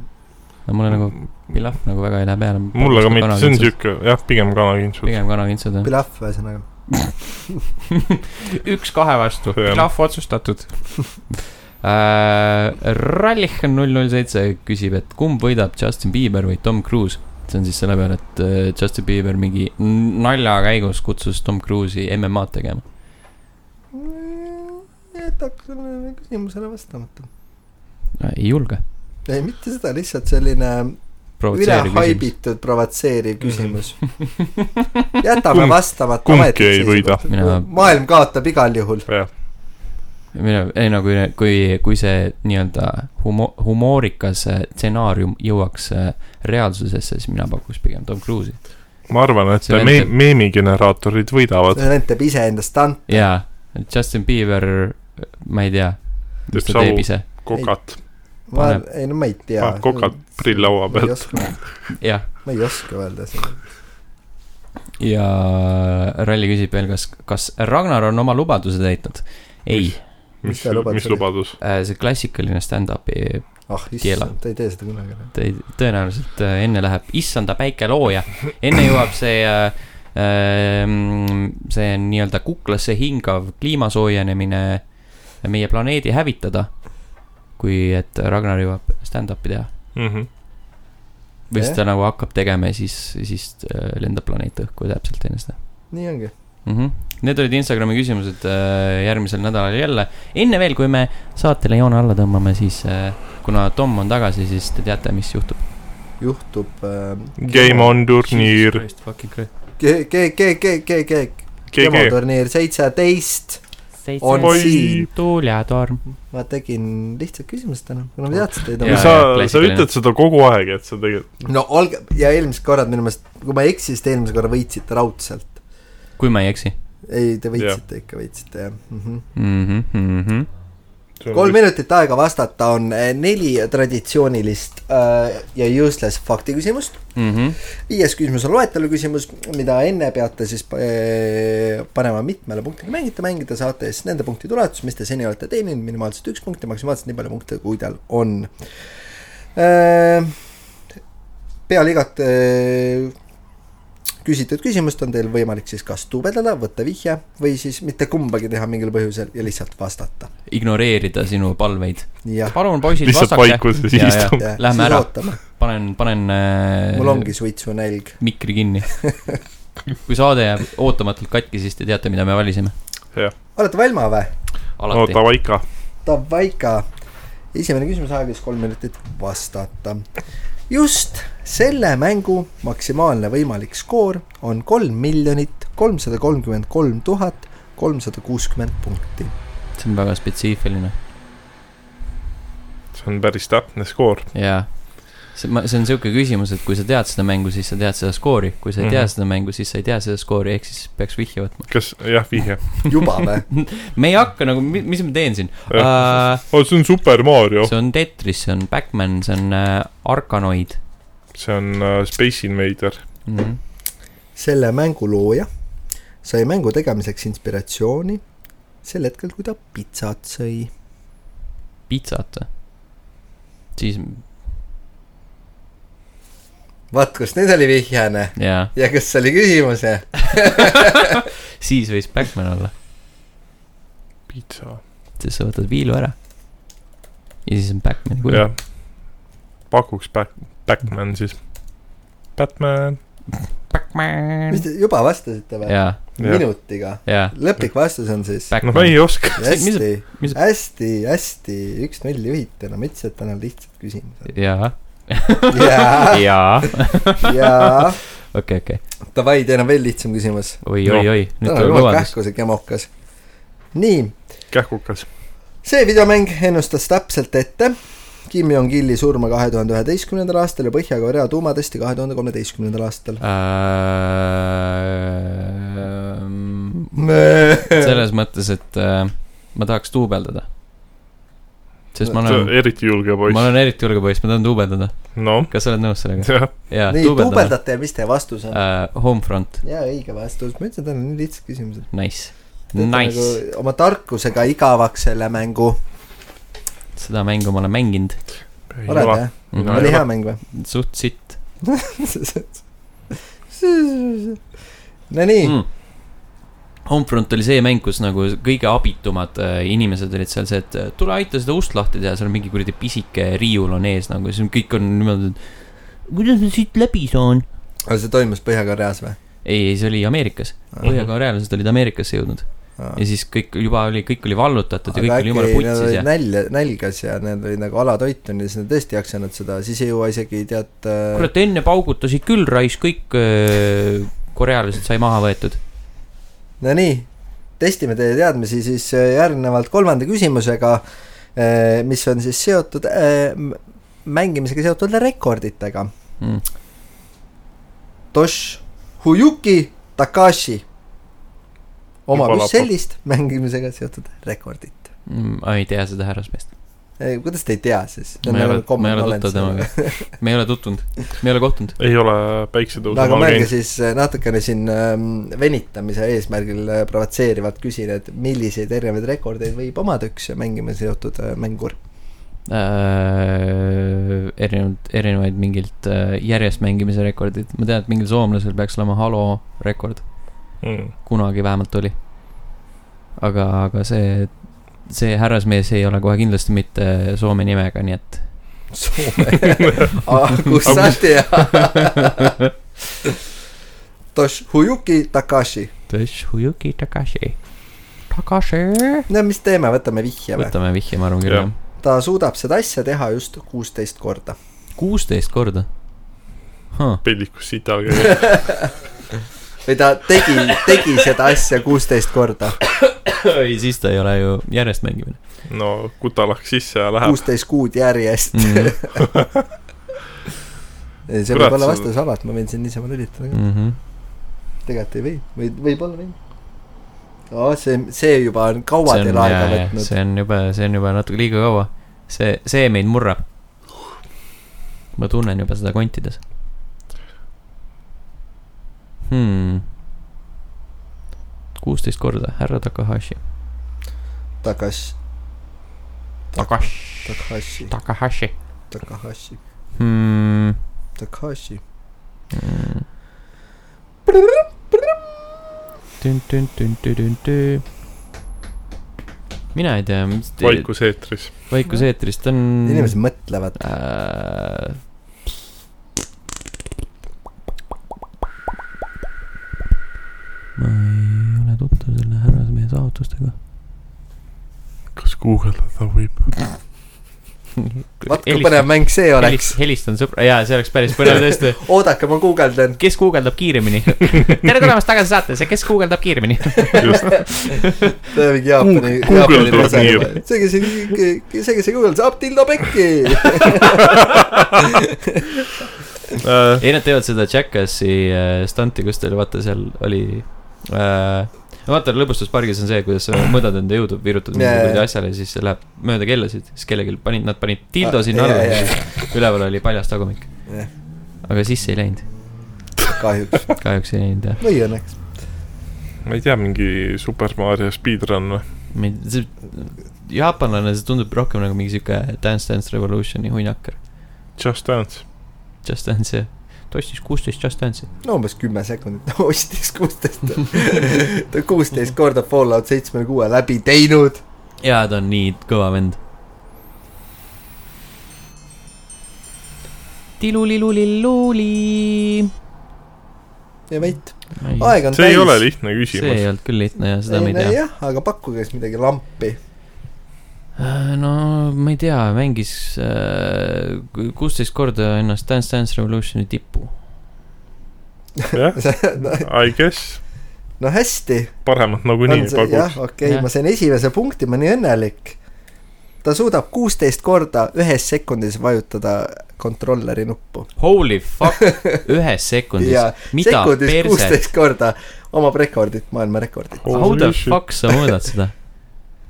A: no mulle nagu pilaf nagu väga ei lähe peale .
C: mulle ka mitte , see on . siuke , jah , pigem kanakintsud .
A: pigem kanakintsud jah .
B: Pilaf ühesõnaga .
A: üks kahe vastu ,
C: Jah.
A: klahv otsustatud äh, . Rallih null null seitse küsib , et kumb võidab Justin Bieber või Tom Cruise ? see on siis selle peale , et äh, Justin Bieber mingi n- nalja käigus kutsus Tom Cruise'i MM-ad tegema .
B: Mm, jätaks sellele küsimusele vastamata .
A: ei julge ,
B: ei , mitte seda , lihtsalt selline
A: provotseeriv küsimus .
B: ülehaibitud provotseeriv küsimus . jätame
C: Mhm. Kumb-
B: vastamata .
C: kumbki ei võida.
A: Mina-
B: maailm kaotab igal juhul .
A: mina , ei no kui , kui , kui see nii-öelda humo- , humoorikas äh, stsenaarium jõuaks äh, reaalsusesse , siis mina pakuks pigem Tom Cruise'i .
C: ma arvan , et
A: See on
C: me- ,
A: see-
C: meemigeneraatorid võidavad .
B: ta näitab iseenda stunt ,
A: jaa , Justin Bieber , ma ei tea , mis ta
C: Teeb
A: teeb
C: savu.
A: ise .
C: kokat ,
B: ma
A: Paneb- ,
B: ei no ma ei tea
C: paneb . kokad prill laua
B: ma ei
C: pealt .
B: oska ,
A: jah ,
B: ma ei oska öelda seda .
A: ja Ralli küsib veel , kas , kas Ragnar on oma lubaduse täitnud ? ei ,
B: Mis
C: mis
B: ta , lubadus
C: mis
B: oli?
C: lubadus ?
A: see klassikaline stand-up'i
B: ah
A: Keela.
B: issand , ta ei tee seda kunagi enam .
A: tõ- tõenäoliselt äh, enne läheb , issanda päikelooja , enne jõuab see äh, ähm, see nii-öelda kuklasse hingav kliima soojenemine meie planeedi hävitada , kui et Ragnar jõuab stand-up'i teha .
C: Mhm.
A: või siis ta nagu hakkab tegema ja siis , siis äh, lendab planeet õhku ja täpselt enne seda .
B: nii ongi .
A: mm . -hmm. Need olid Instagrami küsimused äh, järgmisel nädalal jälle . enne veel , kui me saatele joone alla tõmbame , siis äh, kuna Tom on tagasi , siis te teate , mis juhtub .
B: juhtub äh, .
C: Game on turniir ,
B: G , G , G , G , G , G , Kemo
C: GG .
B: turniir seitseteist . On
A: seitse
B: siin.
A: tuul ja torm .
B: ma tegin lihtsad küsimused täna , kuna ma teadsin teid
A: Jaa,
C: ja
A: jaa,
B: oma .
C: sa , sa
A: klassikaline.
C: ütled seda kogu aeg , et sa tegelikult ,
B: no olge , ja eelmised korrad minu meelest , kui ma ei eksi , siis te eelmise korra võitsite raudselt .
A: kui ma ei eksi Mhm,
B: ei , te võitsite ikka , võitsite jah mm . -hmm.
A: mm . -hmm.
B: Mhm. kolm minutit aega vastata on eh, neli traditsioonilist äh, ja useless fakti küsimust .
A: mm .
B: viies küsimus on loetelu küsimus , mida enne peate siis eh, panema mitmele punktile mängida , mängida saate siis nende punktide ulatus , mis te seni olete teeninud , minimaalselt üks punkt ja maksimaalselt nii palju punkte , kui teil on . peale igat eh, küsitud küsimust on teil võimalik siis kas tuubeldada , võtta vihje või siis mitte kumbagi teha mingil põhjusel ja lihtsalt vastata .
A: -hmm. ignoreerida sinu palveid .
B: jah ,
A: palun , poisid ,
C: lihtsalt
A: vastake .
C: vaikuses
A: Jaa, jaa.
C: istume .
B: jah ,
A: Lähme
B: siis
A: ära.
B: ootame ,
A: panen , panen äh,
B: mul ongi suitsu nälg .
A: mikri kinni . kui saade jääb ootamatult katki , siis te teate , mida me valisime .
B: olete valma või ?
C: no
A: alati .
C: davai ikka .
B: Davai ka . esimene küsimus aega siis kolm minutit vastata . just selle mängu maksimaalne võimalik skoor on kolm miljonit kolmsada kolmkümmend kolm tuhat kolmsada kuuskümmend punkti .
A: see on väga spetsiifiline .
C: see on päris täpne skoor .
A: jaa . see , ma , see on siuke küsimus , et kui sa tead seda mängu , siis sa tead seda skoori . kui sa ei tea
C: Mhm.
A: seda mängu , siis sa ei tea seda skoori , ehk siis peaks vihje võtma .
C: kas , jah , vihje .
B: juba või ?
A: me ei hakka nagu , mis ma teen siin uh, ?
C: Jah. oo , Oh, see on Super Mario ,
A: see on Tetris , see on Pac-Man , see on uh, Arkanoid
C: see on äh, Space Invader .
A: mm .
C: Mhm.
A: -hmm.
B: selle mängu looja sai mängu tegemiseks inspiratsiooni sel hetkel , kui ta pitsat sõi .
A: pitsat või ? siis ,
B: vaat , kas nüüd oli vihjane
A: jaa ,
B: ja kas see oli küsimus , jah ?
A: siis võis Pac-Man olla ,
C: pitsa .
A: sest sa võtad viilu ära . ja siis on Pac-Man , kui
C: jah . pakuks Back- , Batman siis . Batman .
A: Pac-Man
B: mis . te juba vastasite või ?
A: jaa ,
B: minutiga ?
A: jaa ,
B: lõplik vastus on siis ?
C: no Noh, ma
A: Pac-Man
C: ei oska .
A: See- mis-
B: hästi ,
A: mis-
B: hästi , hästi , üks-null juhite , no ma ütlesin , et täna on lihtsad küsimused .
A: jaa ,
B: ja ,
A: jaa ,
B: ja
A: okei , okei ,
B: davai , teil on veel lihtsam küsimus .
A: oi ,
C: No.
A: oi , oi , nüüd
B: täna on
A: tuleb
B: juba
A: lubadus .
B: kähkus ja kämokas . nii ,
C: kähkukas .
B: see videomäng ennustas täpselt ette Kim Jong-ili surma kahe tuhande üheteistkümnendal aastal ja Põhja-Korea tuumatesti kahe tuhande kolmeteistkümnendal aastal .
A: Äh, selles mõttes , et äh, ma tahaks duubeldada . sest ma
C: sa
A: olen ,
C: eriti julge
A: ma
C: poiss .
A: olen eriti julge poiss , ma tahan duubeldada .
C: noh ,
A: kas sa oled nõus sellega ?
C: jah ,
A: jaa ,
B: nii ,
A: duubeldada . Äh,
B: duubeldate ja mis teie vastus on ?
A: Homefront ,
B: jaa , õige vastus , ma ütlesin , et täna on nii lihtsad küsimused .
A: nice ,
B: nagu-
A: nice ,
B: oma tarkusega igavaks selle mängu .
A: seda mängu ma olen mänginud .
C: ei
B: oled
C: ole .
B: jah ?
C: No
B: oli
C: juba.
B: hea mäng või ?
A: suht sitt
B: Nonii mm. ,
A: mm. . Homefront oli see mäng , kus nagu kõige abitumad äh, inimesed olid seal see , et äh, tule aita seda ust lahti teha , seal on mingi kuradi pisike riiul on ees nagu , siis kõik on niimoodi , et kuidas ma siit läbi saan .
B: aga see toimus Põhja-Koreas või ?
A: ei , ei see oli Ameerikas , põhjakorealased olid Ameerikasse jõudnud
B: Ah.
A: ja siis kõik juba oli , kõik oli vallutatud ja kõik oli jumala
B: nad
A: putsis
B: olid
A: ja
B: nälja , nälgas ja need olid nagu alatoitunud ja siis nad tõesti ei jaksanud seda , siis ei jõua isegi tead äh,
A: kurat , enne paugutasid küll raisk , kõik äh, korealased sai maha võetud .
B: Nonii , testime teie teadmisi siis äh, järgnevalt kolmanda küsimusega , mis on siis seotud äh, m- mängimisega seotud rekorditega .
A: Mm.
B: Tosh Huyuki Takashi omab just
C: Juba lapab.
B: sellist mängimisega seotud rekordit .
A: Mm, ma ei tea seda härrasmeest .
B: Ei, kuidas te ei tea siis ?
A: ma ei ole , ma ei ole tuttav temaga . me ei ole tutvunud , me ei ole kohtunud .
C: ei ole
B: no
C: päiksetõusu
B: aga
C: maal
B: mõelge
C: käinud .
B: siis äh, natukene siin ähm, venitamise eesmärgil äh, provotseerivalt küsin , et milliseid erinevaid rekordeid võib omada üks mängima seotud äh, mängur ?
A: äh, erinevaid , erinevaid mingilt äh, järjest mängimise rekordid , ma tean , et mingil soomlasel peaks olema Halo rekord ,
C: Mm,
A: kunagi vähemalt oli . aga , aga see , see härrasmees ei ole kohe kindlasti mitte Soome nimega , nii et
B: Soome . kus sa tead ? Toshuyuki Takashi .
A: Toshuyuki Takashi . Takashi .
B: no mis teeme , võtame vihje või ?
A: võtame vihje , ma arvan küll ,
C: Jah.
A: jah .
B: ta suudab seda asja teha just kuusteist korda .
A: kuusteist korda huh. .
C: peldikus sita käinud .
B: või ta tegi , tegi seda asja kuusteist korda .
A: ei , siis ta ei ole ju järjest mängimine
C: no kuta lahk sisse ja läheb .
B: kuusteist kuud järjest .
A: mm .
B: see
C: Kurat,
B: võib olla
C: see-
B: vastus
A: mhm.
B: alati , ma võin siin niisama lülitada ka .
A: -hmm.
B: tegelikult ei või , või võib-olla võin . oh, see , see juba on kaua
A: see
B: teil
A: on ,
B: aega
A: jaa , jaa ,
B: võtnud .
A: see on jube , see on juba natuke liiga kaua . see , see meid murrab . ma tunnen juba seda kontides hmm. . kuusteist korda , härra Takahashi .
B: Takash ,
A: Takahashi .
B: Takashi ,
A: Takahashi
B: Takahashi ,
A: hmm. .
B: Takashi .
A: tün-tün-tün-tün-tün-tün . mina ei tea , mis te-
C: vaikus eetris .
A: vaikuseetris , ta on .
B: inimesed mõtlevad .
A: Äh, ma ei ole tuttav selle härrasmehe saavutustega .
C: kas guugeldada võib ?
A: Nagu
B: vaat kui põnev mäng see oleks .
A: helistan sõbra , jaa , see oleks päris põnev tõesti .
B: oodake , ma guugeldan .
A: kes guugeldab kiiremini ? tere tulemast tagasi saatesse , kes guugeldab kiiremini ?
B: see on mingi Jaapani ,
C: Google-
B: Jaapani
C: guugeldab
B: tase
C: nii. .
B: see , kes , see , kes ei guugelda , saab Tildo Pekki .
C: Äh,
A: ei , nad teevad seda Jackassi äh, stunti , kus teil vaata seal oli äh, . vaata lõbustuspargis on see , kuidas sa mõõdad enda jõudu , virutad mingi
B: Jaa, jaa,
A: kuradi
B: jaa.
A: asjale ja siis see läheb mööda kellasid , siis kellelgi panid , nad panid tildo
B: Ah,
A: sinna
B: jaa,
A: alla
B: jaa,
A: ja siis üleval oli paljas tagumik .
B: Jah.
A: aga sisse ei läinud ,
B: kahjuks
A: kahjuks ei läinud jah .
B: või õnneks .
C: ma ei tea , mingi Super Mario speedrun või ?
A: see , jaapanlane , see tundub rohkem nagu mingi sihuke Dance Dance Revolutioni huinakar ,
C: Just Dance .
A: Just Dance jah ta ostis kuusteist Just Dance'i .
B: no umbes kümme sekundit , ta ostis kuusteist . ta on kuusteist korda Fallout seitsmekümne kuue läbi teinud .
A: jaa , ta on nii kõva vend . tilulilulilluli .
B: ja vait , aeg on
C: see ei ole
B: täis .
C: lihtne
A: see ei
C: küsimus .
A: olnud küll lihtne ja seda ma ei tea .
B: jah , aga pakkuge siis midagi lampi .
A: Äh, no ma ei tea , mängis äh, kuusteist korda ennast Dance Dance Revolutioni tippu .
C: jah , I guess ,
B: no hästi .
C: paremat nagunii ei
B: jah ,
C: pakuks .
B: okei
A: Jah. ,
B: ma sain esimese punkti , ma olen nii õnnelik . ta suudab kuusteist korda ühes sekundis vajutada kontrolleri nuppu .
A: Holy fuck , ühes sekundis
B: ja ,
A: mida
B: sekundis
A: perset ,
B: kuusteist korda omab rekordit , maailmarekordit .
A: how the
C: Holy shit.
A: fuck sa mõõdad seda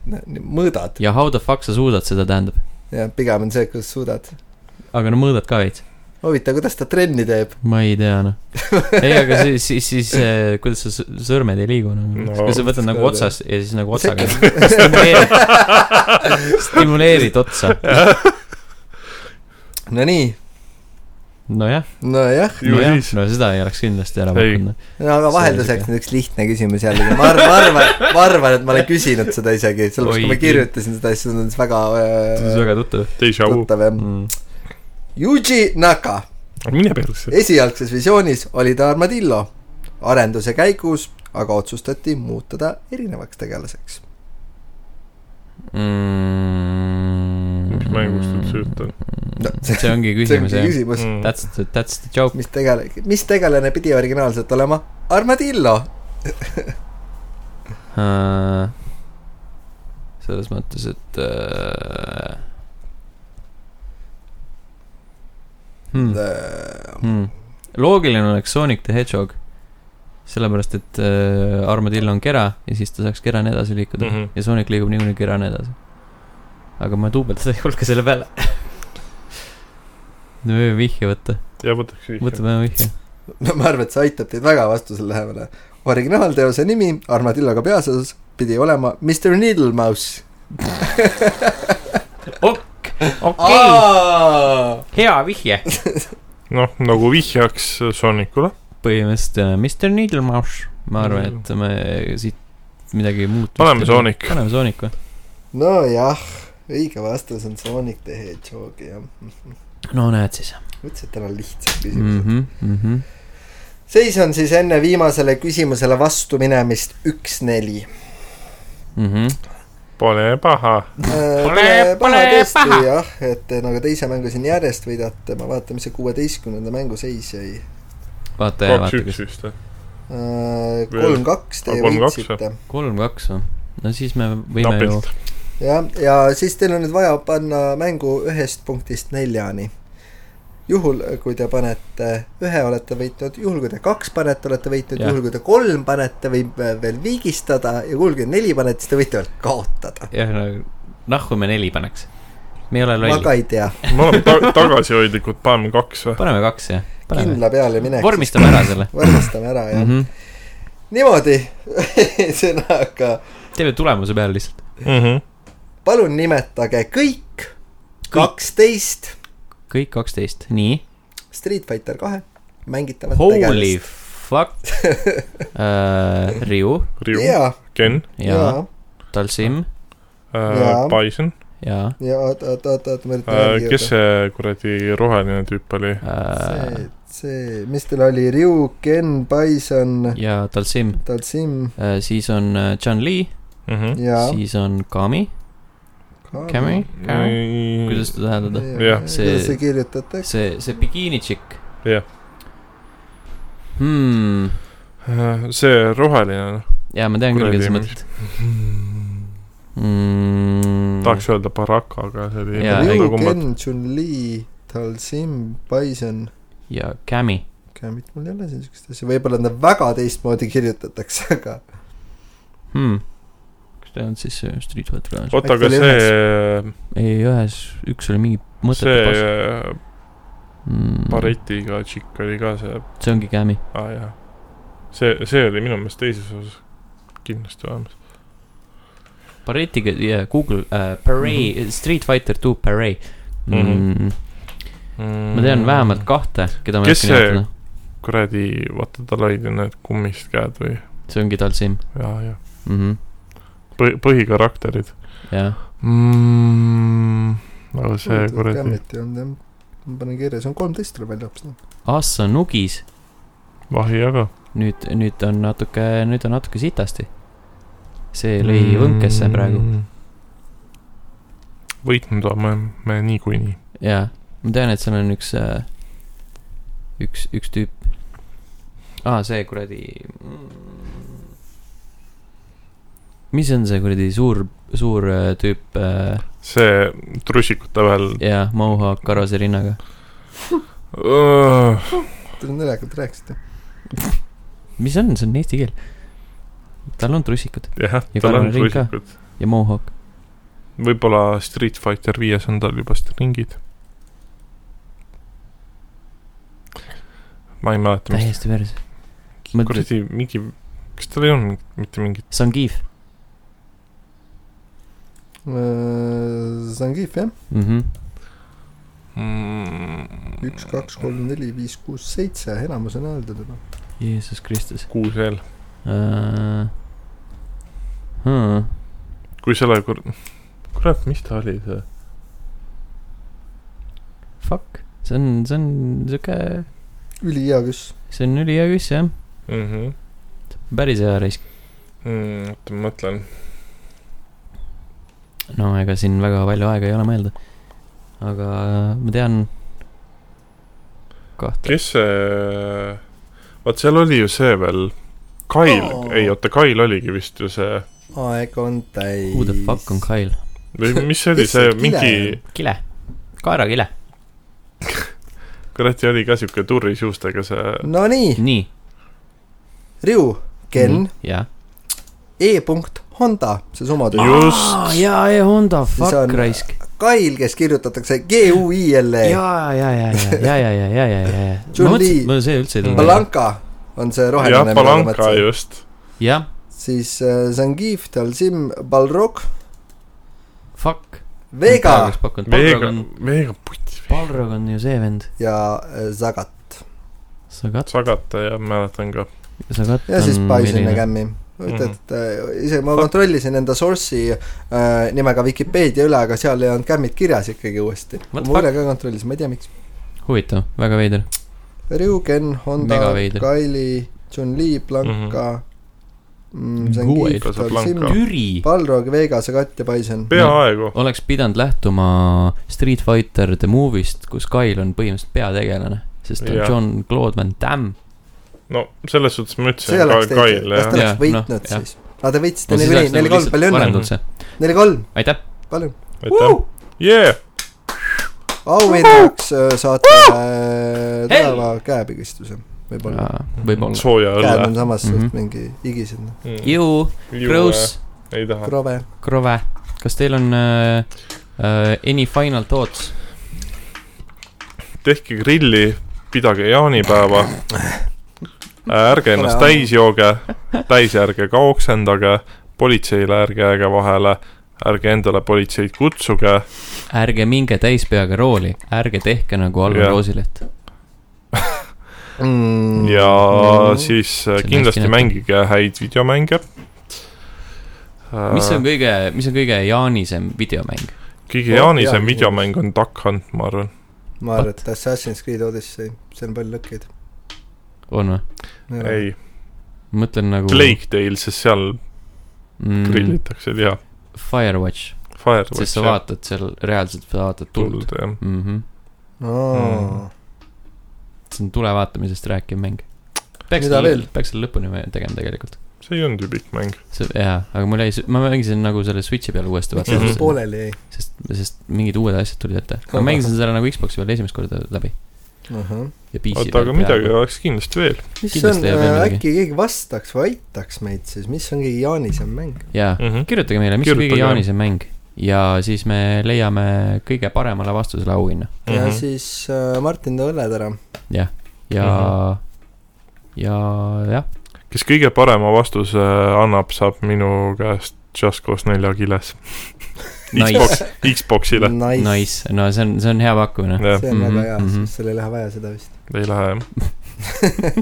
B: mõõdad
A: ja how the fuck sa suudad seda , tähendab ,
B: ja pigem on see , kuidas suudad .
A: aga no mõõdad ka veits .
B: huvitav , kuidas ta trenni teeb ?
A: ma ei tea noh . ei , aga siis , siis , siis eh, kuidas sa s- sõrmed ei liigu nagu
C: No.
A: no, , kas sa võtad nagu otsast ja siis nagu otsaga
B: Sekund.
A: stimuleerid , stimuleerid otsa .
B: Nonii ,
A: nojah ,
B: nojah ,
C: Ju
A: nojah ,
C: siis.
A: no seda ei oleks kindlasti ära noh.
C: Ei.
A: pakkunud .
B: no aga vahelduseks nüüd üks lihtne küsimus jällegi , ma arvan , ma arvan , ma arvan , et ma olen küsinud seda isegi , sellepärast kui
A: Oi,
B: ma kirjutasin seda , siis see tundus väga
A: see on
B: äh,
A: väga tuttav
C: Deja vu .
B: tuttav jah .
A: mm. .
B: Yuji Naka
C: mine persse .
B: esialgses visioonis oli ta armadillo , arenduse käigus aga otsustati muuta ta erinevaks tegelaseks .
A: Mm.
C: mis mängust üldse jutt on ? Mm.
B: No,
A: see see ongi
B: see
A: küsimus
B: ongi
A: jah . Mm.
B: küsimus ,
A: That's the , that's the joke .
B: mis tegele- , mis tegelane pidi originaalselt olema armadillo ?
A: Äh, selles mõttes , et äh... . Hmm.
B: Äh,
A: Hmm. loogiline oleks Sonic the Hedgehog , sellepärast et äh, armadill on kera ja siis ta saaks kerani edasi liikuda mm
C: Mhm.
A: -hmm. ja Sonic liigub niikuinii kerani edasi . aga ma duubeldada ei julge selle peale . me võime vihje võtta ,
C: ja võtaks vihje .
A: võtame vihje .
B: no ma arvan , et see aitab teid väga vastusele lähemale . originaalteose nimi Armadilloga peaosas pidi olema Mr Needle Mouse .
A: okei okay, , hea vihje .
C: noh , nagu vihjaks Sonicule .
A: põhimõtteliselt äh, Mr Needle Mouse , ma arvan ,
C: Mhm.
A: et me siit midagi muud .
C: Paneme Sonic.
A: paneme Sooniku .
B: nojah , õige vastus on Sonic the Hedgehog jah .
A: no näed siis
B: mõtlesin , et täna on lihtsad
A: mm .
B: küsimused mm .
A: -hmm, mm -hmm.
B: -hmm. seis on siis enne viimasele küsimusele vastu minemist üks-neli .
A: Mm -hmm.
C: Pole paha .
B: Äh, Pole
A: pole paha.
B: jah , et te nagu teise mängu siin järjest võidate , ma vaatan , mis see kuueteistkümnenda mängu seis jäi .
A: vaata ja vaata , kas
C: kaks-üks vist või ?
B: kolm-kaks Äh, te
C: Ah, kolm-kaks,
B: võitsite
A: kolm , kaks või ? no siis me võime ju
C: napilt .
B: jah , ja siis teil on nüüd vaja panna mängu ühest punktist neljani . juhul , kui te panete ühe , olete võitnud , juhul kui te kaks panete , olete võitnud ,
A: Jah.
B: juhul kui te kolm panete , võib veel viigistada ja juhul kui neli panete , siis te võite veel kaotada .
A: jah , no nahku me neli paneks . me ei ole
B: ma
A: lollid ,
B: ka ei tea ,
C: me oleme ta- , tagasihoidlikud , paneme kaks või ?
A: paneme kaks jah , paneme ,
B: kindla peale minek .
A: vormistame ära selle
B: vormistame ära jah
A: mm .
B: mm .
A: -hmm.
B: -hmm. niimoodi , ühesõnaga ,
A: teeme tulemuse peale lihtsalt . Mhm.
B: palun nimetage kõik kaksteist
A: kõik kaksteist , nii .
B: Street Fighter kahe mängitavat
A: Holy fuck uh, . Riu
C: Riu ,
B: jaa ,
C: Ken ,
A: ja
B: jaa ,
A: Talsim
B: Jaa.
C: Bison ,
A: ja
B: ja oot , oot , oot , oot , ma üritan .
C: Äh, kes see kuradi roheline tüüp oli ?
A: uh,
B: see , see , mis tal oli , Ryu , Ken , Bison ,
A: ja Talsim
B: Talsim
A: uh, , siis on äh, John Lee , Mhm.
B: ja .
A: siis on Kami , Kami , Kami , kuidas seda hääldada ?
C: Jah.
B: see .
A: See-
B: kuidas see kirjutatakse ?
A: see , see bikiini tšikk
C: Jah.
A: hmm. .
C: see roheline ,
A: jaa , ma tean küll ,
C: Kuradi,
A: keda sa
C: mis-
A: mõtled mm.
C: tahaks öelda Baraka , aga see oli
A: Jaa,
C: nagu
B: Ryu ,
C: kummat-
B: Ken , Chun-Li , Talsim , Bison .
A: ja Kami ,
B: Kämmit , mul ei ole siin siukest asja , võib-olla nad väga teistmoodi kirjutatakse , aga
A: hmm. kas ta ei olnud siis see Street Fighter Games ?
C: oota , aga
B: Äkki oli
C: see ,
A: ei , ühes , üks oli mingi mõttetu Mhm.
C: see äh,
A: pask mm. .
C: baretiga tšikk oli ka see ,
A: see ongi Kami .
C: aa jah . see , see oli minu meelest teises osas kindlasti olemas .
A: Barretiga , jaa , Google uh, , Paree
C: Mhm.
A: mm , -hmm. Street Fighter two Paree mm . -hmm. ma tean vähemalt . kahte , keda ma ei
C: Mhm. Kes
A: oska
C: see-
A: nimetada .
C: kuradi , vaata tal olid ju need kummist käed või ,
A: see ongi Talsim
C: jaa , jaa .
A: mm . -hmm.
C: põhi , põhikarakterid
A: jah ,
C: mm, . aga see kuradi ,
B: Kämmit ei olnud jah . ma panen kirja , see on kolmteist tuleb välja hoopis . noh.
A: Assa Nugis ,
C: vahi jaga .
A: nüüd , nüüd on natuke , nüüd on natuke sitasti . see lõi mm -hmm. võnkesse praegu .
C: võitnud oleme me niikuinii .
A: jaa , ma tean , et seal on üks , üks , üks tüüp . aa , see kuradi . mis on see kuradi suur , suur äh, tüüp äh,
C: see trussikute vahel
A: ja mohawk karvase rinnaga ?
C: Öö,
B: Te naljakalt rääkisite .
A: mis on , see on eesti keel . tal on trussikud
C: jah ,
A: Ja
C: tal on
A: karvane ring ka.
C: trüsikud .
A: ja mohawk .
C: võib-olla Street Fighter viies on tal juba stringid . ma ei mäleta , mis
A: täiesti päris . mõtled ,
C: kuradi mingi , kas tal ei olnud mitte mingit ,
A: Zangief
B: Äh, Zangief jah ,
A: mm ? -hmm.
C: Mm,
B: üks , kaks , kolm , neli , viis , kuus , seitse , enamus on öeldud juba .
A: Jeesus Kristus
C: kuus veel ,
A: uh, . Hmm.
C: kui selle kur- , kurat , mis ta oli see ,
A: Fuck , see on , see on siuke ,
B: ülihea küss .
A: see on ülihea küss jah , päris hea risk .
C: oota , ma mõtlen ,
A: no ega siin väga palju aega ei ole mõelda . aga äh, ma tean kahte .
C: kes see , vaat seal oli ju see veel , Kail
B: Oo.
C: oh. , ei oota , Kail oligi vist ju see ,
B: aeg on täis .
A: Who the fuck on Kyle ?
C: või mis see oli ,
B: Lihtsalt
C: see
B: kile.
C: mingi ,
A: kile , kaerakile .
C: kuradi oli ka siuke turrisuustega see
B: Nonii ,
A: nii .
B: Riu , Ken ,
A: jah .
B: E punkt Honda , see summa tuli .
C: just ,
A: Ah, jaa , ja Honda ,
B: See
A: fuck
B: on-
A: raisk .
B: Kail , kes kirjutatakse G U I L E .
A: jaa , ja , ja , ja , ja , ja , ja , ja , ja , ja , ja .
B: Chun-Li.
A: ma mõtlesin , ma see üldse ei tulnud .
B: Balanka on see
C: jah ,
B: roheline .
C: Palanka . just ,
A: jah ,
B: siis äh, Zangief , Talsim , Balrog ,
A: fuck .
B: Vega .
C: Veega
A: Balrog on ,,
C: Veega puti ,
A: Balrog on ju see vend .
B: ja äh, Zagat .
A: Sagat ,
C: Sagata jah , mäletan ka ,
A: Sagat
B: ja siis
A: on
B: Bison ja
A: Mm, milline ? Mhm.
B: Cammi . huvitav , et äh, ise ma kontrollisin enda source'i äh, nimega Vikipeedia üle , aga seal ei olnud Cammit kirjas ikkagi uuesti . ma
A: What the
B: üle ka kontrollisin , ma ei tea , miks .
A: huvitav , väga veider .
B: Ryugen , Honda
A: Mega veider. ,
B: Kaili , Chun-Li , Blanka
A: Mhm.
B: mm, ,
A: Kuuel.
B: Zangief , Talsim
C: Casablanca. ,
A: Türi
B: Balrog , Vegas , Agat ja Bison .
C: peaaegu ,
A: oleks pidanud lähtuma Street Fighter The Movie'st , kus Kyle on põhimõtteliselt peategelane , sest ta on
C: Jah.
A: John-Claude Van Damme .
C: no selles suhtes
B: see
C: ma ütlesin ,
B: oleks
C: Kail ,
B: teinud ,
C: Kail
B: kas
C: jah
B: te
A: Jah,
B: oleks
A: noh,
B: võitnud
A: jah.
B: siis ? aga te võitsite
A: nagu
B: neli , neli , kolm , palju õnne !
A: see ,
B: neli , kolm ,
A: aitäh ,
B: palun .
C: aitäh , jee ,
B: auhinnaks äh, saate äh, tugeva käepigistuse , võib-olla .
A: võib-olla .
C: sooja
B: käed on
C: õlle .
B: samas
A: Mhm.
B: suht mingi higised , noh ,
A: ju , gross ,
C: ei taha .
B: krove .
A: krove . kas teil on äh, äh, any final thoughts ?
C: tehke grilli , pidage jaanipäeva . ärge ennast
B: Ole au.
C: täis jooge , täis ärge ka oksendage , politseile ärge jääge vahele , ärge endale politseid kutsuge .
A: ärge minge täispeaga rooli , ärge tehke nagu Alvar
C: Jah.
A: Roosilet .
C: ja
B: Mhm.
C: siis
A: on hästi
C: kindlasti
A: nähtav.
C: mängige häid videomänge . Äh,
A: mis on kõige , mis on kõige jaanisem videomäng ?
C: kõige jaanisem
B: Jaa.
C: videomäng on Duck Hunt , ma arvan .
B: ma arvan , et Assassin's Creed Odyssey , seal on palju lõkkeid .
A: on või ?
C: ei ,
A: mõtlen nagu .
C: Plague Tale , sest seal
A: mm, .
C: grillitakse liha .
A: Firewatch , sest sa
C: Firewatch ,
A: vaatad seal reaalselt , sa vaatad tuld .
C: tuld jah .
A: Mm -hmm.
B: aa
C: Mm. ,
A: see on tule vaatamisest rääkiv mäng . peaks
B: Mida
A: selle
B: veel? ,
A: peaks selle lõpuni me- tegema tegelikult .
C: see ei olnud ju pikk mäng .
A: see , jaa , aga mul jäi , ma mängisin nagu selle Switch'i peal uuesti
B: miks see
A: vaatama
C: Mhm.
B: alles , pooleli jäi ?
A: sest , sest mingid uued asjad tulid ette . ma mängisin selle nagu Xbox'i peal esimest korda läbi ja PC
C: oota , aga midagi oleks kindlasti veel .
B: mis on äh,
A: Kindlasti , jääb veel midagi.
B: äkki keegi vastaks või aitaks meid siis , mis on kõige jaanisem mäng ?
A: jaa ,
C: Mhm.
A: kirjutage meile , mis on kõige
C: Kirjutage.
A: jaanisem mäng ja siis me leiame kõige paremale vastusele auhinna
B: ja
C: Mhm.
B: siis äh, Martin , too õlled ära .
A: ja mm ,
C: Mhm.
A: -hmm. ja jah ,
C: kes kõige parema vastuse äh, annab , saab minu käest Just Cause nelja kiles .
A: Nice.
C: Xbox , Xboxile ,
A: nice , no see on , see on hea pakkumine .
C: jah ,
B: see on
A: Mhm,
B: väga hea ,
A: mhm.
B: sest seal ei lähe vaja seda vist .
C: ei lähe jah .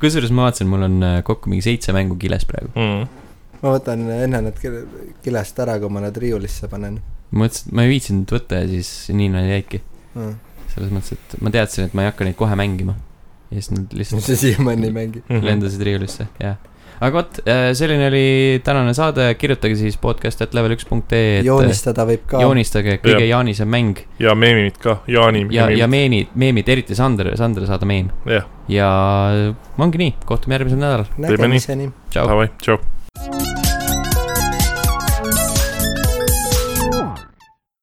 A: kusjuures ma vaatasin , mul on äh, kokku mingi seitse mängu kiles praegu .
C: Mm,
B: ma võtan enne need kil- kilest ära , kui ma nad riiulisse panen .
A: mõtlesin , et ma ei viitsinud võtta ja siis nii nad jäidki . selles mõttes , et ma teadsin , et ma ei hakka neid kohe mängima . ja siis nad
B: mis
A: lihtsalt
B: sa siiamaani ei mängi .
C: mhm.
A: lendasid riiulisse , jah . aga vot , selline oli tänane saade , kirjutage siis podcast.level1.ee , et joonistage,
B: joonistada võib ka .
A: joonistage kõige
C: Jah.
A: jaanisem mäng
C: ja meemid ka , Jaani
A: ja , ja
C: meemid .
A: meenid , meemid , eriti Sander , Sander saada meem .
C: jah ,
A: ja ongi nii , kohtume järgmisel nädalal ,
B: nägemiseni .
A: tšau .
C: davai , tšau .